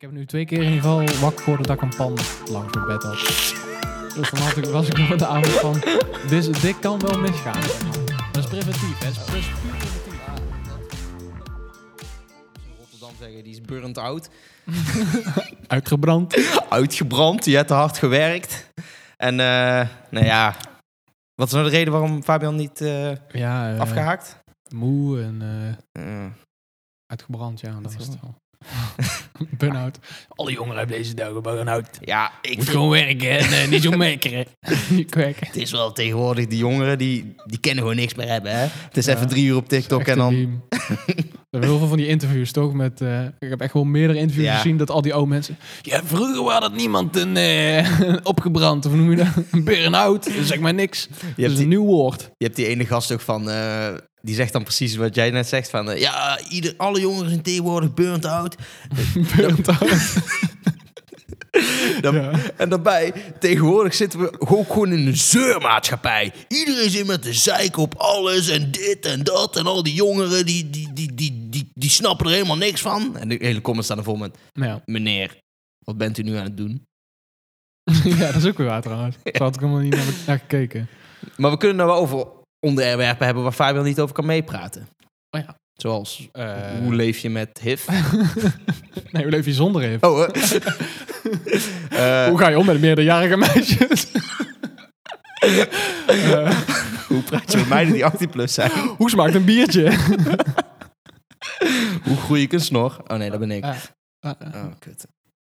Ik heb nu twee keer in ieder geval wakker geworden dat ik een pan langs mijn bed had. Dus dan had ik, was ik nog de avond van, dit, dit kan wel misgaan. Dat is preventief, hè? Dat is puur preventief. in Rotterdam zeggen, die is burnt out. Uitgebrand. Uitgebrand, die hebt te hard gewerkt. En eh, nou ja, wat is nou de reden waarom Fabian niet eh, Ja, eh, afgehaakt? moe en eh, Eh, uitgebrand, ja. Dat was het wel. Burn-out. Alle jongeren hebben deze dagen burn-out. ja, Moet ik vind- gewoon werken en eh, niet zo mekkeren. Niet kwekken. het is wel tegenwoordig, die jongeren, die, die kennen gewoon niks meer hebben. Hè? Het is Ja. even drie uur op TikTok Echt een en dan... meme. Er zijn heel veel van die interviews, toch? Met, eh, ik heb echt wel meerdere interviews Ja. gezien dat al die oude mensen... Ja, vroeger was dat niemand een eh, opgebrand, of hoe noem je dat? Een burn-out, zeg maar niks. dat is een die- nieuw woord. Je hebt die ene gast ook van... eh, die zegt dan precies wat jij net zegt van... eh, ja, ieder, alle jongeren zijn tegenwoordig burnt out. Burn-out. Dan- Ja. En daarbij, tegenwoordig zitten we gewoon, gewoon in een zeurmaatschappij. Iedereen zit met de zeik op alles en dit en dat. En al die jongeren, die, die, die, die, die, die snappen er helemaal niks van. En de hele comments staan er vol met... Nou ja. Meneer, wat bent u nu aan het doen? ja, dat is ook weer waar trouwens. Daar had ik helemaal niet naar, naar gekeken. Maar we kunnen nou wel over onderwerpen hebben waar Fabian niet over kan meepraten. Oh ja. Zoals, Eh, hoe leef je met HIV? nee, hoe leef je zonder even? Oh, eh. Eh, Hoe ga je om met meerderjarige meisjes? Eh, hoe praat je met meiden die 18 plus zijn? hoe smaakt een biertje? Hoe groei ik een snor? Oh nee, dat ben ik. Ah, ah, ah, Oh, kut.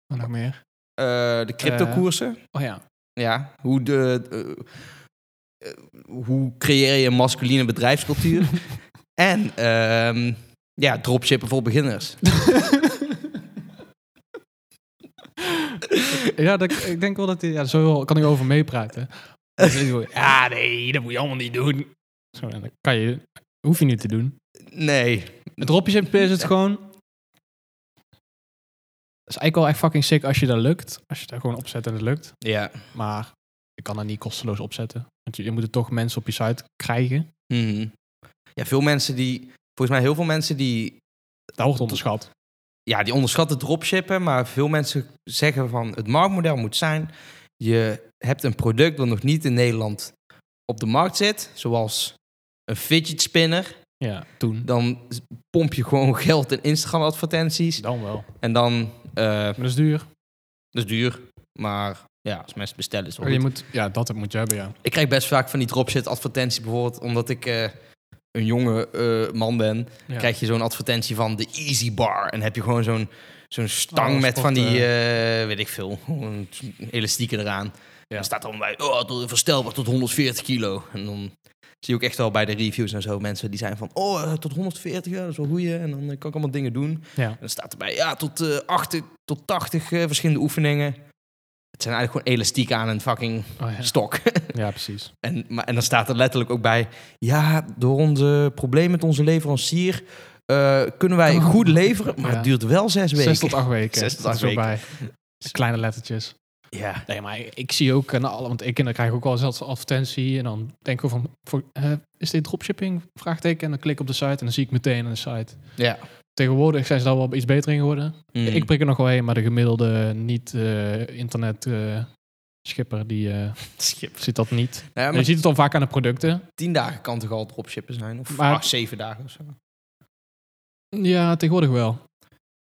wat nog meer? Eh, de cryptokoersen? Oh ja. Ja, hoe, de, eh, eh, hoe creëer je een masculine bedrijfscultuur? en ehm, ja, dropshippen voor beginners. Ja, dat, ik denk wel dat hij... Ja, zo kan ik over meepraten. Dan is hij zo, ja, nee, dat moet je allemaal niet doen. Zo, en dat kan je... Hoef je niet te doen. Nee. Het dropjes en is het gewoon... Dat is eigenlijk wel echt fucking sick als je dat lukt. Als je dat gewoon opzet en het lukt. Ja. Maar je kan dat niet kosteloos opzetten. Want je, je moet er toch mensen op je site krijgen. Mhm. Ja, veel mensen die... Volgens mij heel veel mensen die... Dat wordt onderschat. Ja, die onderschatten dropshippen. Maar veel mensen zeggen van... Het marktmodel moet zijn... Je hebt een product dat nog niet in Nederland op de markt zit. Zoals een fidget spinner. Ja, toen. Dan pomp je gewoon geld in Instagram advertenties. Dan wel. En dan... eh, Maar dat is duur. Dat is duur, maar ja, als mensen bestellen is het wel Oh, Je goed. moet, ja, dat moet je hebben, ja. Ik krijg best vaak van die dropship advertentie bijvoorbeeld, omdat ik eh, een jonge eh, man ben, Ja. krijg je zo'n advertentie van de Easy Bar. En heb je gewoon zo'n zo'n stang Oh, met van die, sport, eh, weet ik veel, gewoon elastieken eraan. Ja. Dan staat dan bij, oh, tot- verstelbaar tot 140 kilo. En dan zie je ook echt wel bij de reviews en zo mensen die zijn van, oh, eh, tot 140, ja, dat is wel goeie. En dan eh, kan ik allemaal dingen doen. ja. En dan staat erbij, ja, tot, eh 8, tot 80 eh, verschillende oefeningen. Het zijn eigenlijk gewoon elastiek aan een fucking Oh, ja. stok. ja, precies. en, maar, en dan staat er letterlijk ook bij, ja, door onze probleem met onze leverancier eh, kunnen wij Oh. goed leveren, maar Ja. het duurt wel zes weken. Zes tot acht weken. Zes tot Dat acht is ook Bij. Dus kleine lettertjes. Ja. Nee, maar ik, ik zie ook, eh, nou, alle- want ik kinderen krijgen ook wel zelfs advertentie. En dan denk ik van, voor, eh, is dit dropshipping? Vraagteken. En dan klik ik op de site en dan zie ik meteen een site. ja. Tegenwoordig zijn ze daar wel iets beter in geworden. Mm. Ik prik er nog wel heen, maar de gemiddelde niet-internet eh, schipper, die eh, Schip. ziet dat niet. Nou ja, je maar ziet het dan vaak aan de producten. tien dagen kan toch al dropshippen zijn? Of Maar- ah, zeven dagen of zo? Ja, tegenwoordig wel.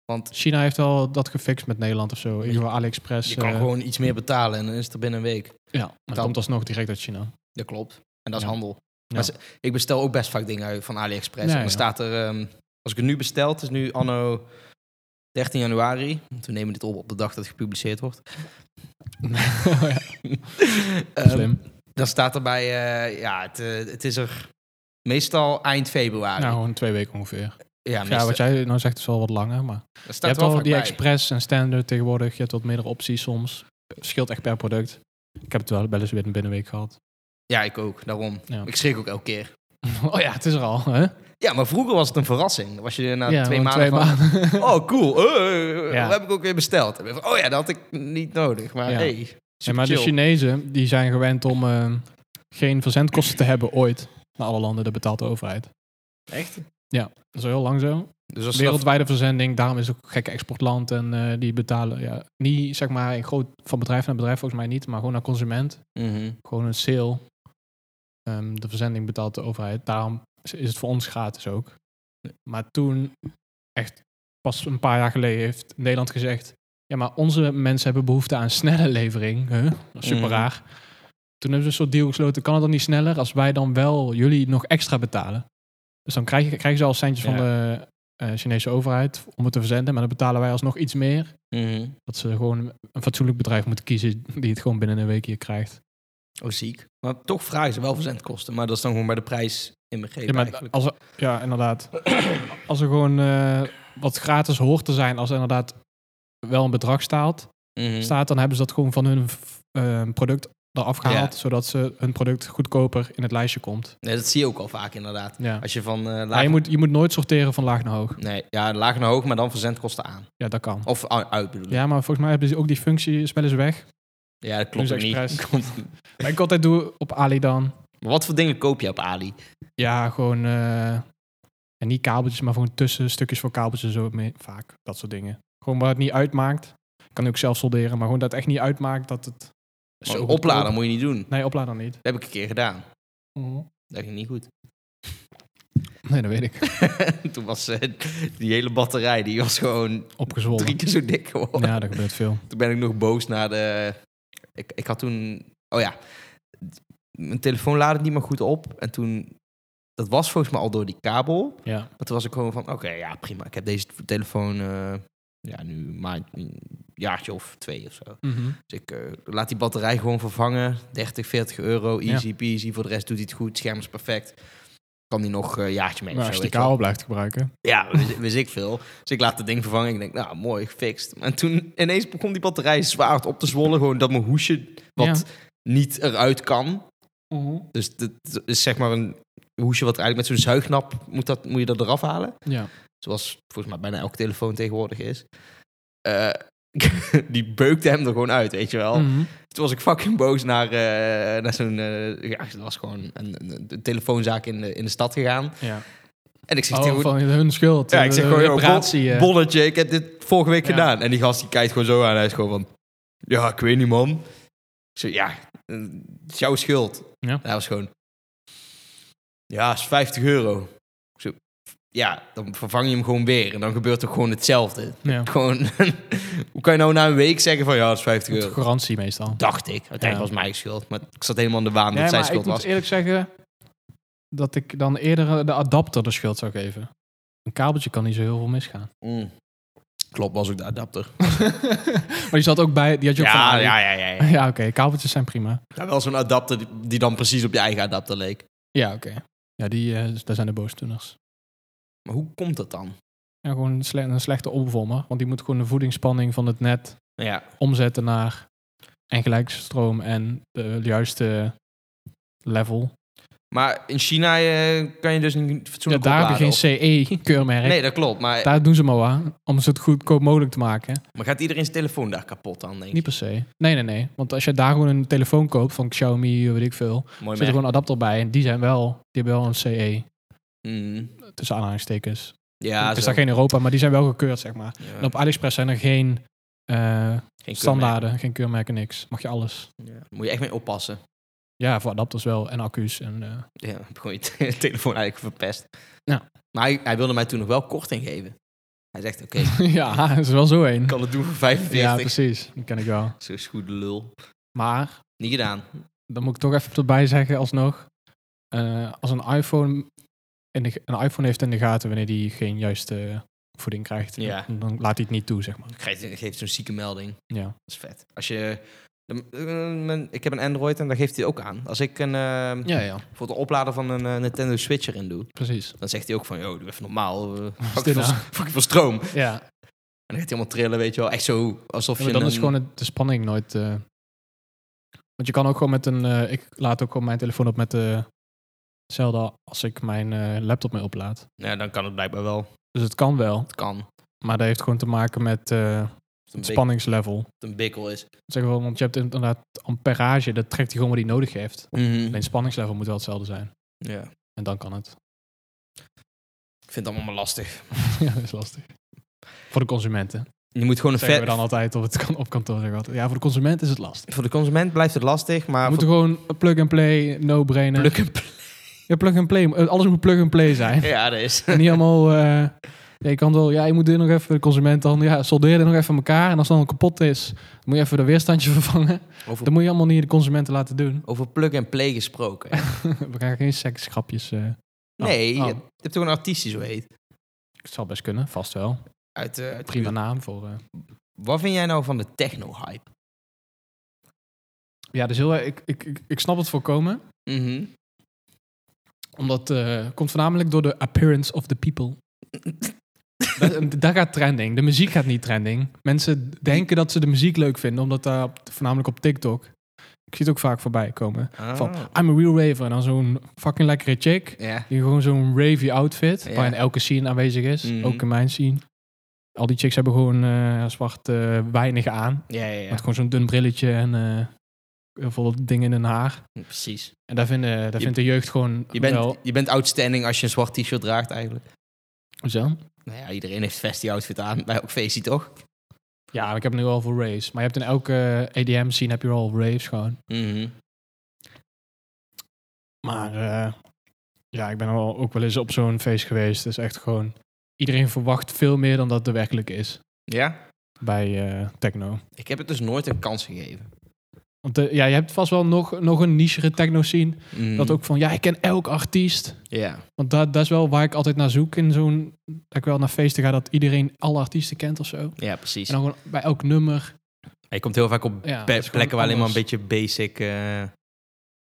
Want China heeft al dat gefixt met Nederland of zo. In ieder geval AliExpress. je kan eh, gewoon iets meer betalen en dan is het er binnen een week. Ja, maar het kan. komt alsnog direct uit China. Dat klopt. En dat is Ja. handel. Ja. Maar ze- ik bestel ook best vaak dingen uit van AliExpress. Ja, en dan ja. staat er, ehm, als ik het nu bestel, het is nu anno 13 januari. Want we nemen dit op op de dag dat het gepubliceerd wordt. Nou, Ja, Ehm, Slim. Dan staat erbij, eh, ja, het, eh, het is er meestal eind februari. Nou, gewoon twee weken ongeveer. ja, Ja, wat jij nou zegt is wel wat langer, maar... dat staat Je er hebt wel al vaak die bij. express en standard tegenwoordig. Je hebt wat meerdere opties soms. Scheelt echt per product. Ik heb het wel wel eens weer een binnenweek gehad. Ja, ik ook, daarom. Ja. Ik schrik ook elke keer. Oh ja, het is er al, hè? Ja, maar vroeger was het een verrassing. Dan was je er na ja, twee gewoon maanden van, maanden. oh cool, eh, eh, eh, Ja. dat heb ik ook weer besteld. En dan van, Oh ja, dat had ik niet nodig, maar Ja. hey, Ja, maar dus de superchill. Chinezen die zijn gewend om eh, geen verzendkosten te hebben ooit. Naar alle landen, dat betaalt de overheid. Echt? Dat is al heel lang zo. Dus als ze dat- Wereldwijde verzending, daarom is het ook gekke exportland en eh, die betalen. Ja, niet zeg maar in groot, van bedrijf naar bedrijf volgens mij niet, maar gewoon naar consument. Mhm. Gewoon een sale. Ehm, de verzending betaalt de overheid. Daarom is- is het voor ons gratis ook. Maar toen, echt pas een paar jaar geleden, heeft Nederland gezegd: Ja, maar onze mensen hebben behoefte aan snelle levering. Huh? Dat is Super Mhm. raar. Toen hebben ze een soort deal gesloten: kan het dan niet sneller als wij dan wel jullie nog extra betalen? Dus dan krijg je- krijgen ze al centjes Ja. van de eh, Chinese overheid om het te verzenden, maar dan betalen wij alsnog iets meer. Mhm. Dat ze gewoon een fatsoenlijk bedrijf moeten kiezen die het gewoon binnen een week hier krijgt. Oh, ziek. Maar toch vragen ze wel verzendkosten. Maar dat is dan gewoon bij de prijs inbegrepen Ja, maar eigenlijk. als er, ja, inderdaad. als er gewoon eh, wat gratis hoort te zijn, als er inderdaad wel een bedrag staat, Mhm. staat dan hebben ze dat gewoon van hun f- eh, product eraf gehaald, Ja. zodat ze hun product goedkoper in het lijstje komt. Nee, dat zie je ook al vaak inderdaad. Ja. Als je van eh, laag... Maar je moet, je moet nooit sorteren van laag naar hoog. Nee, ja, laag naar hoog, maar dan verzendkosten aan. Ja, dat kan. Of u- uit bedoel ik. Ja, Ja, maar volgens mij hebben ze ook die functie, spellen ze weg. dat klopt Doen ook ze niet. expres. Klopt niet. Wat ik altijd doe op Ali dan, Maar wat voor dingen koop je op Ali? ja, gewoon, eh, en niet kabeltjes, maar gewoon tussenstukjes voor kabeltjes en zo mee, vaak, dat soort dingen. Gewoon waar het niet uitmaakt. Kan ook zelf solderen, maar gewoon dat het echt niet uitmaakt dat het... Want goedkoop- opladen moet je niet doen. Nee, oplader niet. Dat heb ik een keer gedaan. Dat ging niet goed. Nee, dat weet ik. Toen was eh, die hele batterij, die was gewoon Opgezwollen. drie keer zo dik geworden. Ja, dat gebeurt veel. Toen ben ik nog boos naar de... Ik, ik had toen... Oh ja, mijn telefoon laadde het niet meer goed op. En toen... Dat was volgens mij al door die kabel. Ja. Maar toen was ik gewoon van, oké, ja, prima. Ik heb deze telefoon eh, ja, nu een maand- een jaartje of twee of zo. Dus ik eh, laat die batterij gewoon vervangen. 30, 40 euro, easy peasy. Voor de rest doet hij het goed, scherm is perfect. Kan die nog eh, een jaartje mee Maar of als zo, je die weet kabel je wel. blijft gebruiken. Ja, wist, wist ik veel. Dus ik laat het ding vervangen. Ik denk, nou, mooi, gefixt. En toen ineens begon die batterij zwaar op te zwollen. Gewoon dat mijn hoesje, wat niet eruit kan. Dus dat is zeg maar een hoesje wat eigenlijk met zo'n zuignap moet, dat, moet je dat eraf halen. Ja. Zoals volgens mij bijna elke telefoon tegenwoordig is. Eh, die beukte hem er gewoon uit, weet je wel. Mhm. Toen was ik fucking boos naar, eh, naar zo'n... eh, ja, het was gewoon een, een, een telefoonzaak in de, in de stad gegaan. ja. En ik zeg Oh, tegen van hun schuld. eh, ja, ik zeg De gewoon, oh, joh, reparatie. bo- eh. bolletje, ik heb dit vorige week Ja. gedaan. En die gast die kijkt gewoon zo aan. Hij is gewoon van, ja, ik weet niet, man. Ik zeg, ja, eh, het is jouw schuld. Ja. En hij was gewoon, ja, is 50 euro. Ik zo, ja, dan vervang je hem gewoon weer. En dan gebeurt er gewoon hetzelfde. ja. Gewoon, hoe kan je nou na een week zeggen van, ja, dat is 50 Met euro. garantie meestal. Dacht ik. Uiteindelijk Ja. was het mijn schuld. Maar ik zat helemaal in de waan dat Nee, zijn maar ik schuld moet was. eerlijk zeggen dat ik dan eerder de adapter de schuld zou geven. Een kabeltje kan niet zo heel veel misgaan. Mm. Klopt, was ook de adapter. Maar die zat ook bij, die had je ook van Ja, Ali. ja, ja, ja. ja. Ja, oké, kabeltjes zijn prima. Ja, wel zo'n adapter die- die dan precies op je eigen adapter leek. Ja, oké. Ja, die, eh, daar zijn de boosdoeners. Maar hoe komt dat dan? Ja, gewoon een, sle- een slechte opvormer, want die moet gewoon de voedingsspanning van het net Ja, omzetten naar en gelijkstroom en de juiste level. maar in China eh, kan je dus niet Ja, fatsoenlijk daar heb je opladen, geen of- CE-keurmerk. Nee, eh, dat klopt. Maar, Daar doen ze maar aan, om ze het goedkoop mogelijk te maken. maar gaat iedereen zijn telefoon daar kapot aan, denk Niet ik? per se. Nee, nee, nee. Want als je daar gewoon een telefoon koopt van Xiaomi, eh, weet ik veel, Mooi zit er merk. gewoon een adapter bij en die zijn wel, die hebben wel een CE, Mm. tussen aanhalingstekens. Ja, het is zo. dus daar geen Europa, maar die zijn wel gekeurd, zeg maar. Ja, En op AliExpress zijn er geen eh, geen standaarden, geen keurmerken, niks. Mag je alles. keurmerk. Ja, daar moet je echt mee oppassen. Ja, voor adapters wel en accu's en... eh, Ja, dan heb je gewoon je te- telefoon eigenlijk verpest. Ja. Maar hij, hij wilde mij toen nog wel korting geven. Hij zegt, oké, ik ja, dat is wel zo één. kan het doen voor Ja, 45. precies. Dat ken ik wel. zo is goed lul. Maar, Niet gedaan. dan moet ik toch even erbij zeggen alsnog. eh, als een iPhone, in de, een iPhone heeft in de gaten wanneer die geen juiste eh, voeding krijgt. Ja. Dan, dan laat hij het niet toe, zeg maar. Geeft, geeft zo'n zieke melding. Ja. Dat is vet. Als je... de- eh, mijn- Ik heb een Android en daar geeft hij het ook aan. Als ik een, eh, Ja, ja. voor het opladen van een eh, Nintendo Switch erin doe, Precies. dan zegt hij ook van, joh, doe even normaal. eh, is Fuck je dit veel, nou? fuck je veel stroom. En Ja. dan gaat hij helemaal trillen, weet je wel. Echt zo, alsof je Maar dan een- is gewoon het- de spanning nooit... eh, want je kan ook gewoon met een... eh, ik laat ook gewoon mijn telefoon op met de... Hetzelfde als ik mijn eh, laptop mee oplaad. Ja, dan kan het blijkbaar wel. Dus het kan wel. Het kan. Als Maar dat heeft gewoon te maken met eh, het een, het bik- spanningslevel. als het een bikkel is. Zeg maar, want je hebt inderdaad amperage. Dat trekt hij gewoon wat hij nodig Mhm. heeft. Alleen het spanningslevel moet wel hetzelfde zijn. Ja. En dan kan het. Ik vind het allemaal maar lastig. ja, dat is lastig. Voor de consumenten. Je moet gewoon een Zeggen we ver... dan altijd op, het kan, op kantoor. Zeggen we altijd. Ja, voor de consument is het lastig. Voor de consument blijft het lastig, We maar moeten voor gewoon plug-and-play, no-brainer. plug and play- ja, plug-and-play. Eh, Alles moet plug-and-play zijn. Ja, dat is. En niet allemaal... eh, ja, je kan wel... Ja, je moet dit nog even... De consument dan... Ja, soldeer dit nog even aan elkaar. En als het dan kapot is... Dan moet je even de weerstandje vervangen. Over, Dat moet je allemaal niet de consumenten laten doen. over plug and play gesproken. We gaan geen seksgrapjes... eh, Oh, Nee, oh. Je, je hebt toch een artiest die zo heet? het zal best kunnen. Vast wel. Uit, eh, uit- Prima naam voor... eh, Wat vind jij nou van de techno-hype? Ja, dus heel... erg- Ik, ik, ik, ik snap het voorkomen. Mhm. Omdat eh, komt voornamelijk door de appearance of the people. daar, daar gaat trending. De muziek gaat niet trending. Mensen denken dat ze de muziek leuk vinden, omdat daar op- voornamelijk op TikTok. Ik zie het ook vaak voorbij komen. Van Ah. I'm a real raver. En dan zo'n fucking lekkere chick. Ja. Die gewoon zo'n ravey outfit. Ja. Waar in elke scene aanwezig is. Mhm. Ook in mijn scene. Al die chicks hebben gewoon eh, zwart eh, weinig aan. Ja, ja, ja. Met gewoon zo'n dun brilletje en eh, vol dingen in hun haar. Precies. En daar, vinden, daar Je- vindt de jeugd gewoon Je bent, wel... je bent outstanding als je een zwart t-shirt draagt eigenlijk. Hoezo? Nou ja, iedereen heeft vestie-outfit aan. Bij ook feestie, toch? Ja, maar ik heb nu al voor raves. Maar je hebt in elke eh, EDM-scene heb je al raves gewoon. Mhm. Maar eh, ja, ik ben al ook wel eens op zo'n feest geweest. Het is echt gewoon... Iedereen verwacht veel meer dan dat er werkelijk is Ja? bij eh, techno. Ik heb het dus nooit een kans gegeven. Want eh, ja, je hebt vast wel nog, nog een nichere techno-scene. Mhm. Dat ook van, ja, ik ken elk artiest. Ja. Want dat, dat is wel waar ik altijd naar zoek in zo'n... Dat ik wel naar feesten ga dat iedereen alle artiesten kent of zo. En Ja, precies. dan gewoon bij elk nummer. Je komt heel vaak op Ja, dat pe- is gewoon plekken waar alleen maar een anders. beetje basic... eh,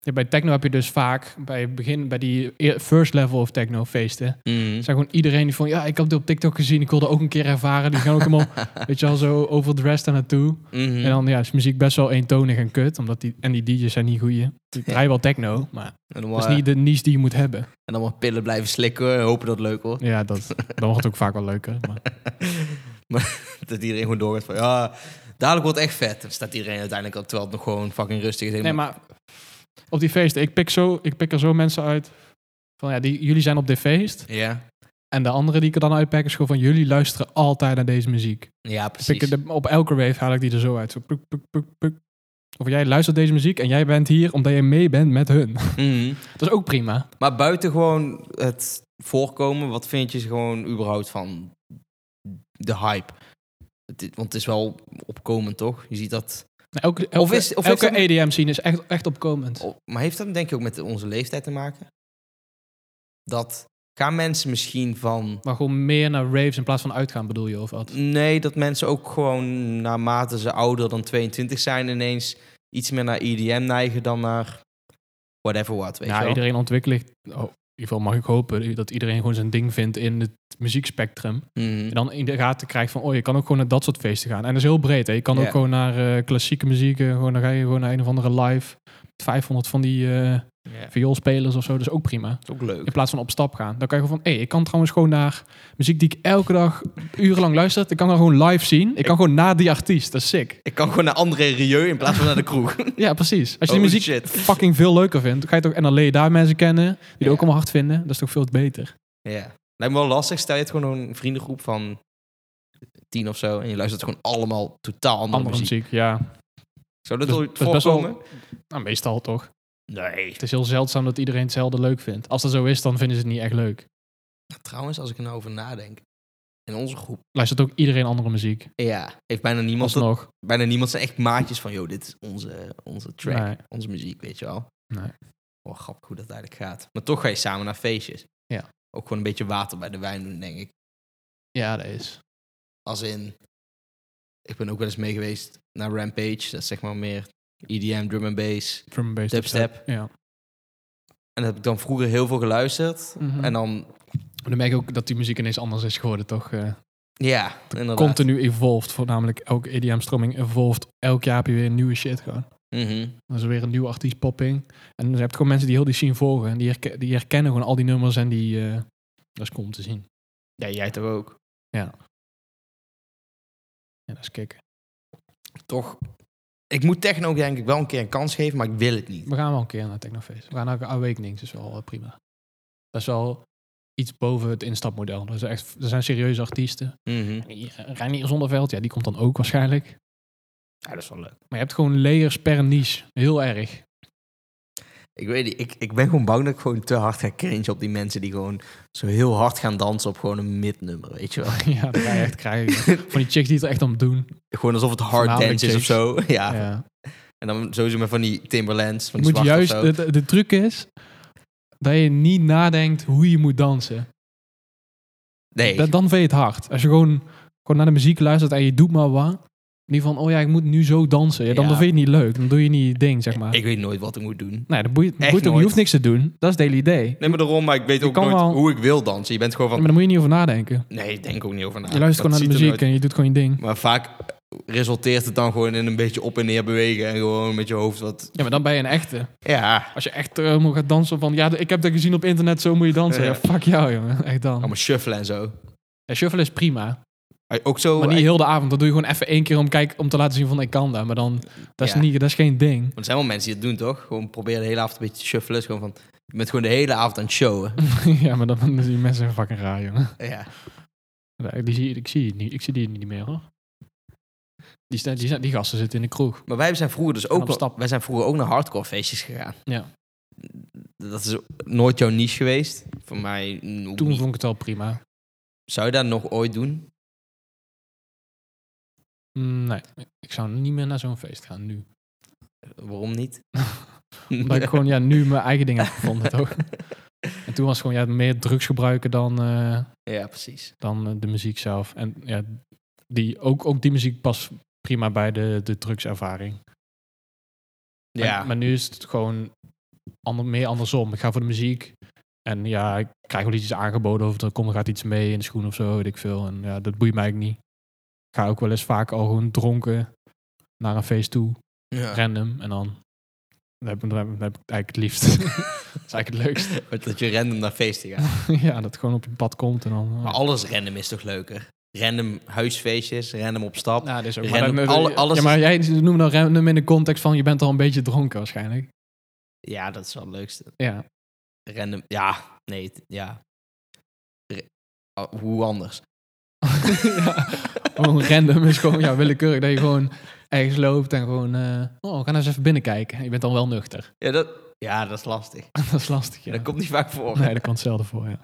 Ja, bij techno heb je dus vaak bij het begin, bij die eer- first level of techno feesten... mhm. Er zijn gewoon iedereen die van, ja, ik heb dit op TikTok gezien, ik wilde ook een keer ervaren. Die gaan ook allemaal, weet je wel, zo overdressed daar naartoe. Mhm. En dan ja, is muziek best wel eentonig en kut, omdat die, en die DJ's zijn niet goeie. Die draaien wel techno, maar En dan dat is maar- dus niet de niche die je moet hebben. En dan maar pillen blijven slikken en hopen dat het leuk wordt. Ja, dat, dan wordt het ook vaak wel leuker. Maar, Dat iedereen gewoon doorgaat van ja, dadelijk wordt het echt vet. Dan staat iedereen uiteindelijk al terwijl het nog gewoon fucking rustig is. nee, maar op die feesten, ik pik, zo, ik pik er zo mensen uit van, ja, die, jullie zijn op dit feest. Ja, En de andere die ik er dan uitpak is gewoon van, jullie luisteren altijd naar deze muziek. ja Dus ik- precies. de- op elke wave haal ik die er zo uit. Zo puk, puk, puk, puk. Of jij luistert deze muziek en jij bent hier omdat je mee bent met hun. Nou, Mhm. Dat is ook prima. Maar buiten gewoon het voorkomen, wat vind je gewoon überhaupt van de hype? Het is- want het is wel opkomend, toch? Je ziet dat. Elke, elke, Of is- of is elke dat- EDM-scene is echt, echt opkomend. Oh, Maar heeft dat denk je ook met onze leeftijd te maken? Dat gaan mensen misschien van Maar gewoon meer naar raves in plaats van uitgaan bedoel je of wat? Nee, dat mensen ook gewoon naarmate ze ouder dan 22 zijn ineens iets meer naar EDM neigen dan naar whatever what, weet je Ja, wel? Nou, iedereen ontwikkelt... Oh, in ieder geval mag ik hopen dat iedereen gewoon zijn ding vindt in het muziekspectrum. Mhm. En dan in de gaten krijgt van, oh, je kan ook gewoon naar dat soort feesten gaan. En dat is heel breed, hè. Je kan Ja. ook gewoon naar eh, klassieke muziek. eh, gewoon, dan ga je gewoon naar een of andere live. 500 van die eh Ja, vioolspelers of zo. Dat is ook prima. is ook leuk. In plaats van op stap gaan. Dan kan je gewoon van, hé, ik kan trouwens gewoon naar muziek die ik elke dag urenlang luister. Ik kan dan gewoon live zien. Ik kan gewoon naar die artiest. Dat is sick. Ik kan gewoon naar André Rieu in plaats van naar de kroeg. Ja, precies. Als je Oh, die muziek shit. fucking veel leuker vindt, dan ga je toch en dan leer je daar mensen kennen die het Ja. ook allemaal hard vinden. Dat is toch veel beter. Ja. Lijkt me wel lastig, stel je het gewoon een vriendengroep van tien of zo en je luistert gewoon allemaal totaal andere, Andere muziek. muziek, ja. Zou dat Dus- ooit dat is best wel- voorkomen? Nou, meestal toch. Nee. Het is heel zeldzaam dat iedereen hetzelfde leuk vindt. Als dat zo is, dan vinden ze het niet echt leuk. Trouwens, als ik er nou over nadenk, in onze groep, Luistert ook iedereen andere muziek. ja, heeft bijna niemand, dat, Alsnog. bijna niemand zijn echt maatjes van, joh, dit is onze, onze track. Nee. onze muziek, weet je wel. Nee. Oh, grappig hoe dat eigenlijk gaat. Maar toch ga je samen naar feestjes. Ja. Ook gewoon een beetje water bij de wijn doen, denk ik. Ja, dat is. Als in, ik ben ook wel eens mee geweest naar Rampage. Dat is zeg maar meer EDM, drum and bass. Drum and bass Dubstep. Ja. En dat heb ik dan vroeger heel veel geluisterd. Mhm. En dan, Dan merk je ook dat die muziek ineens anders is geworden, toch? Eh, ja, inderdaad. continu evolved. Voornamelijk elke EDM-stroming evolved. Elk jaar heb je weer nieuwe shit gewoon. Mhm. Dan is er weer een nieuwe artiest popping. En dus je hebt gewoon mensen die heel die scene volgen. En die, herke- die herkennen gewoon al die nummers en die... eh, dat is cool om te zien. Ja, jij toch ook. Ja, dat is kicken. Toch, ik moet techno denk ik wel een keer een kans geven, maar ik wil het niet. We gaan wel een keer naar Technofeest. We gaan naar Awakenings, is wel eh, prima. Dat is wel... iets boven het instapmodel. Dat, is echt, dat zijn serieuze artiesten. Mhm. Ja, Reinier Zonderveld, ja, die komt dan ook waarschijnlijk. Ja, dat is wel leuk. Maar je hebt gewoon layers per niche. Heel erg. Ik weet niet, ik, ik ben gewoon bang dat ik gewoon te hard ga cringe op die mensen die gewoon zo heel hard gaan dansen op gewoon een midnummer, weet je wel. ja, dat ga je echt krijgen. Van die chicks die het er echt om doen. gewoon alsof het hard Voornamelijk dance is of chicks. zo. Ja. Ja. En dan sowieso met van die Timberlands, van Je die moet zwart juist, of zo. de, de, de truc is dat je niet nadenkt hoe je moet dansen. Nee, Da- dan vind je het hard. Als je gewoon, gewoon naar de muziek luistert en je doet maar wat. Niet van, oh ja, ik moet nu zo dansen. Ja, dan, Ja. dan vind je het niet leuk. Dan doe je niet je ding, zeg maar. ik weet nooit wat ik moet doen. nee, dat boeit, Echt boeit ook, nooit. je hoeft niks te doen. Dat is de hele idee. Nee, maar daarom, maar ik weet ook kan nooit wel- hoe ik wil dansen. Je bent gewoon Ja, van, maar daar moet je niet over nadenken. nee, ik denk ook niet over na. Je luistert Dat gewoon naar de ziet er muziek en je doet gewoon je ding. nooit- Maar vaak resulteert het dan gewoon in een beetje op en neer bewegen en gewoon met je hoofd wat... Ja, maar dan ben je een echte. Ja, Als je echt eh, moet gaan dansen van... Ja, ik heb dat gezien op internet, zo moet je dansen. Oh, Ja. Ja, fuck jou, jongen. Echt dan. allemaal shuffelen en zo. Ja, shuffle is prima. Maar Ook zo... Maar niet heel de avond. Dat doe je gewoon even één keer om, kijk, om te laten zien van ik kan dat. Maar dan, dat is, Ja. niet, dat is geen ding. Want er zijn wel mensen die het doen, toch? Gewoon proberen de hele avond een beetje te shuffelen. Is gewoon van, je bent gewoon de hele avond aan het showen. ja, maar dan dan zie je mensen fucking raar, jongen. ja. Ja, Die zie, ik, zie het niet, ik zie die niet meer, hoor. Die, sta- die, sta- die gasten zitten in de kroeg. Maar wij zijn vroeger dus Gaan ook, op wel- stap. wij zijn vroeger ook naar hardcore feestjes gegaan. Ja. Dat is nooit jouw niche geweest. Voor mij mm, ook Toen niet. vond ik het al prima. Zou je dat nog ooit doen? Mm, Nee, ik zou niet meer naar zo'n feest gaan nu. Waarom niet? Omdat ik gewoon ja, nu mijn eigen ding heb gevonden, toch? En toen was het gewoon ja, meer drugs gebruiken dan... eh, Ja, precies. dan eh, de muziek zelf. En ja, die, ook, ook die muziek past prima bij de, de drugservaring. Maar- Ja, Maar, nu is het gewoon ander, meer andersom. Ik ga voor de muziek. En ja, ik krijg wel iets aangeboden of er komt er gaat iets mee in de schoen of zo, weet ik veel. En ja, dat boeit mij eigenlijk niet. Ik ga ook wel eens vaak al gewoon dronken naar een feest toe, ja. random. En dan dat heb, ik- dat heb ik- dat heb ik eigenlijk het liefst. dat is eigenlijk het leukst. Maar Dat je random naar feesten gaat. ja, dat het gewoon op je pad komt en dan... Maar alles random is toch leuker? Random huisfeestjes, random op stap. Nou, dit is ook. Random, maar dan- alle- alles ja, maar jij noemt dan random in de context van je bent al een beetje dronken waarschijnlijk. Ja, dat is wel het leukste. Ja. Random, ja, nee, het- ja. Re- Ah, hoe anders? Ja, Gewoon random is gewoon ja, willekeurig dat je gewoon ergens loopt en gewoon. eh, oh, we gaan eens even binnenkijken. Je bent dan wel nuchter. Ja, dat, ja, dat is lastig. dat is lastig. Ja. Dat komt niet vaak voor. Nee, dat komt zelden voor. Ja.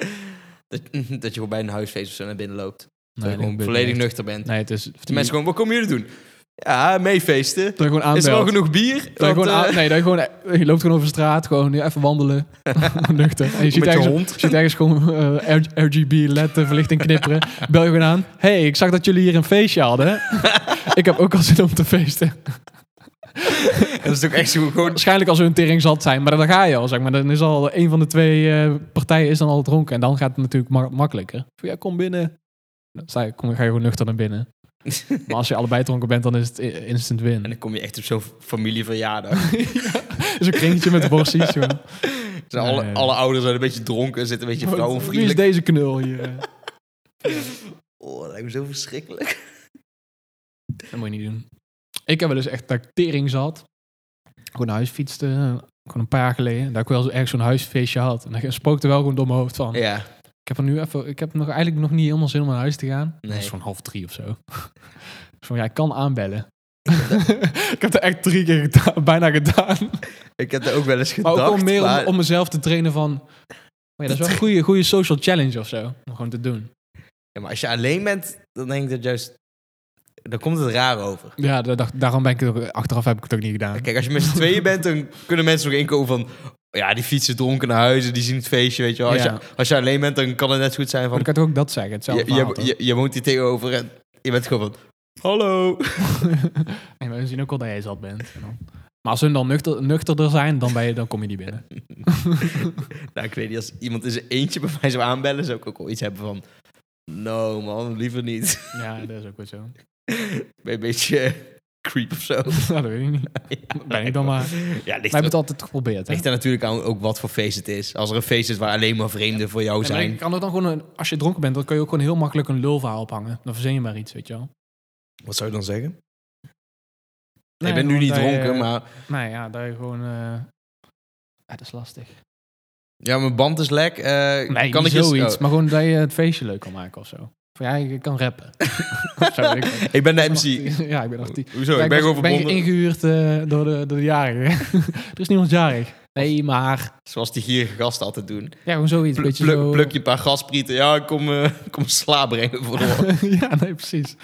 Dat, dat je gewoon bij een huisfeest of zo naar binnen loopt. Dat Nee, je gewoon dat volledig niet. nuchter bent. Nee, het is. De mensen gewoon, wat komen jullie doen? Ja, meefeesten. Dat je gewoon Is er wel aanbelt. genoeg bier? Dat je, Want, gewoon eh, aan- nee, dat je, gewoon, eh, je loopt gewoon over straat, gewoon ja, even wandelen, nuchter. En je ziet Met je ergens, hond. je ziet ergens gewoon eh, R- RGB LED eh, verlichting knipperen. Bel je gewoon aan. hey, ik zag dat jullie hier een feestje hadden. ik heb ook al zin om te feesten. Dat is ook echt zo gewoon... Waarschijnlijk als we een tering zat zijn, maar dan ga je al, zeg maar. Dan is al een van de twee eh, partijen is dan al dronken en dan gaat het natuurlijk ma- makkelijker. Van, ja, kom binnen. Dan sta je, kom, ga je gewoon nuchter naar binnen. Maar als je allebei dronken bent, dan is het i- instant En win. dan kom je echt op zo'n familieverjaardag. Zo'n kringetje met worstjes, gewoon. Dus alle, Nee. alle ouders zijn een beetje dronken, zitten een beetje Wie is vrouwenvriendelijk. deze knul hier? Oh, dat lijkt me zo verschrikkelijk. Dat moet je niet doen. Ik heb wel eens echt dat ik tering zat. Gewoon naar huis fietste. eh, Gewoon een paar jaar geleden. Dat ik wel zo- ergens zo'n huisfeestje had. En dat spookte wel gewoon door mijn hoofd van. Ja, Ik heb er nu even... Ik heb nog eigenlijk nog niet helemaal zin om naar huis te gaan. Nee. Het is van half drie of zo. Dus van, ja, ik kan aanbellen. ik heb er echt drie keer gedaan- bijna gedaan. ik heb dat ook wel eens Maar gedacht. ook gewoon meer maar- om, om mezelf te trainen van... oh ja, dat is wel een goede, goede social challenge of zo. Om gewoon te doen. Ja, maar als je alleen bent, dan denk ik dat juist... Dan komt het raar over. Ja, dat dacht, daarom ben ik het ook- Achteraf heb ik het ook niet gedaan. Kijk, als je met z'n tweeën bent, dan kunnen mensen nog inkomen van... Ja, die fietsen dronken naar huizen, die zien het feestje, weet je wel. Als, Ja. je, als je alleen bent, dan kan het net zo goed zijn Maar van... dan kan je toch ook dat zeggen? Hetzelfde Je, verhaal, je, toch? je, je woont hier tegenover en je bent gewoon van... Hallo. En we zien ook al dat jij zat bent. En dan- Maar als hun dan nuchter, nuchterder zijn, dan, ben je, dan kom je niet binnen. nou, ik weet niet, als iemand in zijn eentje bij mij zou aanbellen, zou ik ook wel iets hebben van... No man, liever niet. Ja, dat is ook weer zo. Ben je een beetje eh, creep of zo? Nou, dat weet ik niet. Ben ik dan maar. Wij Ja, ligt, er, hebben het altijd geprobeerd. Hè? ligt er natuurlijk aan ook wat voor feest het is. Als er een feest is waar alleen maar vreemden voor jou Nee, maar zijn. je kan er dan gewoon een- als je dronken bent, dan kun je ook gewoon heel makkelijk een lulverhaal ophangen. Dan verzin je maar iets, weet je wel. Wat zou je dan zeggen? Nee, eh, ik ben nu gewoon niet dat je- dronken, maar... Nou ja, daar je gewoon. eh, Ja, dat is lastig. Ja, mijn band is lek. eh, Nee, kan ik eens- zoiets. oh. Maar gewoon dat je het feestje leuk kan maken of zo. Van ja, je kan rappen. Of zo, weet ik veel. Ik ben de MC. Ja, ik ben artiest. Hoezo? Ja, ik ben was- gewoon verbonden. ingehuurd eh, door, de, door de jarigen. er is niemand jarig. Nee, maar... Zoals die gierige gasten altijd doen. Ja, gewoon zoiets. Pluk, beetje pluk, zo... pluk je een paar gasprieten. Ja, ik kom, eh kom sla brengen voor de hoor. ja, nee, precies.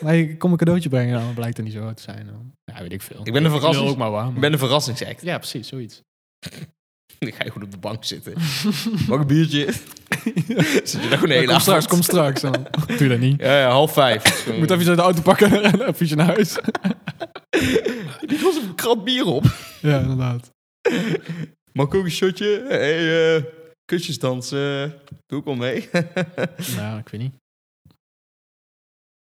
Maar ik kom een cadeautje brengen, dan blijkt het niet zo te zijn. Dan. Ja, weet ik veel. Ik ben een Ik lul verrassing. ook maar waar. Ik maar- ben een verrassingsact. Ja, precies, zoiets. Dan ga je gewoon op de bank zitten. Mag een biertje? Zit je daar gewoon de hele kom avond? straks, kom straks. Dan. Doe dat niet. Ja, ja, half vijf. Je moet even zo de auto pakken en even je naar huis. Die was een krat bier op. ja, inderdaad. Mag ik ook een shotje? hey, eh, kusjes dansen. Doe ik al mee? Nou, ik weet niet.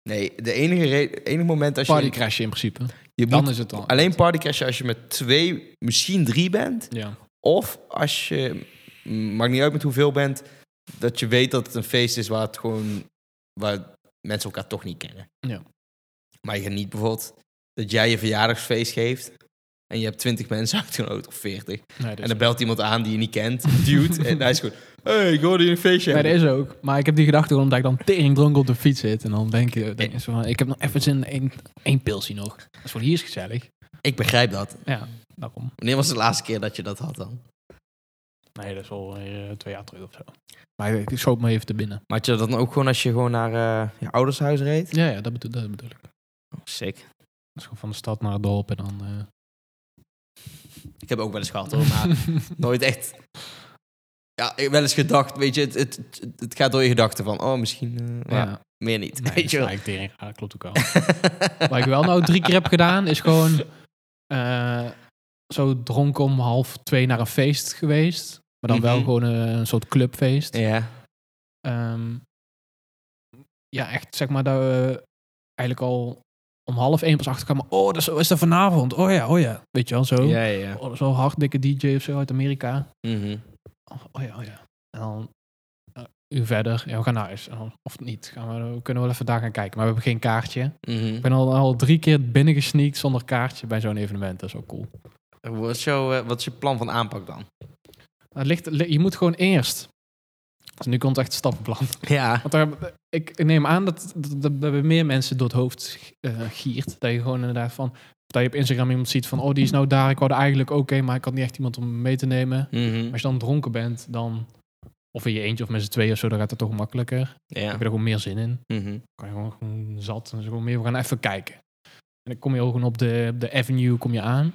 nee, de enige, re- enige moment als je... Partycrashje in principe. je moet Dan is het dan. alleen partycrashen als je met twee, misschien drie bent. Ja. Of als je, m, maakt niet uit met hoeveel bent, dat je weet dat het een feest is waar het gewoon, waar mensen elkaar toch niet kennen. Ja. Maar je gaat niet bijvoorbeeld dat jij je verjaardagsfeest geeft en je hebt twintig mensen uitgenodigd of veertig. Nee, dat En is, dan belt iemand aan die je niet kent, dude, en hij is gewoon, hey, ik hoorde je een feestje. nee, dat hebben." is ook. Maar ik heb die gedachte gewoon omdat ik dan tering dronken op de fiets zit. En dan denk je, denk je zo van, ik heb nog even zin in één- één pilsje nog. Dat is voor hier is gezellig. Ik begrijp dat. Ja, daarom. Wanneer was de laatste keer dat je dat had dan? Nee, dat is al twee jaar terug of zo. Maar ik schoot me even te binnen. Maar had je dat dan ook gewoon als je gewoon naar eh, je ouders huis reed? Ja, ja dat, bedoel, dat bedoel ik. Oh, sick. Dat is gewoon van de stad naar het dorp en dan... eh, Ik heb ook wel eens gehad hoor, maar nooit echt. Ja, ik heb wel eens gedacht, weet je, het, het, het, het gaat door je gedachten van, oh, misschien eh, ja. maar meer niet. Nee, weet je dat wel. is eigenlijk tering raar, klopt ook al. Wat ik wel nou drie keer heb gedaan, is gewoon eh, zo dronken om half twee naar een feest geweest. Maar dan wel Mhm. gewoon eh, een soort clubfeest. Ja. Ehm, ja, echt zeg maar dat we eigenlijk al om half één pas achterkwamen. Oh, dat is, is dat vanavond? Oh ja, oh ja. Weet je wel, zo. Ja, ja. Oh, Zo'n harddikke DJ of zo uit Amerika. Mhm. Oh, oh ja, oh ja. En dan eh, een uur verder. Ja, we gaan naar huis. En dan, of niet. Gaan we, we kunnen wel even daar gaan kijken. Maar we hebben geen kaartje. Mhm. Ik ben al, al drie keer binnengesneakt zonder kaartje bij zo'n evenement. Dat is ook cool. Wat, is jouw, eh, wat is je plan van aanpak dan? Het ligt, li- je moet gewoon eerst. Dus nu komt echt het stappenplan. Ja. Want daar, ik neem aan dat, dat, dat, dat bij meer mensen door het hoofd eh, giert. Dat je gewoon inderdaad van... Dat je op Instagram iemand ziet van... Oh, die is nou daar. Ik wou er eigenlijk oké, maar ik had niet echt iemand om mee te nemen. Mhm. Als je dan dronken bent, dan... Of in je eentje of met z'n tweeën of zo, dan gaat het toch makkelijker. Dan Ja. heb je er gewoon meer zin in. Mhm. kan je gewoon, gewoon zat. En zo gewoon meer, we gaan even kijken. En dan kom je ook gewoon op de, op de avenue kom je aan.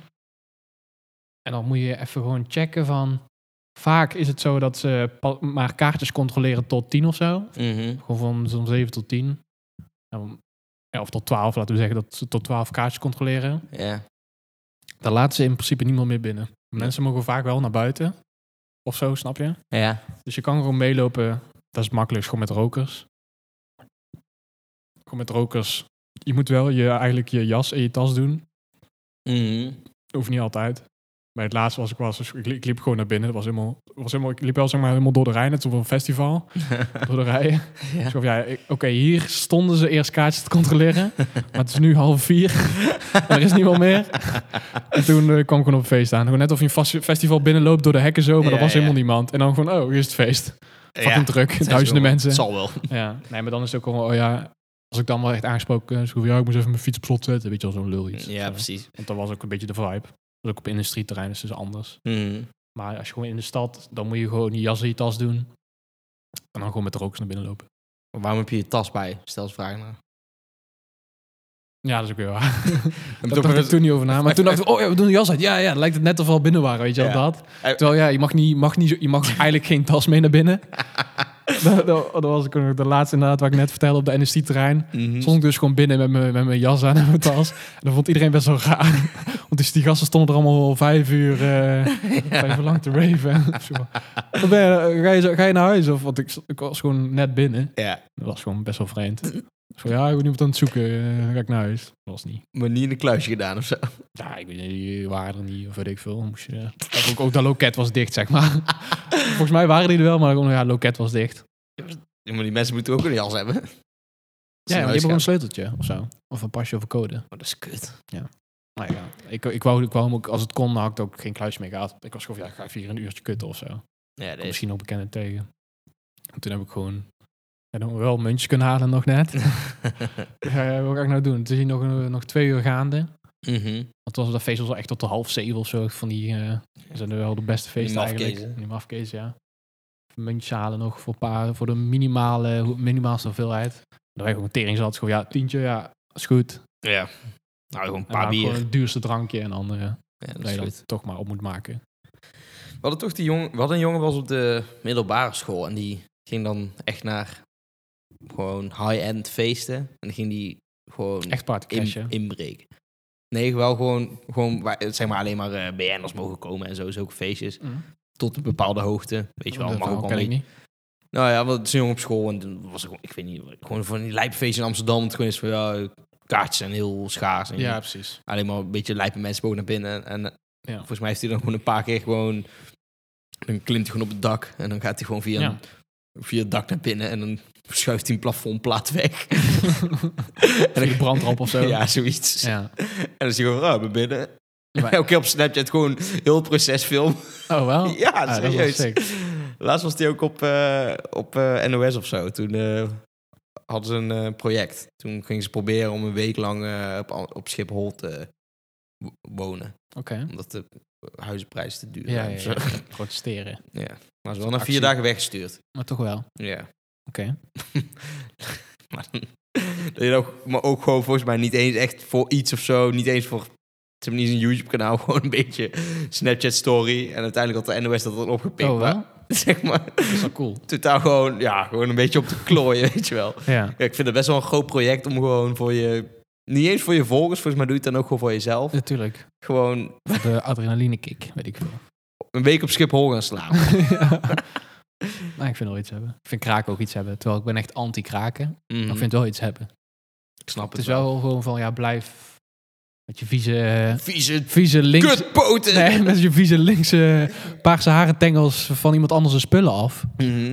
En dan moet je even gewoon checken van... Vaak is het zo dat ze pa- maar kaartjes controleren tot tien of zo. Mhm. Gewoon van zo'n zeven tot tien. En om- ja, of tot twaalf, laten we zeggen dat ze tot twaalf kaartjes controleren. Ja. Daar laten ze in principe niemand meer binnen. Ja. Mensen mogen vaak wel naar buiten. Of zo, snap je? Ja. Dus je kan gewoon meelopen. Dat is het makkelijkst, gewoon met rokers. Gewoon met rokers. Je moet wel je, eigenlijk je jas en je tas doen. Mhm. Hoeft niet altijd. Bij het laatste was ik was, dus ik, li- ik liep gewoon naar binnen. Het was helemaal, het was helemaal, ik liep wel zeg maar helemaal door de rij, net zoals op een festival. door de rijen. Ja. Dus ik dacht, ja, ik- oké, hier stonden ze eerst kaartjes te controleren. maar het is nu half vier. en er is niemand meer. en toen eh, kwam ik gewoon op een feest aan. Gewoon net of je een fas- festival binnenloopt door de hekken zo, maar Ja, er was ja. helemaal niemand. En dan gewoon, oh, hier is het feest. Fucking Ja. druk, duizenden mensen. Zal wel. Ja, nee, maar dan is het ook gewoon, oh ja, als ik dan wel echt aangesproken is, hoef ja, ik moest even mijn fiets op slot zetten, weet je wel, zo'n lul iets. Ja, Zo. precies. Want dat was ook een beetje de vibe. Dat was ook op industrieterrein, dus dat is anders. Mhm. Maar als je gewoon in de stad, dan moet je gewoon je jas in je tas doen. En dan gewoon met de rokers naar binnen lopen. Maar Waarom heb je je tas bij? Stel eens vragen naar. Ja, dat is ook weer waar. Heb je Daar het dacht ik ook toen niet over na. Maar toen dacht ik, oh ja, we doen de jas uit. Ja, ja, dan lijkt het net of we al binnen waren, weet je wel, Ja. dat. Terwijl ja, je mag, niet, mag niet, zo- je mag eigenlijk geen tas mee naar binnen. dat, dat, dat was ook nog de laatste inderdaad, waar ik net vertelde op de NST-terrein. Mhm. Stond ik dus gewoon binnen met mijn, met mijn jas aan en mijn tas. En dat vond iedereen best wel raar. Want dus die gasten stonden er allemaal al vijf uur, eh, vijf uur lang te raven. Of zo. Wat ben je, ga, je, zo- ga je naar huis? Of, want ik, ik was gewoon net binnen. Ja. Dat was gewoon best wel vreemd. Dus van, ja, ik ben iemand aan het zoeken. eh, dan ga ik naar huis. Dat was niet. Maar niet in een kluisje gedaan of zo. Ja, ik weet niet, die waren er niet. Of weet ik veel. Moest je, ook, ook dat loket was dicht, zeg maar. Volgens mij waren die er wel, maar gewoon, ja, het loket was dicht. Ja, maar die mensen moeten ook een jas hebben. Als ze Ja, naar maar die huis hebben gaan. een sleuteltje of zo. Of een pasje of een code. Oh, dat is kut. Nou ja, ik, ik, wou, ik wou hem ook, als het kon, had ik ook geen kluis meer gehad. Ik was gewoon, van, ja, ik ga even hier een uurtje kutten of zo. Ja, dat kom is... misschien nog bekenden tegen. En toen heb ik gewoon ja, dan wel een muntje kunnen halen nog net. Ja, wat ga ik nou doen? Het is hier nog, een- nog twee uur gaande. Mhm. Want het was dat feest was wel echt tot de half zeven of zo. Van die eh, zijn er wel de beste feesten mafkees, eigenlijk. hè? Die mafkees, ja. Muntjes halen nog voor, een paar, voor de minimale, hoe- minimaalste hoeveelheid. Dan wij gewoon tering zat. Gewoon ja, tientje, ja, is goed. Ja. Nou, gewoon een En paar dan bier. gewoon het duurste drankje en andere. Ja, dat Dat is je goed. dat toch maar op moet maken. We hadden toch die jongen, we hadden een jongen was op de middelbare school en die ging dan echt naar gewoon high-end feesten en dan ging die gewoon Echt in- partycrashen. inbreken. Nee, wel gewoon, gewoon waar- zeg maar alleen maar eh, BN'ers mogen komen en zo, zulke feestjes. Mm. Tot een bepaalde hoogte, weet je wel, Oh, Dat mag ook verhaal wel ken ik mee. niet. Nou ja, want het is een jongen op school en toen was er gewoon, ik weet niet, gewoon van die lijpfeestjes in Amsterdam. Het gewoon is van, ja, kaartjes zijn heel schaars. En Ja, precies. alleen maar een beetje lijpe mensen boven naar binnen. En eh, Ja. volgens mij heeft hij dan gewoon een paar keer gewoon... Dan klimt hij gewoon op het dak en dan gaat hij gewoon via, Ja. een- via het dak naar binnen en dan schuift hij een plafondplaat weg. en Via de brandtrap of zo. Ja, zoiets. ja. En dan is hij gewoon, ah, ik ben binnen. Maar- Elke keer op Snapchat gewoon heel het proces filmen. Oh, wel? Ja, Ah, dat is wel serieus. sick. Laatst was die ook op, eh, op eh, NOS of zo. Toen eh, hadden ze een eh, project. Toen gingen ze proberen om een week lang eh, op, Al- op Schiphol te wo- wonen. Oké. Omdat de huizenprijzen te duur Ja, ja, zijn. ja. Ja, Protesteren. Maar ze wel na Actie. vier dagen weggestuurd. Maar toch wel. Ja. Oké. maar, dan- dat je dan ook, maar ook gewoon volgens mij niet eens echt voor iets of zo. Niet eens voor... Ze hebben niet eens een YouTube-kanaal, gewoon een beetje Snapchat-story. En uiteindelijk had de NOS dat dan opgepikt. Oh, wel? maar- zeg maar, Dat is wel cool. totaal gewoon, ja, gewoon een beetje op te klooien, weet je wel. Ja. Ja, ik vind het best wel een groot project om gewoon voor je... Niet eens voor je volgers, volgens mij doe je het dan ook gewoon voor jezelf. Natuurlijk. Gewoon Voor de adrenaline kick, weet ik veel. een week op Schiphol gaan slapen. Maar Nou, ik vind wel iets hebben. Ik vind kraken ook iets hebben. Terwijl ik ben echt anti-kraken. Maar Mhm. ik vind wel iets hebben. ik snap Het is wel gewoon van, ja, blijf met je vieze, Vieze vieze links... kutpoten! Nee, met je vieze linkse paarse haren tengels van iemand anders zijn spullen af. Mhm.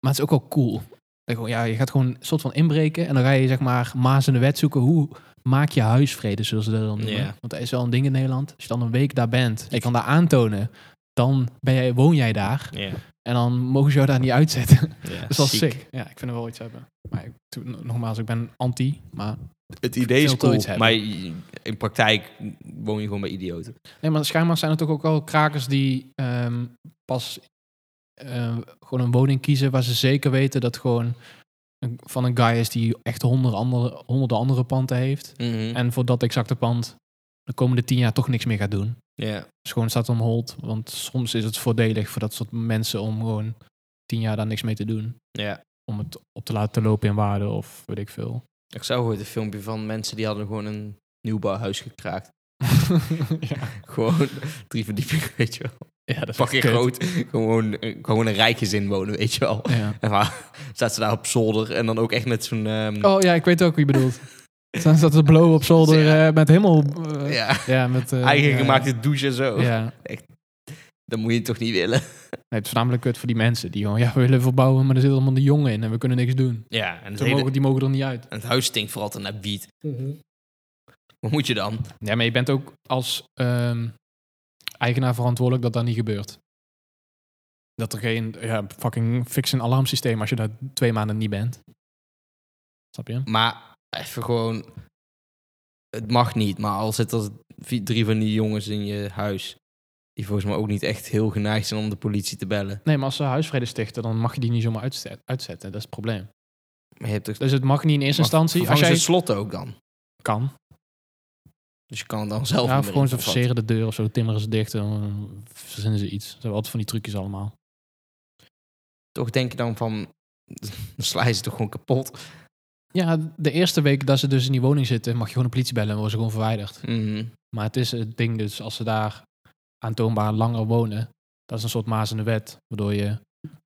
Maar het is ook wel cool. Dat gewoon, Ja, je gaat gewoon een soort van inbreken en dan ga je zeg maar maas in de wet zoeken. Hoe maak je huisvrede, zullen ze dat dan noemen. Ja. Want dat is wel een ding in Nederland. Als je dan een week daar bent, je kan daar aantonen, dan ben jij, woon jij daar. Ja, En dan mogen ze jou daar niet uitzetten. ja, Dat is wel sick. Ja, ik vind er wel iets hebben. Maar ik, toen- nogmaals, ik ben anti, maar... Het idee Ik is wil toch cool, iets hebben. maar je- in praktijk woon je gewoon bij idioten. Nee, maar schijnbaar zijn er toch ook wel krakers die ehm, pas eh, gewoon een woning kiezen waar ze zeker weten dat gewoon een- van een guy is die echt honderden andere, honderden andere panden heeft. Mhm. Hm. En voor dat exacte pand de komende tien jaar toch niks meer gaat doen. ja. Dus gewoon staat om hold. Want soms is het voordelig voor dat soort mensen om gewoon tien jaar daar niks mee te doen. ja. Om het op te laten lopen in waarde of weet ik veel. Ik zag ooit een filmpje van mensen die hadden gewoon een nieuwbouwhuis gekraakt. ja. Gewoon drie verdiepingen, weet je wel. ja, dat is Pak je kut. groot. Gewoon, gewoon een rijk gezin wonen, weet je wel. Ja. En dan staat ze daar op zolder en dan ook echt met zo'n... ehm, Oh ja, ik weet ook wie je bedoelt. Dan staat de blow op zolder eh, met helemaal... eh, ja. ja, met... eh, eigen ja. gemaakte douche en zo. Ja. Nee, Dat moet je toch niet willen? het is voornamelijk kut voor die mensen. Die gewoon, ja, we willen verbouwen, maar er zit allemaal de jongen in en we kunnen niks doen. Ja, en het, Ze mogen, Mhm. die mogen er niet uit. huis stinkt vooral altijd naar biet. Wat moet je dan? Ja, maar je bent ook als ehm, eigenaar verantwoordelijk dat dat niet gebeurt. Dat er geen ja, fucking fix een alarmsysteem als je daar twee maanden niet bent. Snap je? Maar even gewoon... Het mag niet, maar al zitten er vi- drie van die jongens in je huis... die volgens mij ook niet echt heel geneigd zijn om de politie te bellen. Nee, maar als ze huisvrede stichten, dan mag je die niet zomaar uitzet- uitzetten. Dat is het probleem. Maar je hebt toch... Dus het mag niet in eerste Maar instantie. Als vervangen jij ze het slot ook dan. kan. Dus je kan het dan zelf Ja, niet of meer gewoon ze invervatten. verseren de deur of zo, timmeren ze dicht en dan verzinnen ze iets. Ze hebben altijd van die trucjes allemaal. Toch denk je dan van... Dan sla je ze toch gewoon kapot. Ja, de eerste week dat ze dus in die woning zitten, mag je gewoon de politie bellen en worden ze gewoon verwijderd. Mhm. Maar het is het ding dus, als ze daar aantoonbaar langer wonen, dat is een soort maas in de wet, waardoor je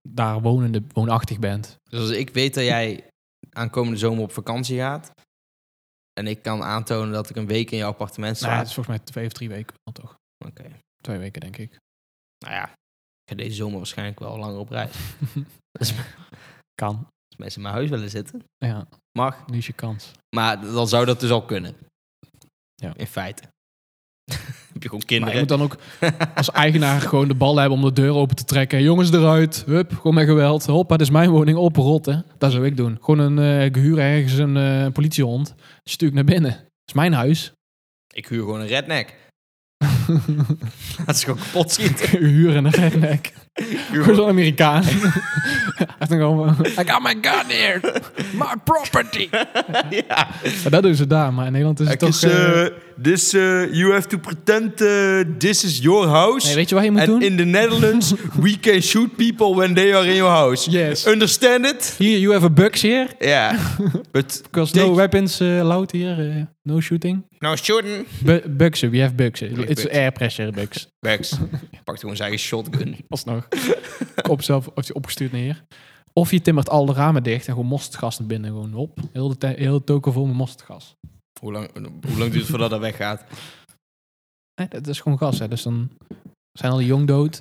daar wonende, woonachtig bent. Dus als ik weet dat jij aankomende zomer op vakantie gaat. En ik kan aantonen dat ik een week in jouw appartement Nou, ja, sta. dus, het is volgens mij twee of drie weken wel, toch? Oké. Twee weken, denk ik. Nou ja, ik ga deze zomer waarschijnlijk wel langer op reis. kan. Als mensen in mijn huis willen zitten, Ja, mag. nu is je kans. Maar dan zou dat dus al kunnen. Ja. In feite. heb je gewoon Maar kinderen. je moet dan ook als eigenaar gewoon de bal hebben om de deur open te trekken. Jongens eruit, hup, gewoon met geweld. Hoppa, dit is mijn woning, oprotten. Dat zou ik doen. Gewoon een eh gehuur ergens een eh, politiehond. Stuur ik naar binnen. Dat is mijn huis. Ik huur gewoon een redneck. Dat is gewoon kapot schieten. huur en een redneck. Ik huur Gewoon gewoon- zo'n Amerikaan. Echt een gewoon... eh, I got my gun here. My property. ja. Maar dat doen ze daar, maar in Nederland is het toch... Is, eh, eh, this, eh, you have to pretend eh, this is your house. nee, weet je wat je moet And doen? in the Netherlands, we can shoot people when they are in your house. Yes. Understand it? Here, you have a bugs here. Ja. But Because Take- no weapons eh, allowed here. eh, no shooting. Nou, shooting. Bu bugsen, we have bugsen. have It's bugs. air pressure bugs. Bex. Pakt gewoon zijn eigen shotgun. Alsnog. Op zelf wordt je opgestuurd naar hier. Of je timmert al de ramen dicht en gewoon mosterdgas naar binnen. Gewoon op. Heel de, tij- heel de toko vol met mosterdgas. Hoe lang, hoe lang duurt het voordat dat weggaat? Nee, dat is gewoon gas, hè. Dus dan zijn al die jong dood.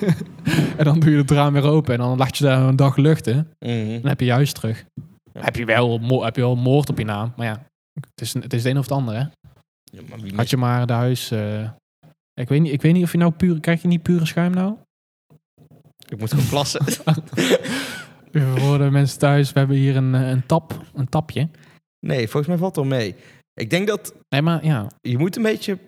en dan doe je het raam weer open. En dan laat je daar een dag luchten. Mhm. Dan heb je juist terug. Heb, je wel, mo- heb je wel moord op je naam. Maar ja, het is, een- het is het een of het ander, hè. Ja, maar wie Had je maar de huis... eh, ik, weet niet, ik weet niet of je nou puur... Krijg je niet pure schuim nou? Ik moet gewoon plassen. Even Voor de mensen thuis, we hebben hier een, eh, een tap. Een tapje. nee, volgens mij valt het wel mee. Ik denk dat Nee, maar ja... je moet een beetje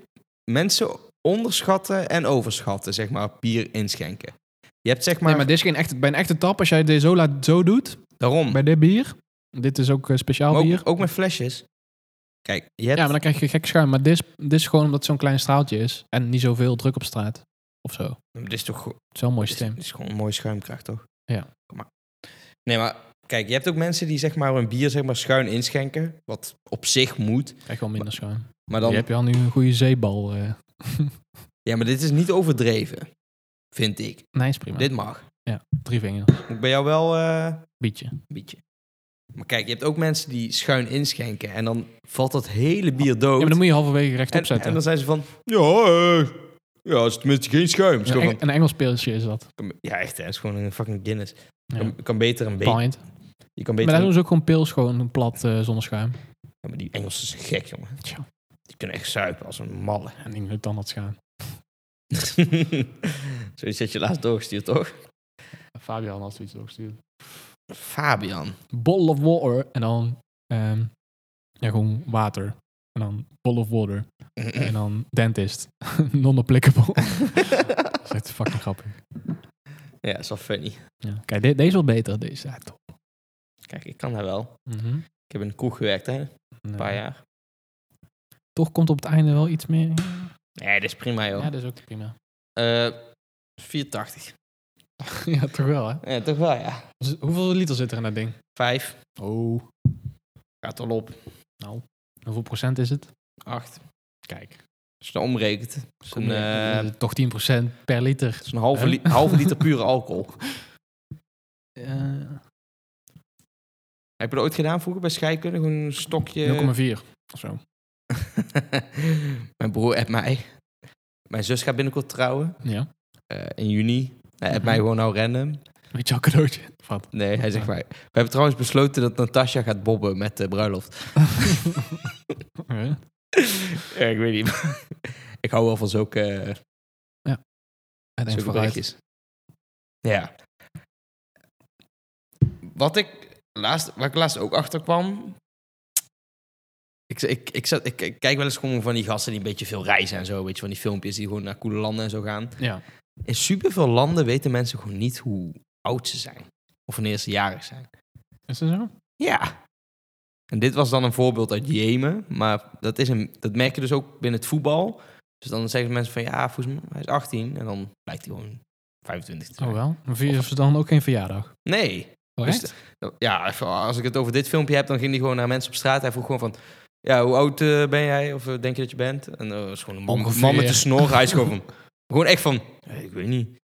mensen onderschatten en overschatten, zeg maar, bier inschenken. Je hebt zeg maar, nee, maar dit is geen echte, bij een echte tap, als jij dit zo, laat, zo doet, daarom, bij dit bier, dit is ook eh, speciaal Maar bier. ook, ook met flesjes. Kijk, je ja, hebt, maar dan krijg je gek schuim. Maar dit is, dit is gewoon omdat het zo'n klein straaltje is en niet zoveel druk op straat. Of zo. Het dit is toch go- is wel een mooi dit is, systeem. dit is gewoon een mooie schuimkracht, toch? Ja. Kom maar. Nee, maar kijk, je hebt ook mensen die zeg maar hun bier zeg maar schuin inschenken, wat op zich moet. Krijg je wel minder schuim. Dan Maar dan, je hebt je al nu een goede zeebal. eh. ja, maar dit is niet overdreven, vind ik. Nee, is prima. Dit mag. Drie vinger. Moet bij jou wel eh, Bietje. een beetje. Maar kijk, je hebt ook mensen die schuin inschenken en dan valt dat hele bier dood. Ja, maar dan moet je halverwege rechtop en, zetten. en dan zijn ze van, ja, eh, ja, het is tenminste geen schuim. Het is een, gewoon Eng- een Engels pilsje is dat. van- ja, echt, hè, het is gewoon een fucking Guinness. Je Ja. kan, je kan beter een beetje. Pint. Je Maar kan beter daar een- doen ze ook gewoon pils, gewoon een plat eh, zonder schuim. Ja, maar die Engelsen zijn gek, jongen. Tja. Die kunnen echt zuipen als een malle. En ik moet dan dat schuim. Zoiets had je laatst doorgestuurd, toch? Fabian had zoiets doorgestuurd. Fabian. bottle of water. En dan ehm, ja, gewoon water. En dan bottle of water. En dan dentist. Non-applicable. dat is echt fucking grappig. ja, is wel funny. Ja. Kijk, de- deze is wel beter. Deze, ja, top. Kijk, ik kan daar wel. Mhm. Ik heb in een kroeg gewerkt, hè? Een Nee. paar jaar. Toch komt op het einde wel iets meer. Nee, dat is prima, joh. Ja, dat is ook prima. Eh, 480. ja, toch wel, hè? Ja, toch wel, ja. Z- Dus Hoeveel liter zit er in dat ding? Vijf. Oh. Gaat al op. Hoeveel procent is het? Acht. Kijk. Als je dat omrekent. Dat is een, eh, Eh, toch 10% per liter. dat is een halve, Hè? li- halve liter pure alcohol. Eh, Heb je dat ooit gedaan vroeger bij scheikunde? Gewoon een stokje... 0,4 of zo. Mijn broer appt mij. Mijn zus gaat binnenkort trouwen. Ja. eh, in juni. Hij appt Mhm. mij gewoon nou random. Weet je al cadeautje? Of wat? Nee, hij zegt mij. We hebben trouwens besloten dat Natasja gaat bobben met de bruiloft. Eh, Ja, ik weet niet. ik hou wel van zulke, Hij denkt zulke vooruit. berichtjes. Ja. Wat ik laatst, waar ik laatst ook achter kwam. Ik, ik, ik, zat, ik, ik kijk wel eens gewoon van die gasten die een beetje veel reizen en zo. Weet je, van die filmpjes die gewoon naar coole landen en zo gaan. Ja. In superveel landen weten mensen gewoon niet hoe oud ze zijn. Of wanneer ze jarig zijn. Is dat zo? Ja. En dit was dan een voorbeeld uit Jemen. Maar dat, is een, dat merk je dus ook binnen het voetbal. Dus dan zeggen mensen van ja, volgens mij hij is 18. En dan blijkt hij gewoon 25 te zijn. Oh wel? Dan vieren ze dan ook geen verjaardag? Nee. Oh, Dus de- ja, even- als ik het over dit filmpje heb, dan ging hij gewoon naar mensen op straat. Hij vroeg gewoon van, ja, hoe oud eh, ben jij? Of eh, denk je dat je bent? En eh, dat is gewoon een man, Ongeveer. man met een snor. Hij is gewoon van, gewoon echt van, "Ja, ik weet niet.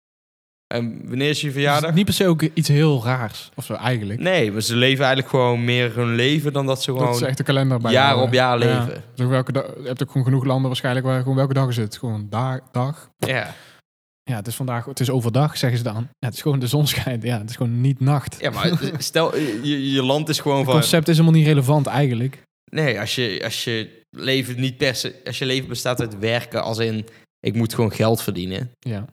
En wanneer is je Het verjaardag? is niet per se ook iets heel raars, of zo eigenlijk. Nee, maar ze leven eigenlijk gewoon meer hun leven dan dat ze gewoon... dat is echt de kalender bij. jaar op jaar leven. Ja. Dus ook welke dag, je hebt ook gewoon genoeg landen waarschijnlijk waar gewoon welke dag is het? Gewoon dag, dag. Ja. Ja, het is vandaag, het is overdag, zeggen ze dan. Ja, het is gewoon de zon schijnt. Ja, het is gewoon niet nacht. ja, maar stel, je, je land is gewoon Het van... concept is helemaal niet relevant eigenlijk. Nee, als je, als je leven niet per se, als je leven bestaat uit werken, als in ik moet gewoon geld verdienen. Ja.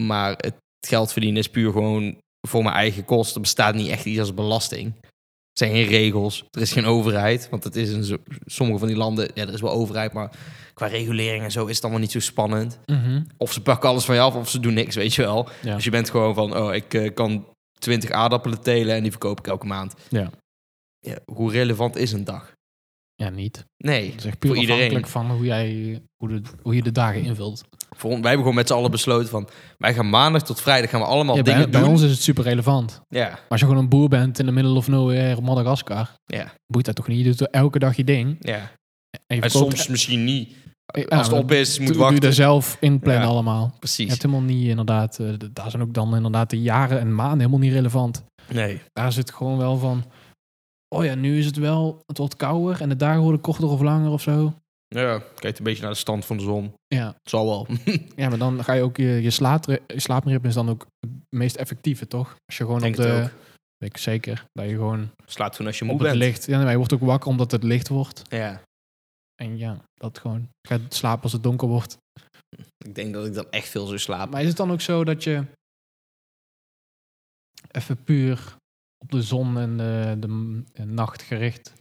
Maar het geld verdienen is puur gewoon voor mijn eigen kosten. Er bestaat niet echt iets als belasting. Er zijn geen regels, er is geen overheid. Want het is in zo- sommige van die landen, ja, er is wel overheid, maar qua regulering en zo is het allemaal niet zo spannend. Mhm. Of ze pakken alles van je af of ze doen niks, weet je wel. Ja. Dus je bent gewoon van, oh, ik eh, kan 20 aardappelen telen en die verkoop ik elke maand. Ja. Ja, hoe relevant is een dag? ja, niet. Nee. Het is echt puur Voor iedereen. afhankelijk van hoe, jij, hoe, de, hoe je de dagen invult. Voor, ons- wij hebben gewoon met z'n allen besloten van... wij gaan maandag tot vrijdag gaan we allemaal Ja, bij, dingen bij doen. ons is het super relevant. Ja, Maar als je gewoon een boer bent in de middle of nowhere op Madagaskar, ja, boeit dat toch niet? Je doet elke dag je ding. ja. En, je En verkoopt- soms misschien niet. eh, ja, Als het op is, doe- moet doe je er wachten. zelf in plannen Ja. allemaal. Je Precies. hebt helemaal niet inderdaad, eh, d- daar zijn ook dan inderdaad de jaren en maanden helemaal niet relevant. Nee. Daar zit gewoon wel van, oh ja, nu is het wel, het wordt kouder en de dagen worden korter of langer of zo. Ja, kijk een beetje naar de stand van de zon. Ja, Het zal wel. ja maar dan ga je ook, je, je, slaapri- je slaapritme is dan ook het meest effectieve, toch? Als je gewoon Denk op het de... ook. Weet ik zeker, dat je gewoon Slaat toen als je moe op het bent. licht... Ja, nee, maar je wordt ook wakker omdat het licht wordt. Ja. En ja, dat gewoon. Ga slapen als het donker wordt. Ik denk dat ik dan echt veel zou slapen. Maar is het dan ook zo dat je even puur op de zon en de, de m- en nacht gericht?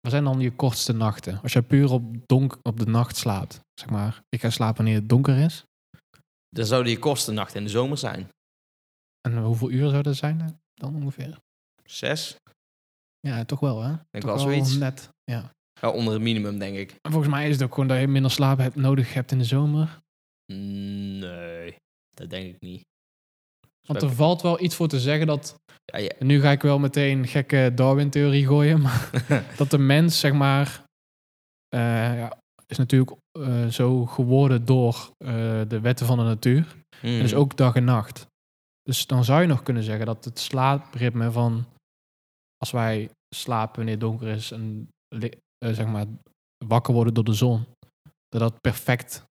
Wat zijn dan je kortste nachten? Als je puur op, donk, op de nacht slaapt, zeg maar. Ik ga slapen wanneer het donker is. Dan zouden je kosten nacht in de zomer zijn. En hoeveel uur zou dat zijn eh, dan ongeveer? Zes? Ja, toch wel hè? toch Denk wel zoiets. net. Ja. Wel onder het minimum, denk ik. En volgens mij is het ook gewoon dat je minder slaap hebt, nodig hebt in de zomer. Nee, dat denk ik niet. Want er valt wel iets voor te zeggen dat Ja, ja. En nu ga ik wel meteen gekke Darwin-theorie gooien. Maar dat de mens, zeg maar, eh, ja, is natuurlijk eh, zo geworden door eh, de wetten van de natuur. Hmm. En Mhm. dus ook dag en nacht. Dus dan zou je nog kunnen zeggen dat het slaapritme van als wij slapen wanneer het donker is en li- eh, zeg maar wakker worden door de zon, dat dat perfect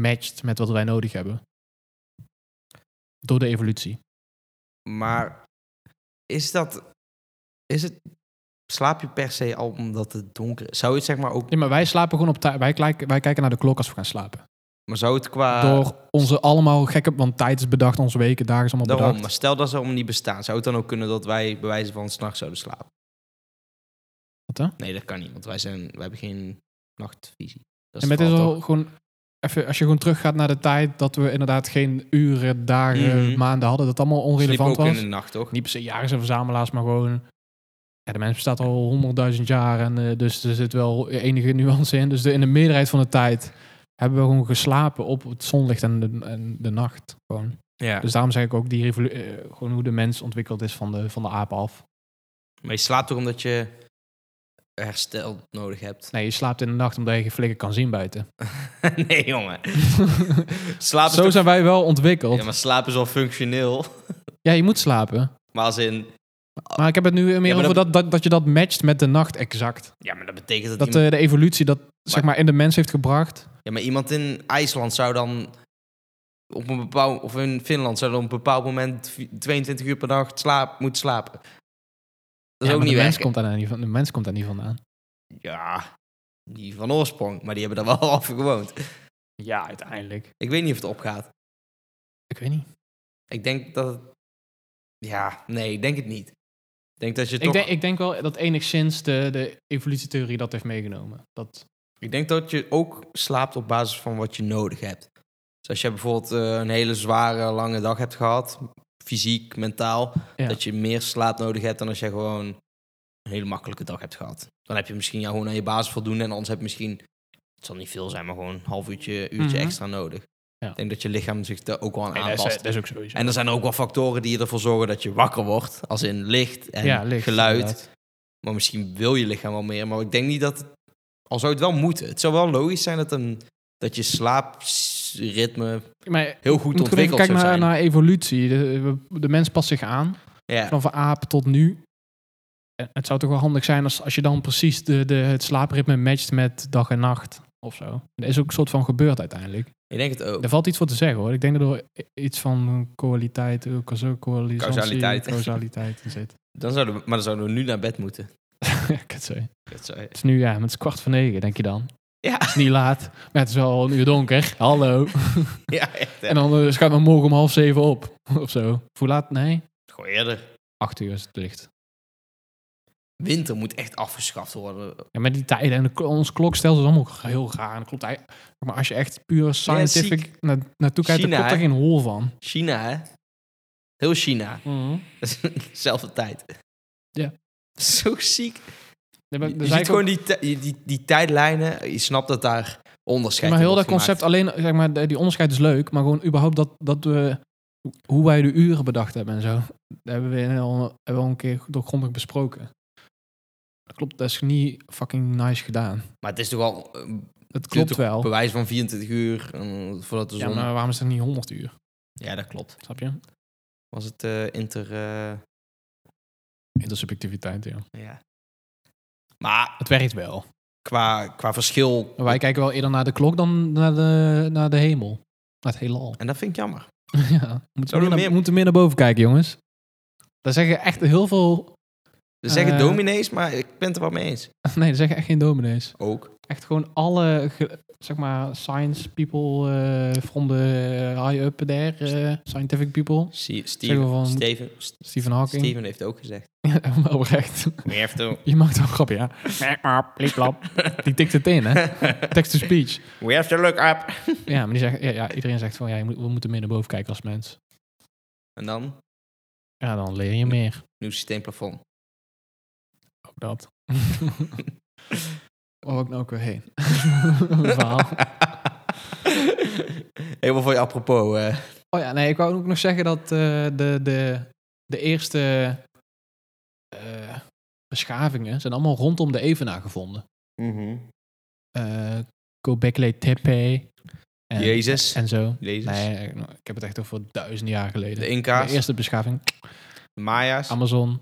matcht met wat wij nodig hebben. Door de evolutie. Maar is dat... Is het... Slaap je per se al omdat het donker is? Zou je het zeg maar ook... Nee, maar wij slapen gewoon op tijd. Wij, kijk- wij kijken naar de klok als we gaan slapen. Maar zou het qua... Door onze allemaal gekke... Want tijd is bedacht, onze weken, dagen is allemaal Daarom, maar bedacht. stel dat ze allemaal niet bestaan. Zou het dan ook kunnen dat wij bij wijze van s'nachts zouden slapen? Wat hè? Nee, dat kan niet, want wij, zijn, wij hebben geen nachtvisie. Dat En is met het is verhaal, al gewoon... Even, als je gewoon teruggaat naar de tijd dat we inderdaad geen uren, dagen, Mhm. maanden hadden. Dat allemaal toch? Sliepen onrelevant ook was. in de nacht, toch? Niet per se jaren zijn verzamelaars, maar gewoon... Ja, de mens bestaat al honderdduizend jaar. En, eh, dus er zit wel enige nuance in. Dus de, in de meerderheid van de tijd hebben we gewoon geslapen op het zonlicht en de, en de nacht. Gewoon. Ja. Dus daarom zeg ik ook die revolu- eh, gewoon hoe de mens ontwikkeld is van de, van de apen af. Maar je slaapt toch omdat je herstel nodig hebt? Nee, je slaapt in de nacht omdat je geen flikker kan zien buiten. nee, jongen. Slaap is Zo toch- zijn wij wel ontwikkeld. Ja, maar slaap is al functioneel. Ja, je moet slapen. Maar als in... Maar ik heb het nu meer maar over dat, dat, dat je dat matcht met de nacht exact. Ja, maar dat betekent dat... Dat iemand, eh, de evolutie dat zeg maar in de mens heeft gebracht. Ja, maar iemand in IJsland zou dan... Op een bepaald, of in Finland zou dan op een bepaald moment vi- 22 uur per dag slaap, moeten slapen. Dat Ja, is ook maar niet de mens, werken. komt daar nou niet van, de mens komt daar niet vandaan. Ja, niet van oorsprong, maar die hebben daar wel al van gewoond. Ja, uiteindelijk. Ik weet niet of het opgaat. Ik weet niet. Ik denk dat het... Ja, nee, ik denk het niet. Ik denk dat je toch... Ik denk, ik denk wel dat enigszins de, de evolutietheorie dat heeft meegenomen. Dat, Ik denk dat je ook slaapt op basis van wat je nodig hebt. Dus als je bijvoorbeeld eh, een hele zware, lange dag hebt gehad, fysiek, mentaal, Ja. dat je meer slaap nodig hebt dan als je gewoon een hele makkelijke dag hebt gehad. Dan heb je misschien ja, gewoon aan je basis voldoen en anders heb je misschien, het zal niet veel zijn, maar gewoon een half uurtje, uurtje Mhm. extra nodig. Ja. Ik denk dat je lichaam zich daar ook wel aan dat, is, aanpast. ook sowieso. En er zijn ook wel factoren die ervoor zorgen dat je wakker wordt, als in licht en ja, licht, geluid. inderdaad. Maar misschien wil je lichaam wel meer. Maar ik denk niet dat. het- Al zou het wel moeten. Het zou wel logisch zijn dat, een, dat je slaapritme Maar heel goed Moet gewoon even ontwikkeld zou kijken naar, zijn. naar evolutie. De, de mens past zich aan, Ja. van van aap tot nu. En het zou toch wel handig zijn als, als je dan precies de, de, het slaapritme matcht met dag en nacht of zo. Dat is ook een soort van gebeurd uiteindelijk. Ik denk het ook. Daar valt iets voor te zeggen hoor. Ik denk dat er iets van kwaliteit, eh, causa- coalisantie, Causaliteit. causaliteit in zit. Dan zouden we, maar dan zouden we nu naar bed moeten. ja, kutzee. Dat zei- Het is nu, ja, maar het is kwart voor negen, denk je dan. Ja. Het is niet laat, maar het is al een uur donker. Hallo. ja, echt. hè. En dan eh, schuift men morgen om half zeven op, of zo. Of Hoe laat? Nee, Gewoon eerder. acht uur is het licht. Winter moet echt afgeschaft worden. Ja, maar die tijden en de, kl- ons klokstelsel is allemaal heel raar. En dat klopt eigenlijk- maar als je echt puur scientific na, naartoe kijkt, China, dan klopt er hè? geen hol van. China, hè? Heel China. Dat is dezelfde tijd. Ja. Zo ziek. Ja, maar Je, er je zijn ziet ook- gewoon die, ti- die, die, die tijdlijnen. Je snapt dat daar onderscheid maar in heel dat wordt concept gemaakt. alleen, zeg maar, de- die onderscheid is leuk, maar gewoon überhaupt dat, dat we, hoe wij de uren bedacht hebben en zo. Dat hebben we al, hebben we al een keer doorgrondig besproken. Dat klopt, dat is niet fucking nice gedaan. Maar het is toch al eh, Dat klopt toch wel. bewijs van 24 uur eh, voordat de Ja, zon... maar waarom is het niet 100 uur? Ja, dat klopt. Snap je? Was het eh, inter... eh, Intersubjectiviteit, ja. ja. Maar Het werkt wel. qua, qua verschil... Maar wij kijken wel eerder naar de klok dan naar de, naar de hemel. Naar het heelal. En dat vind ik jammer. ja, we moeten, Zouden we meer naar, meer- we moeten meer naar boven kijken, jongens. Daar zeggen echt heel veel... Ze zeggen Eh. dominees, maar ik ben het er wel mee eens. Nee, daar zeggen echt geen dominees. Ook. echt gewoon alle, ge- zeg maar, science people eh from the high up there, eh, scientific people. Steven, Zeggen we van- Steven, Stephen Hawking. Steven heeft ook gezegd. Ja, maar oprecht. We have to... Je maakt wel grappen, ja. Merk maar op, pliplap. Die tikt het in, hè? Text to speech. We have to look up. Ja, maar die zegt, ja, ja, iedereen zegt van, ja, je moet, we moeten meer naar boven kijken als mens. En dan? Ja, dan leer je meer. Nieuw systeemplafond. Ook dat. Waar wou ik nou ook weer heen? Mijn verhaal. Helemaal voor je apropos. eh. Oh ja, nee, ik wou ook nog zeggen dat eh, de, de, de eerste eh, beschavingen zijn allemaal rondom de Evenaar gevonden. Mhm. Eh Göbekli Tepe. En, Jezus. En zo. Jezus. Nee, ik heb het echt over duizenden jaar geleden. De Inca's, De eerste beschaving. de Maya's, Amazon,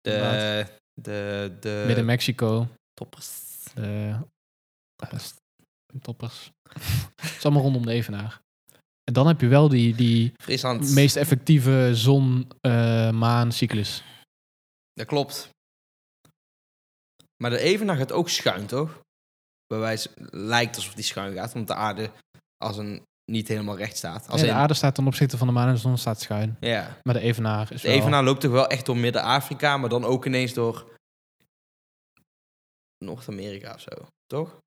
de, de, de Midden-Mexico, Eh, toppers. de eh, st- toppers. Het is allemaal rondom de Evenaar. En dan heb je wel die, die Friesland. meest effectieve eh, zon-maan-cyclus. Dat klopt. Maar de Evenaar gaat ook schuin, toch? Bij wijze lijkt alsof die schuin gaat, omdat de aarde als een niet helemaal recht staat. Als Nee, de in- aarde staat ten opzichte van de maan en de zon staat schuin. Ja. Maar de evenaar is De wel... Evenaar loopt toch wel echt door Midden-Afrika, maar dan ook ineens door Noord-Amerika of zo, toch?